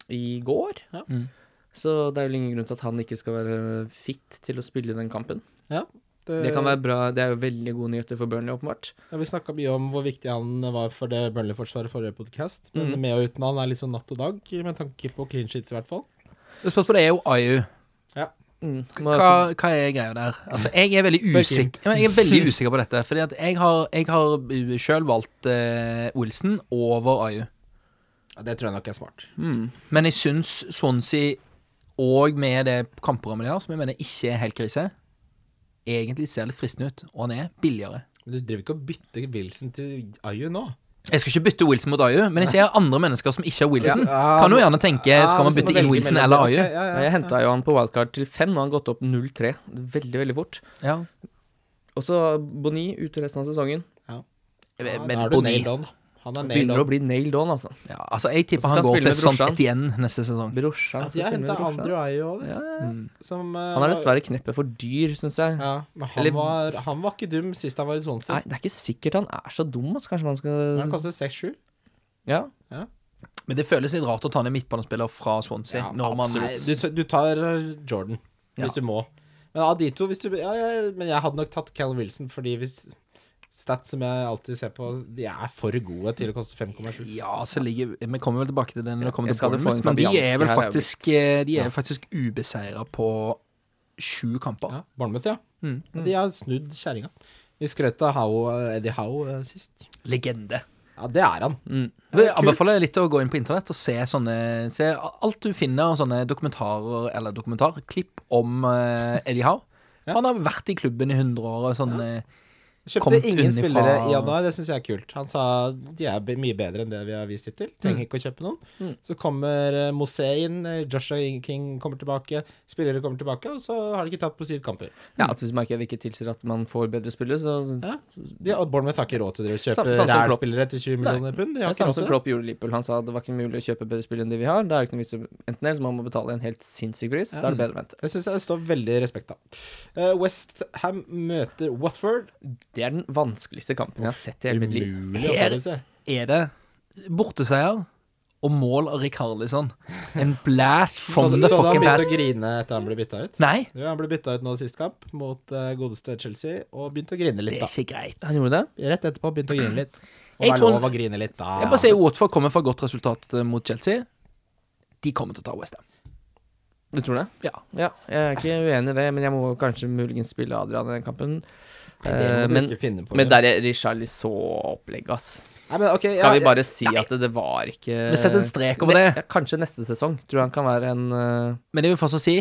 Speaker 2: i går.
Speaker 3: Ja.
Speaker 5: Mm.
Speaker 2: Så det er vel ingen grunn til at han ikke skal være fit til å spille den kampen.
Speaker 3: Det,
Speaker 2: Det kan være bra, det er jo veldig gode nyheter for Burnley, åpenbart.
Speaker 3: Ja, vi snakka mye om hvor viktig han var for det Burnley-forsvaret forrige podcast. Men
Speaker 2: Mm.
Speaker 3: med og uten han er litt sånn natt og dag, med tanke på clean sheets, i hvert fall.
Speaker 5: Spørsmålet er jo IU.
Speaker 2: Mm. Må-
Speaker 5: Hva, hva er greia der? Altså, jeg er veldig
Speaker 3: Spør Kim.
Speaker 5: usikker, jeg er veldig usikker på dette. Fordi at jeg har, jeg har sjøl valgt eh, Wilson over IU.
Speaker 3: Ja, det tror jeg nok er smart.
Speaker 2: Mm.
Speaker 5: Men jeg syns Swansea, og med det kampprogrammet de har, som jeg mener ikke er helt krise, egentlig ser litt fristende ut. Og han er billigere.
Speaker 3: Men du driver ikke og bytter Wilson til Ayu nå?
Speaker 5: Jeg skal ikke bytte Wilson mot IU, men jeg ser andre mennesker som ikke har Wilson.
Speaker 3: Ja.
Speaker 5: Kan jo gjerne tenke skal man
Speaker 3: hvis du Ah, må
Speaker 5: bytte inn
Speaker 3: velge
Speaker 5: Wilson
Speaker 3: mellom-
Speaker 5: eller
Speaker 3: Ok,
Speaker 5: IU.
Speaker 3: ja,
Speaker 2: Ja,
Speaker 3: ja.
Speaker 2: Jeg henta jo han på wildcard til fem, nå har han gått opp 0-3. Veldig, veldig fort.
Speaker 5: Ja.
Speaker 2: Og så Boni ute resten av sesongen.
Speaker 3: Ja.
Speaker 5: Men
Speaker 3: da er du
Speaker 5: Boni
Speaker 3: nailed on. Han er
Speaker 2: Begynner å
Speaker 3: nailed on.
Speaker 2: bli nailed on, altså.
Speaker 5: Ja, altså, jeg
Speaker 2: Og så skal
Speaker 5: tipper han
Speaker 2: han
Speaker 5: går
Speaker 2: spille
Speaker 5: til
Speaker 2: med
Speaker 5: St.
Speaker 2: brorsan.
Speaker 5: Etienne neste sesong.
Speaker 2: Brorsan
Speaker 3: At
Speaker 2: skal
Speaker 3: Altså, jeg
Speaker 2: spille med
Speaker 3: henta
Speaker 2: brorsan.
Speaker 3: Andrew Ayo òg, det.
Speaker 5: Mm.
Speaker 3: Som, eh,
Speaker 2: Han er
Speaker 3: var-
Speaker 2: dessverre kneppet for dyr, syns jeg.
Speaker 3: Ja, men han,
Speaker 2: Eller-
Speaker 3: var, han var ikke dum sist han var i Swansea.
Speaker 2: Nei, det er ikke sikkert han er så dum, altså. Kanskje man
Speaker 3: Men Han
Speaker 2: skal
Speaker 3: kostet 6-7.
Speaker 2: Ja.
Speaker 5: Men det føles litt rart å ta ned midtbanespiller fra Swansea.
Speaker 3: Ja,
Speaker 5: når man,
Speaker 3: Nei, du, t- du tar eh, Jordan
Speaker 5: Ja.
Speaker 3: hvis du må. Men av de to hvis du, ja, ja, Men jeg hadde nok tatt Callum Wilson, fordi hvis Stats som jeg alltid ser på, de er for gode til å koste 5,7.
Speaker 5: Ja, så ligger Vi kommer vel tilbake til den når det kommer
Speaker 2: jeg
Speaker 5: til
Speaker 2: skal vel få
Speaker 5: Bournemouth,
Speaker 2: en
Speaker 5: men de er vel
Speaker 2: Fabianski her, det er jo
Speaker 5: faktisk, eh, de er faktisk ubeseira på sju kamper.
Speaker 3: Ja, Bournemouth, ja.
Speaker 5: Mm.
Speaker 3: Og de har snudd kjerringa. Vi skrøt av Howe, eh, Eddie Howe eh, sist.
Speaker 5: Legende.
Speaker 3: Ja, det er han.
Speaker 2: Mm.
Speaker 5: Jeg anbefaler litt å gå inn på internett og se, sånne, se alt du finner av sånne dokumentarer eller dokumentarklipp om eh, Eddie Howe.
Speaker 3: Ja.
Speaker 5: Han har vært i klubben i 100 år. og Sånn, eh,
Speaker 3: Kjøpte
Speaker 5: Kommet
Speaker 3: ingen
Speaker 5: unnifra-
Speaker 3: spillere i januar, det syns jeg er kult. Han sa de er be- mye bedre enn det vi har vist hittil.
Speaker 2: Mm.
Speaker 3: Trenger ikke å kjøpe noen. Så kommer eh, Mosé inn, eh, Joshua King kommer tilbake, spillere kommer tilbake, og så har de ikke tatt på syv kamper.
Speaker 2: ja at hvis markedet ikke tilsier at man får bedre spillere, så
Speaker 3: Ja. De, og Bournemouth har ikke råd til å drive og
Speaker 2: Sam-
Speaker 3: kjøpe
Speaker 2: Samson Klopp.
Speaker 3: ræl-spillere til 20 millioner pund. De
Speaker 2: Det
Speaker 3: har
Speaker 2: er
Speaker 3: ikke
Speaker 2: samme
Speaker 3: råd
Speaker 2: som
Speaker 3: til det.
Speaker 2: Klopp gjorde i Liverpool. Han sa det var ikke mulig å kjøpe bedre spill enn de vi har. Da er det ikke noe vits i enten eller, så man må betale en helt sinnssyk pris. Da er det bedre å vente.
Speaker 3: Jeg syns jeg står veldig respekt av. Eh, West Ham møter Watford.
Speaker 2: Det er den vanskeligste kampen jeg har sett i hele mitt liv.
Speaker 3: Umulig å forutse.
Speaker 5: er det borteseier og mål av Rikarlison? En blast
Speaker 3: Så,
Speaker 5: from the
Speaker 3: så han
Speaker 5: fucking
Speaker 3: begynte å
Speaker 5: past.
Speaker 3: grine etter han ble bytta ut?
Speaker 5: Nei,
Speaker 3: Jo, han ble bytta ut nå sist kamp, mot eh, godeste Chelsea, og begynte å grine
Speaker 5: det
Speaker 3: litt,
Speaker 5: er
Speaker 3: da.
Speaker 5: ikke greit.
Speaker 2: Han gjorde det?
Speaker 3: Rett etterpå begynte å grine litt. Og
Speaker 5: Jeg
Speaker 3: det er
Speaker 5: tror-
Speaker 3: lov å grine litt, da.
Speaker 5: Jeg bare sier Watford kommer fra godt resultat eh, mot Chelsea. De kommer til å ta West Ham.
Speaker 2: Du tror det?
Speaker 5: Ja.
Speaker 2: Ja, jeg er ikke uenig i det, men jeg må kanskje muligens spille Adrian i den kampen.
Speaker 3: Nei, det må
Speaker 2: Eh,
Speaker 3: du
Speaker 2: men-
Speaker 3: ikke finne på.
Speaker 2: Men der
Speaker 3: Jørgen.
Speaker 2: er Richarli så opplegg, ass.
Speaker 3: Nei, men ok, ja,
Speaker 2: Skal vi bare si at det, det var ikke
Speaker 5: Vi setter en strek over
Speaker 2: Ne- ja,
Speaker 5: det.
Speaker 2: Kanskje neste sesong. Tror jeg han kan være en eh,
Speaker 5: Men jeg vil fortsatt si,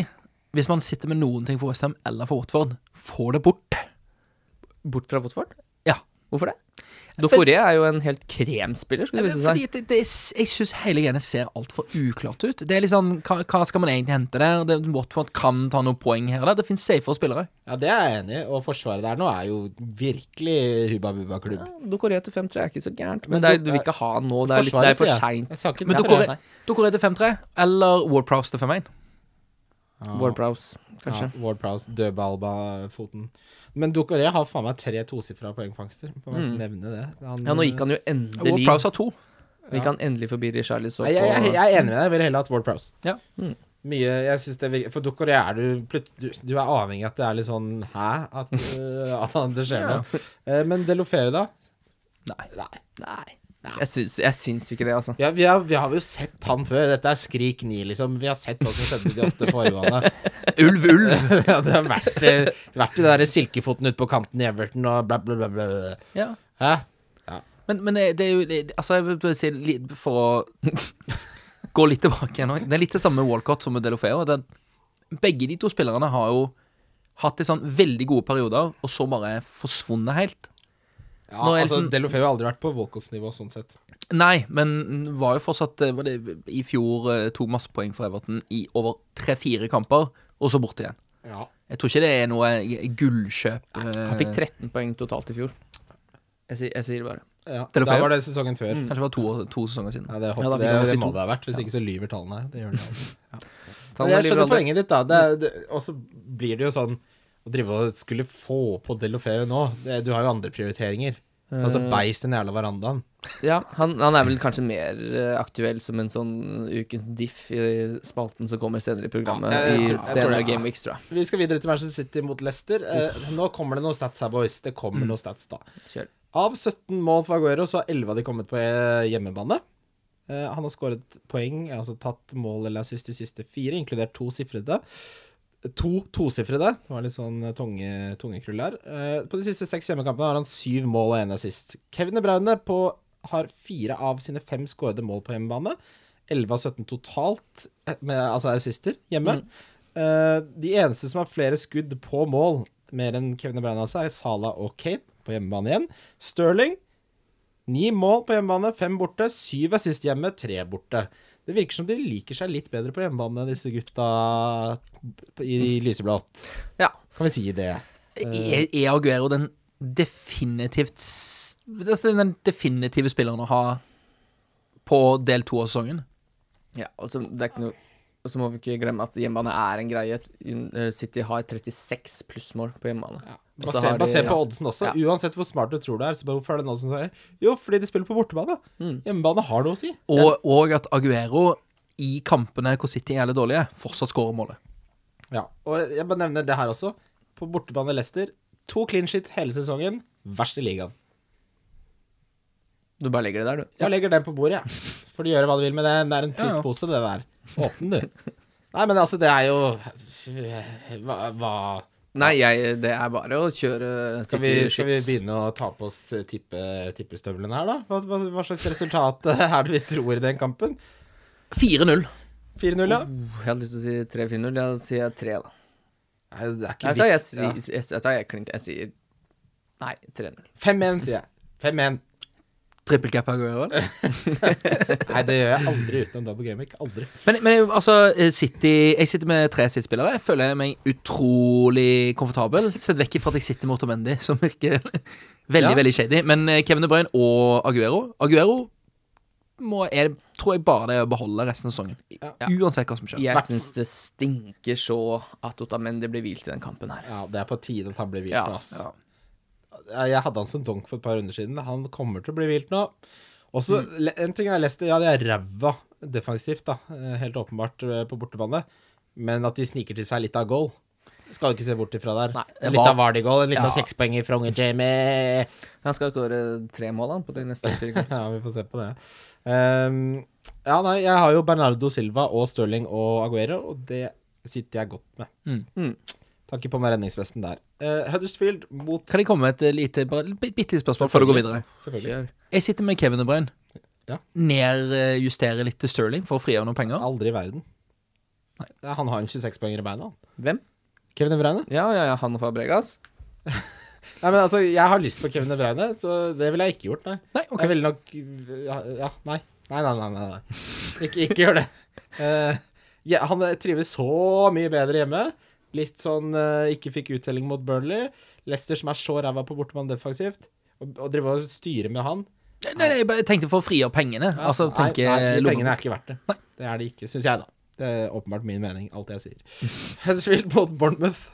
Speaker 5: hvis man sitter med noen ting for West Ham eller for Watford, få det bort.
Speaker 2: bort fra Watford.
Speaker 5: Ja.
Speaker 2: Hvorfor det?
Speaker 5: For-
Speaker 2: Dokoré er jo en helt kremspiller, skulle
Speaker 5: Nei,
Speaker 2: det
Speaker 5: men
Speaker 2: vise
Speaker 5: Fordi
Speaker 2: seg.
Speaker 5: at det, det, er- jeg syns hele greiene ser altfor uklart ut. Det er liksom, hva, hva skal man egentlig hente der? Det, Watford kan ta noen poeng her og der. Det finnes safere spillere.
Speaker 3: ja, det er jeg enig i. Og forsvaret der nå er jo virkelig hubba bubba klubb.
Speaker 2: Dokoré til 5-3 er ikke så gærent, men,
Speaker 3: Men
Speaker 2: det er,
Speaker 3: det-
Speaker 2: du vil ikke ha han nå. Det er, litt, det er for seint.
Speaker 5: Men
Speaker 3: seint.
Speaker 5: Dokoré Dokoré til 5-3, eller Warprouse til 5-1.
Speaker 2: Ward Prowse, kanskje.
Speaker 3: Ja, Ward Prowse, dødballba-foten. Men Dokoré har faen meg tre tosifra poengfangster. Må bare nevne det. Han-
Speaker 2: Mm. Ja. nå gikk han jo endelig
Speaker 5: Warprouse har to.
Speaker 2: Gikk han endelig forbi Richarli så
Speaker 3: Nei, jeg, jeg,
Speaker 2: på
Speaker 3: jeg er enig med deg. Jeg ville heller hatt Ward Prowse.
Speaker 5: Ja.
Speaker 2: Mm.
Speaker 3: Mye, jeg synes det virker, For Dokoré er du, plut- du Du er avhengig av at det er litt sånn hæ? At, øh, at han- det skjer noe. Eh, Men Delofeu, da?
Speaker 5: Nei.
Speaker 2: Nei. Jeg syns, jeg syns ikke det, altså.
Speaker 3: Ja, vi, har, vi har jo sett han før. Dette er Skrik 9, liksom. Vi har sett hva som skjedde de åtte foregående.
Speaker 5: Ulv, ulv.
Speaker 3: ja, det har vært, eh, vært i den der silkefoten ute på kanten i Everton og bla, bla, bla. bla. bla.
Speaker 5: Ja.
Speaker 3: Hæ?
Speaker 5: Men, men det, det er jo det- Altså, jeg vil bare si litt for å gå litt tilbake igjen også. Det er litt det samme med Walcott som med Delofeo. Det, er- begge de to spillerne har jo hatt de sånn veldig gode perioder, og så bare forsvunnet helt.
Speaker 3: Ja,
Speaker 5: Nå er
Speaker 3: altså,
Speaker 5: liksom-
Speaker 3: Delofeu har aldri vært på Walcotts nivå, sånn sett.
Speaker 5: Nei, men var jo fortsatt eh, var det, I fjor eh, to masse poeng for Everton i over tre-fire kamper, og så borte igjen.
Speaker 3: Ja.
Speaker 5: Jeg tror ikke det er noe gullkjøp. eh,
Speaker 2: Han fikk 13 poeng totalt i fjor. Jeg, sier- jeg sier det bare.
Speaker 3: ja. Da
Speaker 5: Deulofeu?
Speaker 3: var det sesongen før.
Speaker 5: Kanskje det var to, år- to sesonger siden.
Speaker 3: Ja,
Speaker 2: Ja, da
Speaker 3: det,
Speaker 2: fikk
Speaker 3: håper,
Speaker 2: han
Speaker 3: det, det
Speaker 2: 82.
Speaker 3: må det ha vært, hvis ikke så lyver tallene her. Det gjør det aldri.
Speaker 2: Ta
Speaker 3: Men jeg
Speaker 2: med
Speaker 3: skjønner
Speaker 2: Liverpool.
Speaker 3: poenget ditt, da. Det, er- det, og så blir det jo sånn Å drive og skulle få på Delofeu nå det, Du har jo andre prioriteringer. Altså
Speaker 2: Eh.
Speaker 3: beis den jævla verandaen.
Speaker 2: Ja, han, han er vel kanskje mer eh, aktuell som en sånn ukens diff i spalten som kommer senere i programmet.
Speaker 3: Ja, jeg- jeg
Speaker 2: I
Speaker 3: tror- jeg tror
Speaker 2: senere
Speaker 3: det.
Speaker 2: Game Weeks, tror jeg.
Speaker 3: Vi skal videre til Manchester City mot Leicester. Eh, nå kommer det noen stats her, boys. Det kommer noen stats da.
Speaker 2: Kjør.
Speaker 3: Av 17 mål for Aguero, så har 11 av de kommet på eh, hjemmebane. Eh, han har skåret poeng, altså tatt mål eller assist de siste fire, inkludert to sifrede. To tosifrede. Det var litt sånn tunge, tungekrull her. Eh, på de siste seks hjemmekampene har han syv mål og én assist. Kevin De Bruyne på, har fire av sine fem skårede mål på hjemmebane. 11 av 17 totalt, eh, med, altså assister, hjemme. Eh, de eneste som har flere skudd på mål, mer enn Kevin De Bruyne også, er Salah og Kane på hjemmebane igjen. Sterling, ni mål på hjemmebane, fem borte, syv assist hjemme, tre borte. Det virker som de liker seg litt bedre på hjemmebane, disse gutta i lyseblått.
Speaker 2: Ja.
Speaker 3: Kan vi si det?
Speaker 5: Er, er E, Aguero den definitivt s- altså, det er Den definitive spilleren å ha på del to av sesongen.
Speaker 2: Ja, og så det er ikke noe og så må vi ikke glemme at hjemmebane er en greie. Eh, City har 36 plussmål på hjemmebane. Og så
Speaker 3: Baser,
Speaker 2: har de-
Speaker 3: basert på
Speaker 2: ja.
Speaker 3: oddsen også. Uansett hvor smart du tror du er, så hvorfor er det noen som sier Jo, fordi de spiller på bortebane.
Speaker 2: Mm.
Speaker 3: Hjemmebane har noe å si.
Speaker 5: Og, og at Aguero i kampene hvor City er litt dårlige, fortsatt skårer målet.
Speaker 3: Ja, og jeg bare nevner det her også. På bortebane Leicester, to clean shit hele sesongen. Verst i ligaen.
Speaker 2: Du bare legger det der, du.
Speaker 3: Jeg legger den på bordet, jeg. For de gjør hva de vil med den. Det er en
Speaker 5: Ja, ja.
Speaker 3: plastpose, det der. Åpne den, du. Nei, men altså, det er jo Hva, hva
Speaker 2: Nei, jeg, det er bare å kjøre
Speaker 3: skal, vi,
Speaker 2: City
Speaker 3: skal vi
Speaker 2: chips.
Speaker 3: begynne å ta på oss tippe, tippestøvlene her, da? Hva, hva, hva slags resultat eh, er det vi tror i den kampen?
Speaker 5: 4-0.
Speaker 3: 4-0, ja?
Speaker 2: Jeg hadde lyst til å si 3-4-0. Jeg sier 3, da.
Speaker 3: Nei, det er
Speaker 2: Nei,
Speaker 3: ikke
Speaker 2: vet du hva, jeg,
Speaker 3: vits.
Speaker 2: sier-
Speaker 3: Ja.
Speaker 2: jeg, vet du hva, jeg, klink- jeg sier Nei, 3-0.
Speaker 3: 5-1, sier jeg. 5-1.
Speaker 5: Trippelcap Aguero. eller?
Speaker 3: Nei, det gjør jeg aldri utenom Double Gamic. Aldri.
Speaker 5: Men, men altså, eh, City Jeg sitter med tre City-spillere. Jeg Føler meg utrolig komfortabel. Sett vekk ifra at jeg sitter med Otamendi, som virker veldig
Speaker 3: Ja.
Speaker 5: veldig shady. Men eh, Kevin De Bruyne og Aguero Aguero må, er, tror jeg bare det er å beholde resten av sesongen.
Speaker 2: Ja.
Speaker 5: Uansett hva som skjer.
Speaker 2: Jeg syns det stinker så at Otamendi blir hvilt i den kampen her.
Speaker 3: Ja, det er på tide at han blir hvilt
Speaker 2: Ja,
Speaker 3: nå, ass. Ja, Jeg hadde han som donk for et par runder siden. Han kommer til å bli hvilt nå. Også,
Speaker 2: Mm.
Speaker 3: le- En ting er Leicester, ja, de er ræva defensivt, da. eh, Helt åpenbart eh, på bortebane. Men at de sniker til seg litt av goal, skal du ikke se bort ifra der.
Speaker 2: Nei,
Speaker 5: det
Speaker 3: en litt
Speaker 5: var-
Speaker 3: av Vardi-goal, en litt av
Speaker 5: Ja.
Speaker 3: sekspoenger fra unge Jamie.
Speaker 2: Han skal skåre tre mål han, på de neste fire kampene.
Speaker 3: Ja, vi får se på det. Ehm, ja, nei, jeg har jo Bernardo Silva og Stirling og Aguero, og det sitter jeg godt med.
Speaker 5: Mm.
Speaker 2: Mm.
Speaker 3: Tar ikke på meg redningsvesten der. Eh, Huddersfield mot
Speaker 5: Kan jeg komme med et lite, bare, et bitte lite spørsmål før du går videre?
Speaker 3: Selvfølgelig.
Speaker 2: Kjør.
Speaker 5: Jeg sitter med Kevin De Bruyne.
Speaker 3: Ja.
Speaker 5: Nedjusterer litt til Sterling for å frigjøre noen penger.
Speaker 3: Aldri i verden. Ja, Han har en 26-poenger i beina, han.
Speaker 2: Hvem?
Speaker 3: Kevin De Bruyne?
Speaker 2: Ja, ja, ja, han og Fabregas.
Speaker 3: Nei, men altså, jeg har lyst på Kevin De Bruyne, så det ville jeg ikke gjort, nei.
Speaker 5: Nei, ok.
Speaker 3: Jeg ville nok ja, ja, nei. Nei, nei, nei. nei, nei. Ikke, ikke gjør det. Eh, ja, han eh, trives så mye bedre hjemme. Litt sånn eh, ikke fikk uttelling mot Burnley. Leicester som er så ræva på bortemann defensivt. Og, og drive og styre med han.
Speaker 5: Nei, nei, jeg bare tenkte for å frigjøre pengene. Altså,
Speaker 3: Nei,
Speaker 5: tenke
Speaker 3: nei, de
Speaker 5: lommebok.
Speaker 3: pengene er ikke verdt det.
Speaker 5: Nei.
Speaker 3: Det er de ikke, syns jeg, da. Det er åpenbart min mening, alt jeg sier. Huddersfield mot Bournemouth.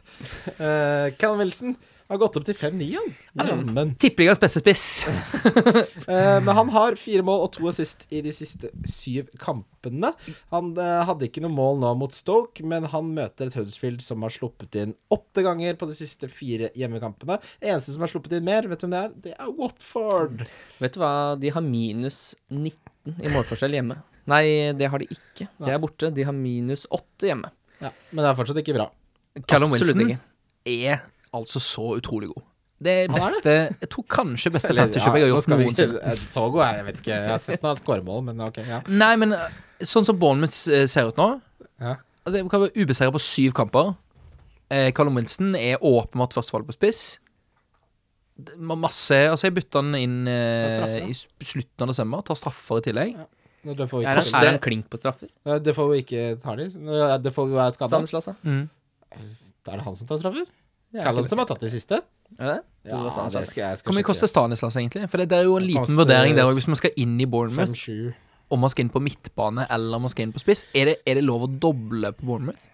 Speaker 3: Uh, Callum Wilson har gått opp til 5-9, han. Jammen.
Speaker 5: Tippeligas beste spiss.
Speaker 3: Eh, Men han har fire mål og to assist i de siste syv kampene. Han eh, hadde ikke noe mål nå mot Stoke, men han møter et Huddersfield som har sluppet inn åtte ganger på de siste fire hjemmekampene. Det eneste som har sluppet inn mer, vet du hvem det er? Det er Watford.
Speaker 5: Mm.
Speaker 2: Vet du hva, de har minus 19 i målforskjell hjemme. Nei, det har de ikke. De er borte. De har minus 8 hjemme.
Speaker 3: Ja, men det er fortsatt ikke bra.
Speaker 5: Callum
Speaker 2: Absolutt
Speaker 5: Wilson
Speaker 2: ikke.
Speaker 5: er altså så utrolig god. Det er
Speaker 3: Han er
Speaker 5: beste Jeg tror kanskje beste
Speaker 3: Eller,
Speaker 5: fantasy-kjøpet jeg
Speaker 3: ja,
Speaker 5: har
Speaker 3: nå
Speaker 5: gjort
Speaker 3: skal vi ikke-
Speaker 5: noensinne.
Speaker 3: eh, Så god er jeg, jeg vet ikke. Jeg har sett noen skåremål, men ok. Ja.
Speaker 5: Nei, men eh, sånn som Bournemouth eh, ser ut nå
Speaker 3: Ja.
Speaker 5: Det kan være ubeseira på syv kamper. Eh, Callum Wilson er åpenbart førstevalg på spiss. Det var Masse Altså, jeg bytta han inn
Speaker 3: Ta straffer,
Speaker 5: eh,
Speaker 3: da.
Speaker 5: i s- slutten av desember. Tar straffer i tillegg.
Speaker 3: Nå, Det får vi
Speaker 2: Er
Speaker 3: ikke,
Speaker 2: han,
Speaker 5: Koster-
Speaker 2: er han klink på straffer?
Speaker 3: Eh, det får vi ikke ta de. Nå, eh, Det får vi være skada.
Speaker 2: Sandnes Lasse?
Speaker 5: Mm.
Speaker 3: Er det han som tar straffer?
Speaker 2: Sånn. Ja,
Speaker 3: Callum som har tatt de siste?
Speaker 2: Er det det? Jo, det var Sandnes Lasse.
Speaker 3: skal jeg skal
Speaker 5: Hvor mye
Speaker 3: sjekke.
Speaker 5: koster Stanislas, egentlig? For det, det er jo en
Speaker 3: Det
Speaker 5: liten
Speaker 3: koster
Speaker 5: vurdering der òg, hvis man skal inn i Bournemouth.
Speaker 3: 5-7.
Speaker 5: Om man skal inn på midtbane eller om man skal inn på spiss. Er det, er det lov å doble på Bournemouth?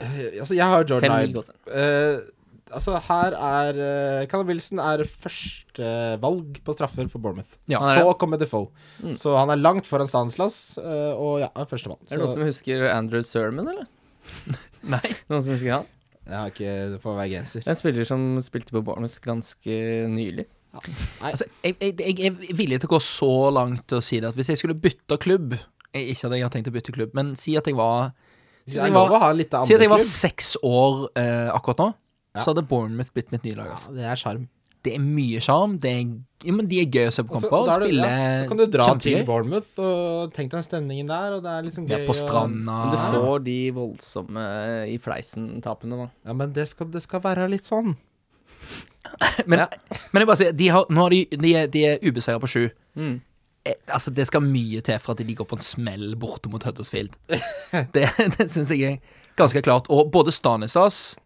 Speaker 3: Eh, Altså, jeg har Jordan
Speaker 2: Fem
Speaker 3: Ibe.
Speaker 2: ligg også.
Speaker 3: Eh, altså, her er uh, Callum Wilson er førstevalg på straffer for Bournemouth.
Speaker 5: Ja.
Speaker 2: Han er
Speaker 3: Så kommer Defoe. Så han er langt foran Stanislas, eh, og ja, er førstemann.
Speaker 2: Er det noen
Speaker 3: Så
Speaker 2: som husker Andrew Sermon, eller?
Speaker 5: Nei.
Speaker 2: Noen som husker han?
Speaker 3: jeg har ikke Det får være genser.
Speaker 2: En spiller som spilte på Bournemouth ganske nylig.
Speaker 5: Altså, jeg, jeg, jeg er villig til å gå så langt til å si det at hvis jeg skulle bytte klubb jeg, Ikke at jeg har tenkt å bytte klubb, men si at jeg var Si
Speaker 3: Det
Speaker 5: at
Speaker 3: er
Speaker 5: jeg
Speaker 3: lov å
Speaker 5: var,
Speaker 3: ha litt av
Speaker 5: si at
Speaker 3: andre
Speaker 5: jeg var
Speaker 3: klubb.
Speaker 5: seks år eh, akkurat nå,
Speaker 3: Ja.
Speaker 5: så hadde Bournemouth blitt mitt nye lag.
Speaker 3: Ja,
Speaker 5: Altså.
Speaker 3: det er sjarm.
Speaker 5: Det er mye sjarm. det er- Ja, men de er gøy å se på
Speaker 3: Og så-
Speaker 5: kamper.
Speaker 3: og da er det-
Speaker 5: spille
Speaker 3: ja, da kan du dra til
Speaker 5: kjempegøy.
Speaker 3: Bournemouth og tenk deg stemningen der, og det er liksom
Speaker 5: Vi
Speaker 3: gøy
Speaker 5: er på
Speaker 3: og-
Speaker 5: stranda.
Speaker 2: Men du får de voldsomme i fleisen-tapene, da.
Speaker 3: Ja, men det skal, det skal være litt sånn.
Speaker 5: Men,
Speaker 2: Ja.
Speaker 5: men jeg bare sier, de, har, nå har de, de, er- de er ubeseira på sju.
Speaker 2: Mm.
Speaker 5: Eh, Altså, det skal mye til for at de går på en smell borte mot Huddersfield. Det, det syns jeg er ganske klart. Og både Stanislas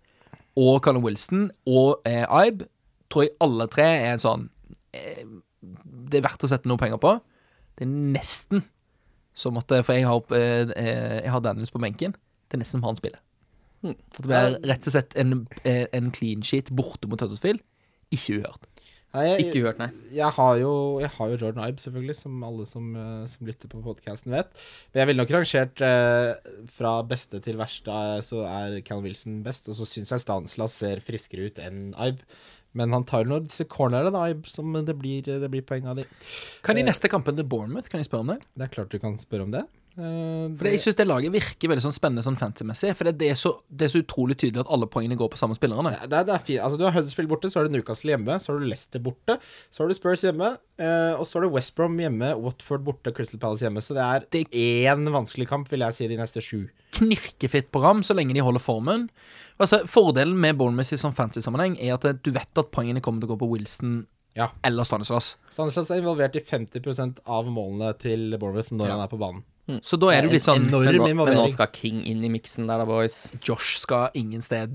Speaker 5: og Callum Wilson og eh, Ibe tror jeg alle tre er en sånn eh, Det er verdt å sette noe penger på. Det er nesten som at For jeg har, opp, eh, eh, jeg har Daniels på benken. Det er nesten som han spiller.
Speaker 2: Hmm.
Speaker 5: At det blir rett og slett en, eh, en clean sheet borte mot Huddersfield. Ikke uhørt.
Speaker 3: Nei, jeg,
Speaker 2: Ikke hørt, nei.
Speaker 3: jeg, har jo, jeg har jo Jordan Ibe, selvfølgelig, som alle som, eh, som lytter på podkasten vet. Men jeg ville nok rangert eh, fra beste til verste, eh, så er Callum Wilson best. Og så syns jeg Stanslas ser friskere ut enn Ibe. Men han tar jo noen disse cornerne, da, Ibe, som det blir, det blir poeng av de.
Speaker 5: Kan de neste kampen til Bournemouth, kan jeg spørre om det?
Speaker 3: Det er klart du kan spørre om det. Eh,
Speaker 5: For det, Jeg syns det laget virker veldig sånn spennende sånn fancy-messig. For det, det, er så, det er så utrolig tydelig at alle poengene går på samme spillerne.
Speaker 3: Det er, det er fint. Altså, du har Huddersfield borte, så har du Newcastle hjemme, så har du Leicester borte, så har du Spurs hjemme, eh, og så har du West Brom hjemme, Watford borte, Crystal Palace hjemme. Så det er
Speaker 5: Det-
Speaker 3: én vanskelig kamp, vil jeg si, de neste sju.
Speaker 5: Knirkefitt program så lenge de holder formen. Altså, Fordelen med Bournemouth i sånn fancy-sammenheng er at eh, du vet at poengene kommer til å gå på Wilson
Speaker 3: Ja.
Speaker 5: eller Stanislas.
Speaker 3: Stanislas er involvert i 50 av målene til Bournemouth når
Speaker 5: Ja.
Speaker 3: han er på banen.
Speaker 5: Så da er du litt sånn
Speaker 2: Men
Speaker 3: Enorm
Speaker 2: nå, men nå
Speaker 3: involvering.
Speaker 2: skal King inn i miksen der, da, boys.
Speaker 5: Josh skal ingen sted,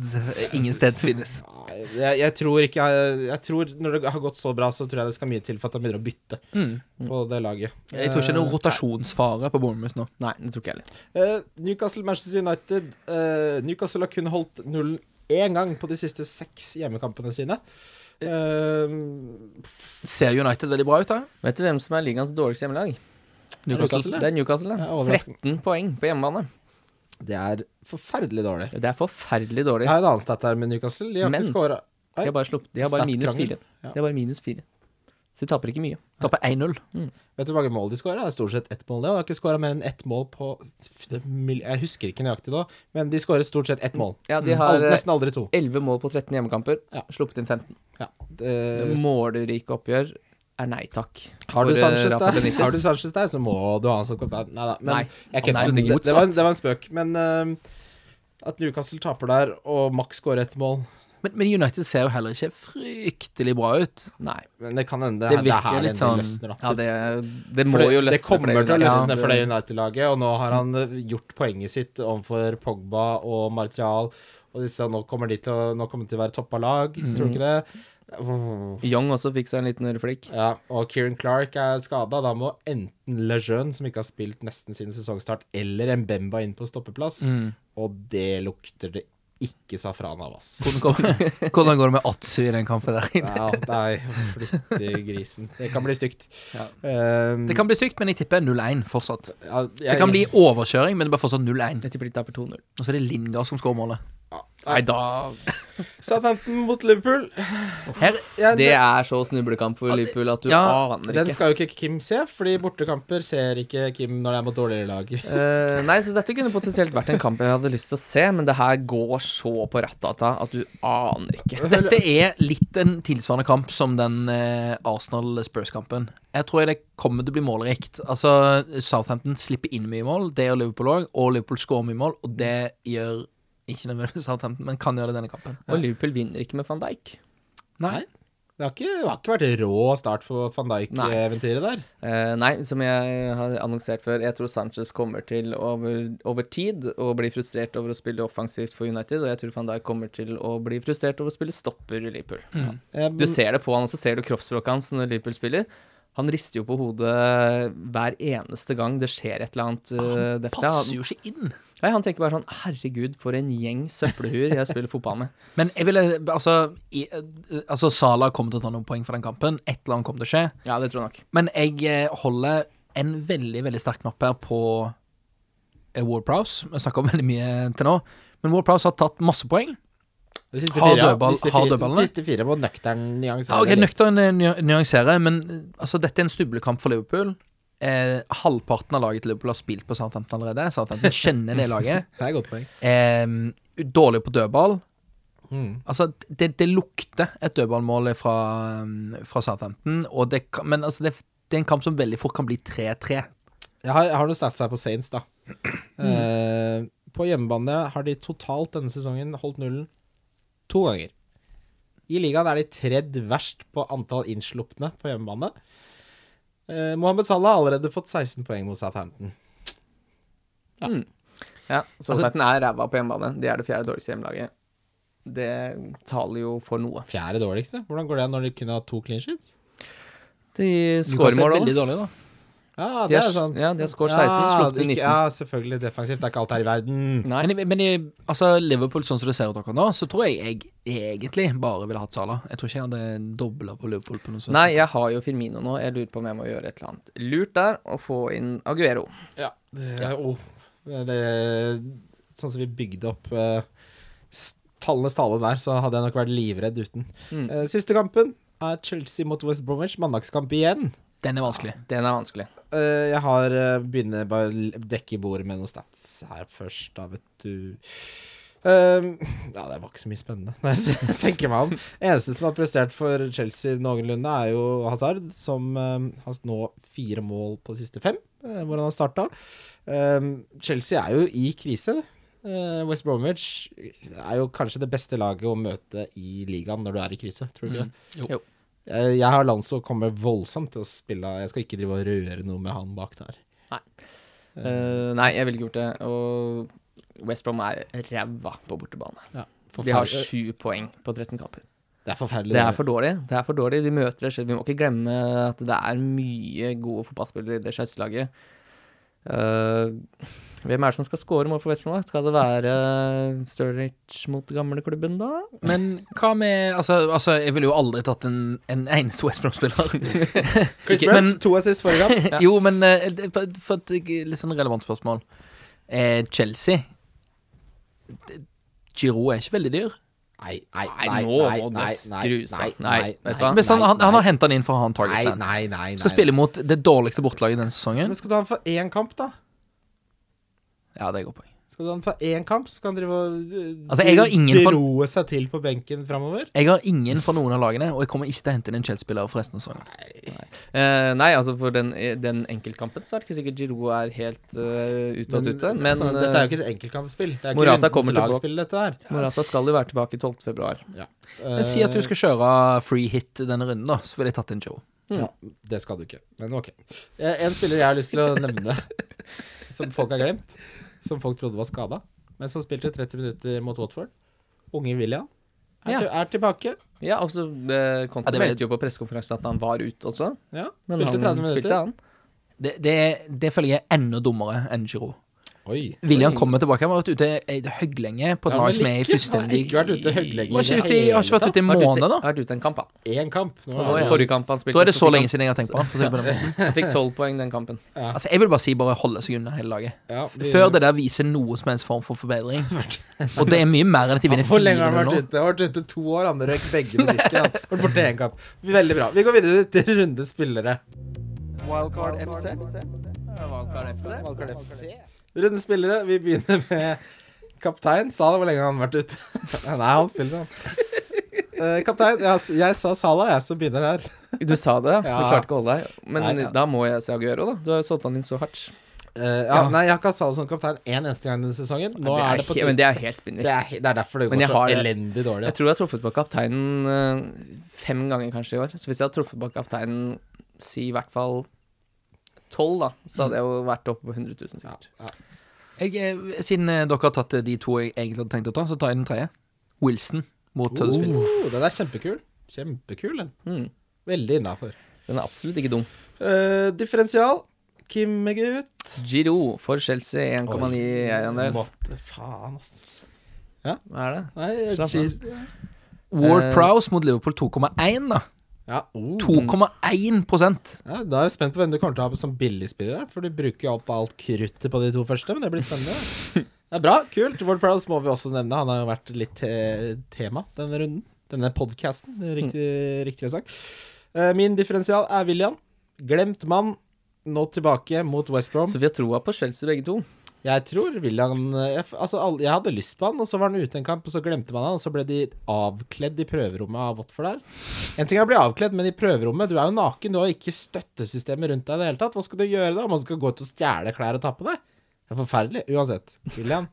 Speaker 5: ingen sted finnes.
Speaker 3: Nei, Jeg, jeg tror ikke jeg, jeg tror Når det har gått så bra, så tror jeg det skal mye til for at han begynner å bytte
Speaker 5: Mm.
Speaker 3: på det laget.
Speaker 5: Jeg tror ikke det er noen rotasjonsfare på Bournemouth nå.
Speaker 2: Nei, det tror ikke jeg heller.
Speaker 3: Eh, Newcastle Manchester United eh, Newcastle har kun holdt nullen én gang på de siste seks hjemmekampene sine. Eh,
Speaker 5: Ser United veldig bra ut, da?
Speaker 2: Vet du hvem som er ligaens dårligste hjemmelag?
Speaker 3: Newcastle,
Speaker 2: Det er Newcastle.
Speaker 3: Ja,
Speaker 2: da.
Speaker 3: overraskende.
Speaker 2: 13 poeng på hjemmebane.
Speaker 3: det er forferdelig dårlig.
Speaker 2: Det er forferdelig dårlig.
Speaker 3: Jeg har en annen stat her med Newcastle. De har
Speaker 2: Men-
Speaker 3: ikke scora.
Speaker 2: De har bare, slupp- de har bare minus
Speaker 3: Statkrangel.
Speaker 2: fire.
Speaker 3: Ja.
Speaker 2: De har bare minus fire. Så de taper ikke mye.
Speaker 5: Taper 1-0.
Speaker 3: Vet du hvor mange mål de scora? Det er stort sett ett mål. Det. Og de har ikke scora mer enn ett mål på Jeg husker ikke nøyaktig nå, men de skårer stort sett ett mål.
Speaker 2: Ja, de
Speaker 3: Ald-
Speaker 2: har eh,
Speaker 3: nesten aldri to. Eh,
Speaker 2: 11 mål på 13 hjemmekamper,
Speaker 3: Ja.
Speaker 2: sluppet inn 15.
Speaker 3: Ja.
Speaker 2: Eh.
Speaker 3: Det-
Speaker 2: Målerike oppgjør er nei takk.
Speaker 3: Har du,
Speaker 2: For, eh,
Speaker 3: Sanchez
Speaker 2: Rafa
Speaker 3: der,
Speaker 2: Benitez.
Speaker 3: har du Sanchez der, så må du ha han som kaptein. Nei da. Men
Speaker 2: Nei,
Speaker 3: jeg kødder.
Speaker 2: absolutt ikke.
Speaker 3: det, det, var en, det var en spøk. Men ehm, at Newcastle taper der, og Max skårer ett mål
Speaker 5: Men, men United ser jo heller ikke fryktelig bra ut.
Speaker 2: Nei.
Speaker 3: Men det kan hende det,
Speaker 5: Det
Speaker 3: er- det er
Speaker 5: virker
Speaker 3: her
Speaker 5: litt
Speaker 3: det
Speaker 5: sånn-
Speaker 3: løsner opp.
Speaker 2: Ja, det, det
Speaker 3: For
Speaker 2: må
Speaker 3: det,
Speaker 2: jo løsne.
Speaker 3: det kommer til å
Speaker 2: laget.
Speaker 3: løsne
Speaker 2: Ja,
Speaker 3: for det United-laget, og nå har han eh, gjort poenget sitt overfor Pogba og Martial. Og disse, nå kommer de til å, nå kommer de til å være toppa lag, tror du ikke det? Åh.
Speaker 2: Young også fikk seg en liten øreflikk.
Speaker 3: Ja, og Kieran Clark er skada. Da må enten Lejeune, som ikke har spilt nesten siden sesongstart, eller Mbemba inn på stoppeplass.
Speaker 2: Mm.
Speaker 3: Og det lukter det ikke safran av, ass.
Speaker 5: Hvordan går, hvordan går det med Atsu i den kampen der?
Speaker 3: Ja, nei, flytte grisen. Det kan bli stygt.
Speaker 2: Ja.
Speaker 3: Um,
Speaker 5: Det kan bli stygt, men jeg tipper 0-1 fortsatt.
Speaker 3: ja, jeg,
Speaker 5: Det kan bli overkjøring, men det blir fortsatt 0-1.
Speaker 2: Jeg tipper de taper 2-0.
Speaker 5: Og så er det Lingard som skårer målet.
Speaker 2: Nei, da
Speaker 3: Southampton mot Liverpool.
Speaker 5: Her,
Speaker 3: Ja,
Speaker 2: Det
Speaker 3: det-
Speaker 2: er så snublekamp for Liverpool at du
Speaker 5: Ja,
Speaker 2: aner
Speaker 3: den
Speaker 2: ikke.
Speaker 3: skal jo ikke Kim se, fordi bortekamper ser ikke Kim når det er mot dårligere lag.
Speaker 2: Eh, nei, så dette kunne potensielt vært en kamp jeg hadde lyst til å se, men det her går så på rattata at du aner ikke.
Speaker 5: dette er litt en tilsvarende kamp som den eh, Arsenal-Spurs-kampen. Jeg tror det kommer til å bli målrikt. Altså, Southampton slipper inn mye mål, det gjør Liverpool òg, og Liverpool skårer mye mål, og det gjør ikke nødvendigvis Southampton, men kan gjøre det i denne kampen.
Speaker 2: Og Liverpool vinner ikke med van Dijk.
Speaker 5: Nei.
Speaker 3: Det har ikke, det har ikke vært rå start for van
Speaker 2: Nei.
Speaker 3: Dijk-eventyret der.
Speaker 2: Eh, nei, som jeg har annonsert før, jeg tror Sanchez kommer til over, over tid å bli frustrert over å spille offensivt for United, og jeg tror van Dijk kommer til å bli frustrert over å spille stopper i Liverpool.
Speaker 3: Um,
Speaker 2: Du ser det på han, og så ser du kroppsspråket hans når Liverpool spiller. Han rister jo på hodet hver eneste gang det skjer et eller annet. eh,
Speaker 5: Han
Speaker 2: deftig.
Speaker 5: passer
Speaker 2: han,
Speaker 5: jo ikke inn.
Speaker 2: nei, han tenker bare sånn Herregud, for en gjeng søppelhuer jeg spiller fotball med.
Speaker 5: Men jeg ville Altså, i, eh, altså Salah kommer til å ta noen poeng for den kampen. Et eller annet kommer til å skje.
Speaker 2: Ja, det tror jeg nok.
Speaker 5: Men jeg eh, holder en veldig, veldig sterk knapp her på eh, Ward Prowse. Vi har snakka om veldig mye til nå. Men Ward Prowse har tatt masse poeng.
Speaker 3: de siste
Speaker 5: Har
Speaker 3: fire, ja.
Speaker 5: dødball-
Speaker 3: De siste
Speaker 5: har
Speaker 3: fire-
Speaker 5: dødballene?
Speaker 3: de Siste fire må nøktern nyansere.
Speaker 5: Ja, ok,
Speaker 3: litt.
Speaker 5: Nøktern eh, nya- nyansere, men eh, altså, dette er en stublekamp for Liverpool. Eh, halvparten av laget til Liverpool har spilt på Southampton allerede. Southampton kjenner det laget.
Speaker 3: Det er et godt poeng.
Speaker 5: Eh, dårlig på dødball.
Speaker 3: Mm.
Speaker 5: Altså, det, det lukter et dødballmål fra, um, fra Southampton, og det, kan- men altså, det, det er en kamp som veldig fort kan bli 3-3.
Speaker 3: Jeg har, jeg har noen stats her på Saints, da. Eh, på hjemmebane har de totalt denne sesongen holdt nullen to ganger. I ligaen er de tredd verst på antall innslupne på hjemmebane. Eh, Mohammed Salah har allerede fått 16 poeng mot Southampton.
Speaker 2: Ja, så
Speaker 5: Altså-
Speaker 2: Altså, Southampton er ræva på hjemmebane. De er det fjerde dårligste hjemmelaget. Det taler jo for noe.
Speaker 3: Fjerde dårligste? Hvordan går det når de kunne ha to clean sheets?
Speaker 2: De
Speaker 5: Skårer
Speaker 2: skårer mål
Speaker 5: veldig
Speaker 2: òg.
Speaker 5: dårlig, da.
Speaker 3: Ja,
Speaker 2: De
Speaker 3: det
Speaker 2: har,
Speaker 3: er sant.
Speaker 2: ja, de har skåret 16, sluppet inn
Speaker 3: ikke-
Speaker 2: 19.
Speaker 3: Ja, selvfølgelig. Defensivt. Det er ikke alt her i verden.
Speaker 2: Nei.
Speaker 5: Men, i- men i altså, Liverpool, sånn som det ser ut akkurat nå, så tror jeg jeg egentlig bare ville hatt Salah. Jeg tror ikke jeg hadde dobla på Liverpool på noe sånt.
Speaker 2: Nei, jeg har jo Firmino nå. Jeg lurer på om jeg må gjøre et eller annet lurt der og få inn Aguero.
Speaker 3: Ja. Det, er- åh. det, det, sånn som vi bygde opp eh, s- tallenes tale der, så hadde jeg nok vært livredd uten.
Speaker 2: Mm.
Speaker 3: Eh, siste kampen er Chelsea mot West Bromwich. Mandagskamp igjen.
Speaker 5: Den er vanskelig.
Speaker 2: Den er vanskelig.
Speaker 3: Eh, jeg har eh, begynner bare å l- dekke bordet med noen stats her først, da, vet du. Ehm, ja, det var ikke så mye spennende, når jeg ser- tenker meg om. Eneste som har prestert for Chelsea noenlunde, er jo Hazard, som eh, har nå fire mål på siste fem, eh, hvor han har starta. Chelsea er jo i krise. Eh, West Bromwich er jo kanskje det beste laget å møte i ligaen når du er i krise, tror du ikke? det?
Speaker 5: Jo.
Speaker 2: Jo.
Speaker 3: Jeg, Eh, jeg har Lanzo kommer voldsomt til å spille Jeg skal ikke drive og røre noe med han bak der.
Speaker 2: Eh, nei, jeg ville ikke gjort det. Og West Brom er ræva på bortebane. De har
Speaker 3: Forferdelig.
Speaker 2: sju poeng på 13 kamper.
Speaker 3: Det er forferdelig.
Speaker 2: Det er for dårlig. Det er for dårlig. De møter det selv. Vi må ikke glemme at det er mye gode fotballspillere i det Chelsea-laget. Eh, hvem er det som skal skåre mål for West Brom? da? Skal det være Sturridge mot gamleklubben, da?
Speaker 5: Men hva med Altså, altså jeg ville jo aldri tatt en, en eneste West Brom-spiller.
Speaker 3: Chris
Speaker 5: Ikke-
Speaker 3: Brent,
Speaker 5: men-
Speaker 3: to assist forrige kamp.
Speaker 5: jo, men eh, det- for et litt sånn relevant spørsmål. Eh, Chelsea Det- Giroud er ikke veldig dyr.
Speaker 3: Nei, nei,
Speaker 2: Nei, nå må det skrus av. Nei, vet du hva?
Speaker 5: Men han, han, han har henta han inn for å ha en
Speaker 3: Nei,
Speaker 5: target man.
Speaker 3: nei, nei.
Speaker 5: Skal spille mot det dårligste bortelaget denne sesongen.
Speaker 3: Men skal du ha han for én kamp, da?
Speaker 5: Ja, det er godt poeng.
Speaker 3: Skal du ha han for én kamp, så skal han drive og eh,
Speaker 5: Altså, jeg har ingen for-
Speaker 3: roe seg til på benken framover?
Speaker 5: Jeg har ingen fra noen av lagene, og jeg kommer ikke til å hente inn en Chelsea-spiller for resten av sesongen.
Speaker 2: Eh, nei, altså for den, den enkeltkampen så er det ikke sikkert Giroud er helt uh, ute og tute. Men
Speaker 3: altså, Dette er
Speaker 5: eh,
Speaker 3: jo ikke et enkeltkampspill. Det er ikke
Speaker 2: Morata kommer
Speaker 3: rundens lagspill, dette her.
Speaker 2: eh, Morata skal jo være tilbake 12.2.
Speaker 3: Eh,
Speaker 5: Men Si at du skal kjøre free hit denne runden, da, så ville jeg tatt inn Joe.
Speaker 2: Mm.
Speaker 3: Ja, det skal du ikke, men ok. Eh, En spiller jeg har lyst til å nevne, som folk har glemt, som folk trodde var skada, men som spilte 30 minutter mot Watford. Unge William er,
Speaker 2: Ja.
Speaker 3: til- er tilbake.
Speaker 2: Ja, og så uh, Conte
Speaker 5: Ja, det vet-
Speaker 2: meldte jo på pressekonferansen at han var ute også.
Speaker 3: Ja,
Speaker 2: Men
Speaker 3: spilte 30
Speaker 2: han
Speaker 3: minutter.
Speaker 2: spilte, han.
Speaker 5: Det, det, det føler jeg er enda dummere enn Giroud.
Speaker 3: Oi.
Speaker 5: William kommer tilbake. Han har vært ute i det høgglenge på et
Speaker 3: Ja, men
Speaker 5: lag som er i
Speaker 3: ikke- Han har
Speaker 5: fullstendig
Speaker 3: ikke vært ute høglegge
Speaker 5: Var ikke ute i- Har ikke vært ute i en
Speaker 2: Vært ute-
Speaker 5: måned, da.
Speaker 2: Vært ute en kamp, da.
Speaker 3: Én kamp. Nå
Speaker 5: Å,
Speaker 3: er
Speaker 5: ja.
Speaker 3: det-
Speaker 2: Forrige kamp han spilte
Speaker 5: Da er det
Speaker 2: så
Speaker 5: så
Speaker 2: fikk
Speaker 5: lenge siden jeg har tenkt på han. For å si det på den måten.
Speaker 2: han- Han fikk 12 poeng den kampen.
Speaker 5: Altså, jeg vil bare si bare holde seg unna hele laget.
Speaker 3: Ja, vi-
Speaker 5: Før det der viser noen som helst form for forbedring. Og det er mye mer enn at de vinner
Speaker 3: Hvor lenge
Speaker 5: fire
Speaker 3: har han vært
Speaker 5: nå.
Speaker 3: ute? Han har vært ute to år, han røyk begge menisken. han. Vært borte én kamp. Veldig bra. Vi går videre til runde spillere.
Speaker 2: Wildcard FC. Wildcard FC.
Speaker 3: Runde spillere, vi begynner med kaptein. Salah, hvor lenge har han vært ute? Nei, han spiller, han. Eh, kaptein, jeg, jeg sa Salah, jeg som begynner her.
Speaker 2: Du sa det, ja. Du
Speaker 3: Ja.
Speaker 2: klarte ikke å holde deg. Men
Speaker 3: Nei, ja.
Speaker 2: da må jeg se Aguero, da. Du har jo solgt han inn så hardt.
Speaker 3: Eh, ja,
Speaker 5: Ja.
Speaker 3: Nei, jeg har ikke hatt Salah som kaptein én eneste gang denne sesongen. Nå
Speaker 2: det er,
Speaker 3: er det på
Speaker 2: he-
Speaker 3: tide.
Speaker 2: men det er helt spinnvilt.
Speaker 3: Det er, he- det er derfor det
Speaker 2: Men
Speaker 3: går
Speaker 2: jeg
Speaker 3: så
Speaker 2: har det.
Speaker 3: elendig dårlig.
Speaker 2: Jeg tror jeg har truffet på kapteinen eh, fem ganger kanskje i år. Så hvis jeg hadde truffet på kapteinen si i hvert fall tolv, da, så hadde jeg jo vært oppe på 100 000 sikkert.
Speaker 5: Jeg, eh, siden eh, dere har tatt eh, de to jeg egentlig hadde tenkt å ta, så tar jeg den tredje. Wilson mot Huddersfield.
Speaker 3: Oh, den er kjempekul. Kjempekul, den.
Speaker 2: Mm.
Speaker 3: Veldig innafor. Eh,
Speaker 2: Den er absolutt ikke dum.
Speaker 3: differensial. Kim Megge ut.
Speaker 2: Giro for Chelsea 1,9 eierandel.
Speaker 3: Måtte faen, ass.
Speaker 2: Hva er det?
Speaker 3: Nei,
Speaker 2: Slapp av.
Speaker 3: Gir-
Speaker 5: Ward
Speaker 2: Eh,
Speaker 5: Prowse mot Liverpool 2,1, da.
Speaker 3: Ja, oh.
Speaker 5: 2,1 prosent.
Speaker 3: Ja, da er jeg spent på hvem du kommer til å ha som billigspiller. her, For du bruker jo opp alt kruttet på de to første, men det blir spennende. Det er bra, kult. Ward Prowse må vi også nevne. Han har jo vært litt eh, tema denne runden. Denne podkasten, riktig, riktig sagt. Eh, Min differensial er William. Glemt mann. Nå tilbake mot West Brom.
Speaker 2: Så vi har troa på Chelsea begge to.
Speaker 3: Jeg tror William eh, jeg, altså, alle- jeg hadde lyst på han, og så var han ute en kamp, og så glemte man han, og så ble de avkledd i prøverommet av Watford der. En ting er å bli avkledd, men i prøverommet, du er jo naken, du har ikke støttesystemet rundt deg i det hele tatt. Hva skal du gjøre da? Man skal gå ut og stjele klær og ta på deg? Det er forferdelig. Uansett, William,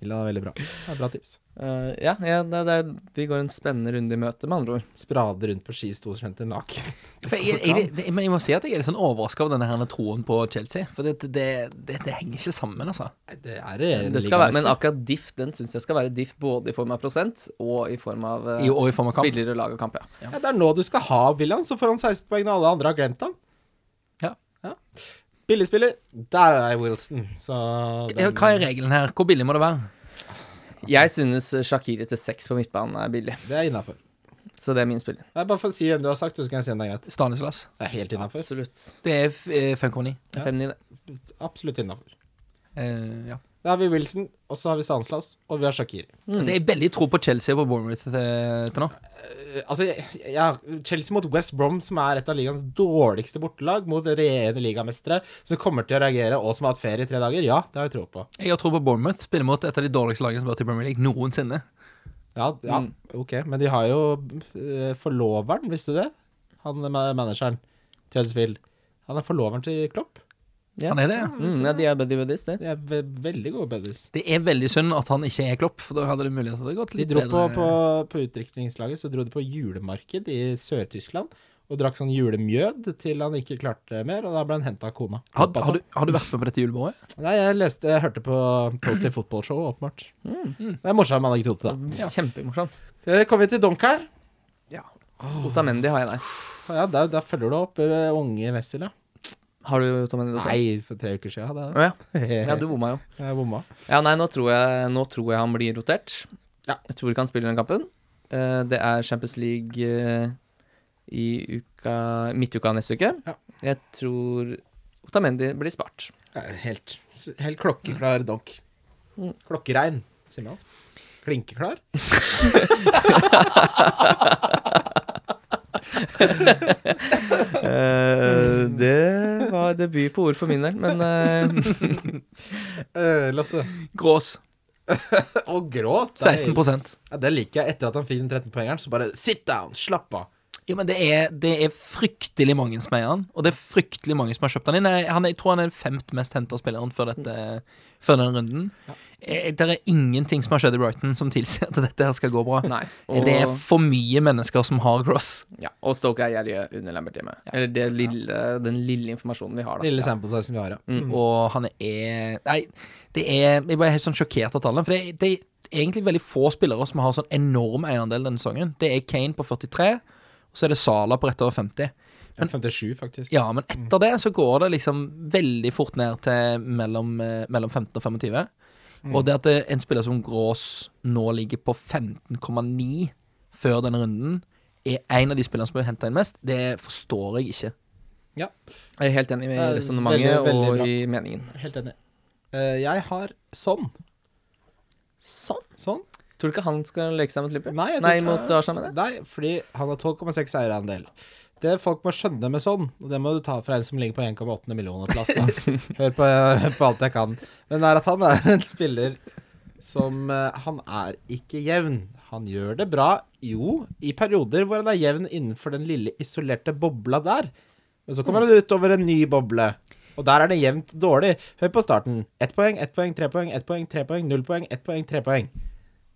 Speaker 3: Milan er veldig bra. Det er bra tips.
Speaker 2: Eh, ja, ja det, det, er- vi går en spennende runde i møte, med andre ord.
Speaker 3: Sprade rundt på ski, storkjente naken.
Speaker 5: For jeg, jeg, det- men jeg må si at jeg er litt sånn overraska over denne her troen på Chelsea. For det, det, det, det henger ikke sammen, altså.
Speaker 3: Nei, Det er det.
Speaker 2: Det skal være, men akkurat diff den syns jeg skal være diff både i form av prosent og i form av eh,
Speaker 5: I, og i form av kamp. Altså.
Speaker 2: spillere, lag og kamp. Ja.
Speaker 3: ja, det er nå du skal ha William, så får han 16 poeng når alle andre har glemt ham.
Speaker 5: Ja.
Speaker 3: Billigspiller, der er Wilson. Så
Speaker 5: Ja,
Speaker 3: den-
Speaker 5: Hva er regelen her? Hvor billig må det være?
Speaker 2: Jeg synes Shakiri til seks på midtbanen er billig,
Speaker 3: det er innafor.
Speaker 2: så det er min spiller.
Speaker 3: Bare for å si hvem du har sagt, så kan jeg si om det er greit.
Speaker 5: Stanislas.
Speaker 3: Det er helt innafor.
Speaker 2: Absolutt.
Speaker 5: Det er f- eh, 5,9.
Speaker 2: Det er 5-9, det.
Speaker 3: Absolutt innafor.
Speaker 5: Eh, ja.
Speaker 3: Da har vi Wilson, og så har vi Stanislas, og vi har Shakiri.
Speaker 5: Det er veldig tro på Chelsea og på Bournemouth eh, til nå.
Speaker 3: Eh, Altså, jeg, jeg, Chelsea mot West Brom, som er et av ligaens dårligste bortelag, mot regjerende ligamestere, som kommer til å reagere, og som har hatt ferie i tre dager, ja, det har jeg tro på.
Speaker 5: Jeg har tro på Bournemouth. Spiller mot et av de dårligste lagene som har vært i Premier League noensinne.
Speaker 3: Ja, ja
Speaker 2: Mm.
Speaker 3: ok, men de har jo eh, forloveren, visste du det? Han er ma- manageren til Huddersfield. Han er forloveren til Klopp.
Speaker 2: Ja.
Speaker 5: Han er det, ja.
Speaker 2: Mm, ja, de er buddy buddies, det.
Speaker 3: De er ve veldig gode buddies.
Speaker 5: Det er veldig synd at han ikke er Klopp, for da hadde det mulighet til at det gått
Speaker 3: De
Speaker 5: litt
Speaker 3: dro på, på,
Speaker 5: bedre. altså.
Speaker 3: på utdrikningslaget, så dro de på julemarked i Sør-Tyskland. Og drakk sånn julemjød til han ikke klarte mer, og da ble han henta av kona.
Speaker 5: Har, har, du, har du vært med på dette julebordet?
Speaker 3: Nei, jeg leste, jeg hørte på Total Football Show, åpenbart. Mm. Det er morsom anekdote, da.
Speaker 5: Ja.
Speaker 2: Kjempemorsomt.
Speaker 3: Eh, Kommer vi til Donkey?
Speaker 2: Otamendi har jeg der.
Speaker 3: Ja, der, der følger du opp eh, unge Wessel, ja.
Speaker 2: Har du Otamendi også?
Speaker 3: Nei, for tre uker siden hadde jeg
Speaker 2: Å
Speaker 3: det.
Speaker 2: ja. ja, du bomma jo.
Speaker 3: Jeg bomma.
Speaker 2: Ja, nei, nå tror jeg, nå tror jeg han blir rotert.
Speaker 3: Ja.
Speaker 2: Jeg tror ikke han spiller den kampen. Eh, det er Champions League eh, i uka, midtuka neste uke.
Speaker 3: Ja.
Speaker 2: Jeg tror Otamendi blir spart.
Speaker 3: Ja, Helt, helt klokkeklar donk.
Speaker 2: Mm.
Speaker 3: Klokkerein, sier man. Klinkeklar?
Speaker 2: Eh, det var debut på ord for min del, men
Speaker 3: Eh, Lasse.
Speaker 5: Grås.
Speaker 3: Og grås. det er-
Speaker 5: 16
Speaker 3: Ja, det liker jeg. Etter at han fikk den 13-poengeren, så bare sit down, slapp av.
Speaker 5: Ja, men det er, det er fryktelig mange som eier han, og det er fryktelig mange som har kjøpt han inn. Jeg, han, er- jeg tror han er den femt mest henta spilleren før, dette, før denne runden. Eh, Det er ingenting som har skjedd i Brighton som tilsier at dette her skal gå bra. Eh,
Speaker 2: nei.
Speaker 5: Det er
Speaker 2: Og,
Speaker 5: for mye mennesker som har Gross.
Speaker 2: ja, og Stoke er gjerrige under Lambert hjemme. Eller det lille, den lille informasjonen vi har, da.
Speaker 3: Lille sample size som vi har, ja.
Speaker 5: Og han er Nei, det er Jeg ble helt sånn sjokkert av tallene. For det, det er egentlig veldig få spillere som har sånn enorm eierandel denne sesongen. Det er Kane på 43, og så er det Sala på rett over 50.
Speaker 3: Ja, 57, faktisk.
Speaker 5: Ja, men etter det så går det liksom veldig fort ned til mellom, eh, mellom 15 og 25.
Speaker 3: Mm.
Speaker 5: Og det at det, en spiller som Grås nå ligger på 15,9 før denne runden, er en av de spillerne som blir henta inn mest, det forstår jeg ikke.
Speaker 3: Ja,
Speaker 2: Jeg er helt enig i
Speaker 3: Ja, veldig,
Speaker 2: resonnementet
Speaker 3: veldig
Speaker 2: og
Speaker 3: bra.
Speaker 2: i meningen.
Speaker 3: helt enig. Eh, jeg har sånn.
Speaker 2: Sånn.
Speaker 3: Sånn.
Speaker 2: Tror du ikke han skal leke seg mot Liverpool?
Speaker 3: Nei, jeg tror
Speaker 2: Nei
Speaker 3: ikke-
Speaker 2: mot Arsenal, mener jeg.
Speaker 3: Nei, fordi han har 12,6 eierandel. Det folk må skjønne med sånn, og det må du ta fra en som ligger på 1,8 millioner plass, da. Hør på, hør på alt jeg kan. Men det er at han er en spiller som eh, Han er ikke jevn. Han gjør det bra, jo, i perioder hvor han er jevn innenfor den lille isolerte bobla der. Men så kommer han ut over en ny boble, og der er det jevnt dårlig. Hør på starten. Ett poeng, ett poeng, tre poeng, ett poeng, tre poeng, null poeng, ett poeng, tre poeng.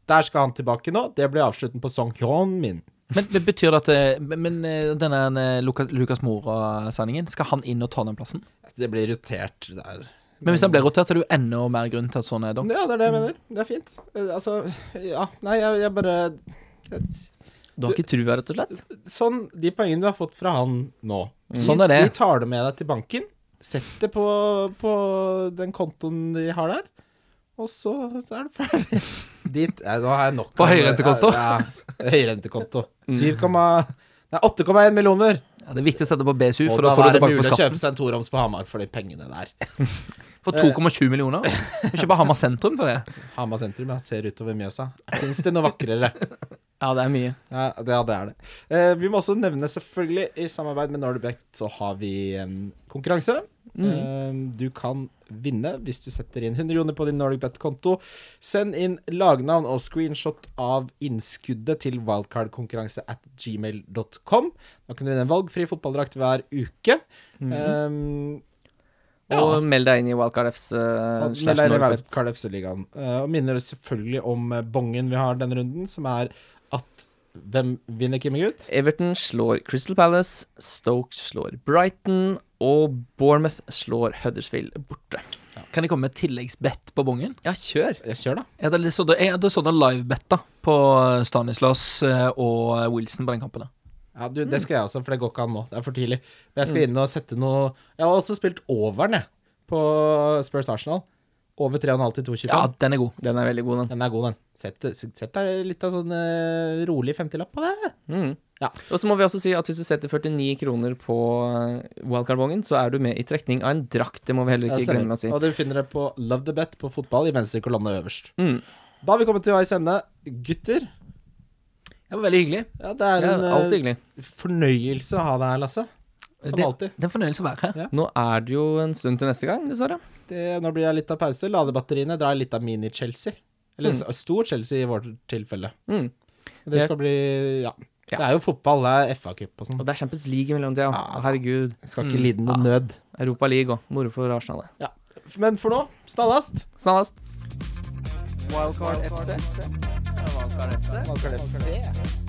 Speaker 3: Der skal han tilbake nå. Det blir avslutten på Song Hyun min.
Speaker 5: Men men betyr det at eh, Men eh, denne eh, Luka- Lukas Mora-signingen, skal han inn og ta den plassen?
Speaker 3: Det blir rotert der.
Speaker 5: Men hvis han blir rotert, så er det jo enda mer grunn til at sånn er donk.
Speaker 3: Ja, det er det jeg mener. Det er fint. Eh, Altså, ja. Nei, jeg, jeg bare
Speaker 2: Du har ikke trua, rett og slett?
Speaker 3: Sånn, de poengene du har fått fra han nå
Speaker 5: Sånn er det.
Speaker 3: De tar Mm. det med deg til banken. Sett det på, på den kontoen de har der, og så så er det ferdig. Dit Nei, Nå har jeg nok.
Speaker 5: På høyrentekonto?
Speaker 3: Ja, ja. høyrentekonto. 7, nei, 8,1 millioner.
Speaker 5: Ja, det er viktig å sette på BSU,
Speaker 3: Og
Speaker 5: for
Speaker 3: da
Speaker 5: da får
Speaker 3: var
Speaker 5: du
Speaker 3: det
Speaker 5: tilbake
Speaker 3: mulig
Speaker 5: på
Speaker 3: å
Speaker 5: skatten.
Speaker 3: kjøpe seg en toroms på Hamar for de pengene der.
Speaker 5: For 2,7 millioner. Du kjøper Hamar sentrum for det.
Speaker 3: Hamar sentrum, jeg ser utover Mjøsa. Fins det noe vakrere?
Speaker 2: Ja, det er mye.
Speaker 3: Ja, det, ja, det er det. Eh, vi må også nevne, selvfølgelig, i samarbeid med Nordbet så har vi en konkurranse. Eh, du kan vinne hvis du setter inn 100 kroner på din Nordbet-konto. Send inn lagnavn og screenshot av innskuddet til wildcardkonkurranse at gmail.com. Da kan du vinne en valgfri fotballdrakt hver uke. Eh,
Speaker 2: Og meld deg inn i Wildcard Fs eh, slash
Speaker 3: Eller
Speaker 2: Norwegian.
Speaker 3: Wildcard FC-ligaen. Eh, Og minner selvfølgelig om eh, bongen vi har denne runden, som er at hvem vinner Kimmegut?
Speaker 2: Everton slår Crystal Palace, Stoke slår Brighton, og Bournemouth slår Huddersfield borte.
Speaker 5: Kan jeg komme med tilleggsbett på bongen?
Speaker 2: Ja, kjør!
Speaker 3: Ja, Kjør, da.
Speaker 5: Jeg hadde litt sånn- sånne, jeg hadde sånne livebetta på Stanislas eh, og Wilson på den kampen. der.
Speaker 3: Ja, du, Det skal jeg også, for det går ikke an nå. Det er for tidlig. Men jeg skal inn og sette noe Jeg har også spilt overen, jeg, på Spurs Arsenal. Over 3,5 til 2,25.
Speaker 5: Ja, den er god.
Speaker 2: Den er veldig god, den.
Speaker 3: Den er god, den. Sett, sett deg litt av sånn eh, rolig 50-lapp på det.
Speaker 2: Mm.
Speaker 3: Ja.
Speaker 2: Og så må vi også si at hvis du setter 49 kroner på eh, wildcard-bongen, så er du med i trekning av en drakt. Det må vi heller
Speaker 3: Ja,
Speaker 2: ikke
Speaker 3: stemmer.
Speaker 2: glemme å si.
Speaker 3: Og dere finner det på Love the Bet på fotball i venstre kolonne øverst.
Speaker 2: Mm.
Speaker 3: Da har vi kommet til veis ende. Gutter,
Speaker 5: Det var veldig hyggelig.
Speaker 3: ja, det er
Speaker 2: Ja,
Speaker 3: en eh,
Speaker 2: alt hyggelig.
Speaker 3: fornøyelse å ha deg her, Lasse. Som
Speaker 5: det,
Speaker 3: alltid.
Speaker 5: det er en fornøyelse å være her.
Speaker 3: Ja.
Speaker 2: Nå er det jo en stund til neste gang, dessverre.
Speaker 3: Det, nå blir det litt av pause. Lade batteriene, dra litt av mini-Chelsea. Eller
Speaker 2: Mm.
Speaker 3: s- stor Chelsea i vårt tilfelle.
Speaker 2: Mm.
Speaker 3: Det skal bli ja.
Speaker 2: Ja.
Speaker 3: Det er jo fotball, det er FA-cup og sånn.
Speaker 2: Og det er Champions League i mellomtida.
Speaker 3: Ja.
Speaker 2: Herregud.
Speaker 3: Jeg Skal ikke lide noe nød.
Speaker 2: Europa League òg. Moro for Arsenal. det.
Speaker 3: Men for nå, snallast.
Speaker 2: Snallast.
Speaker 3: Wildcard FC. Wildcard FC.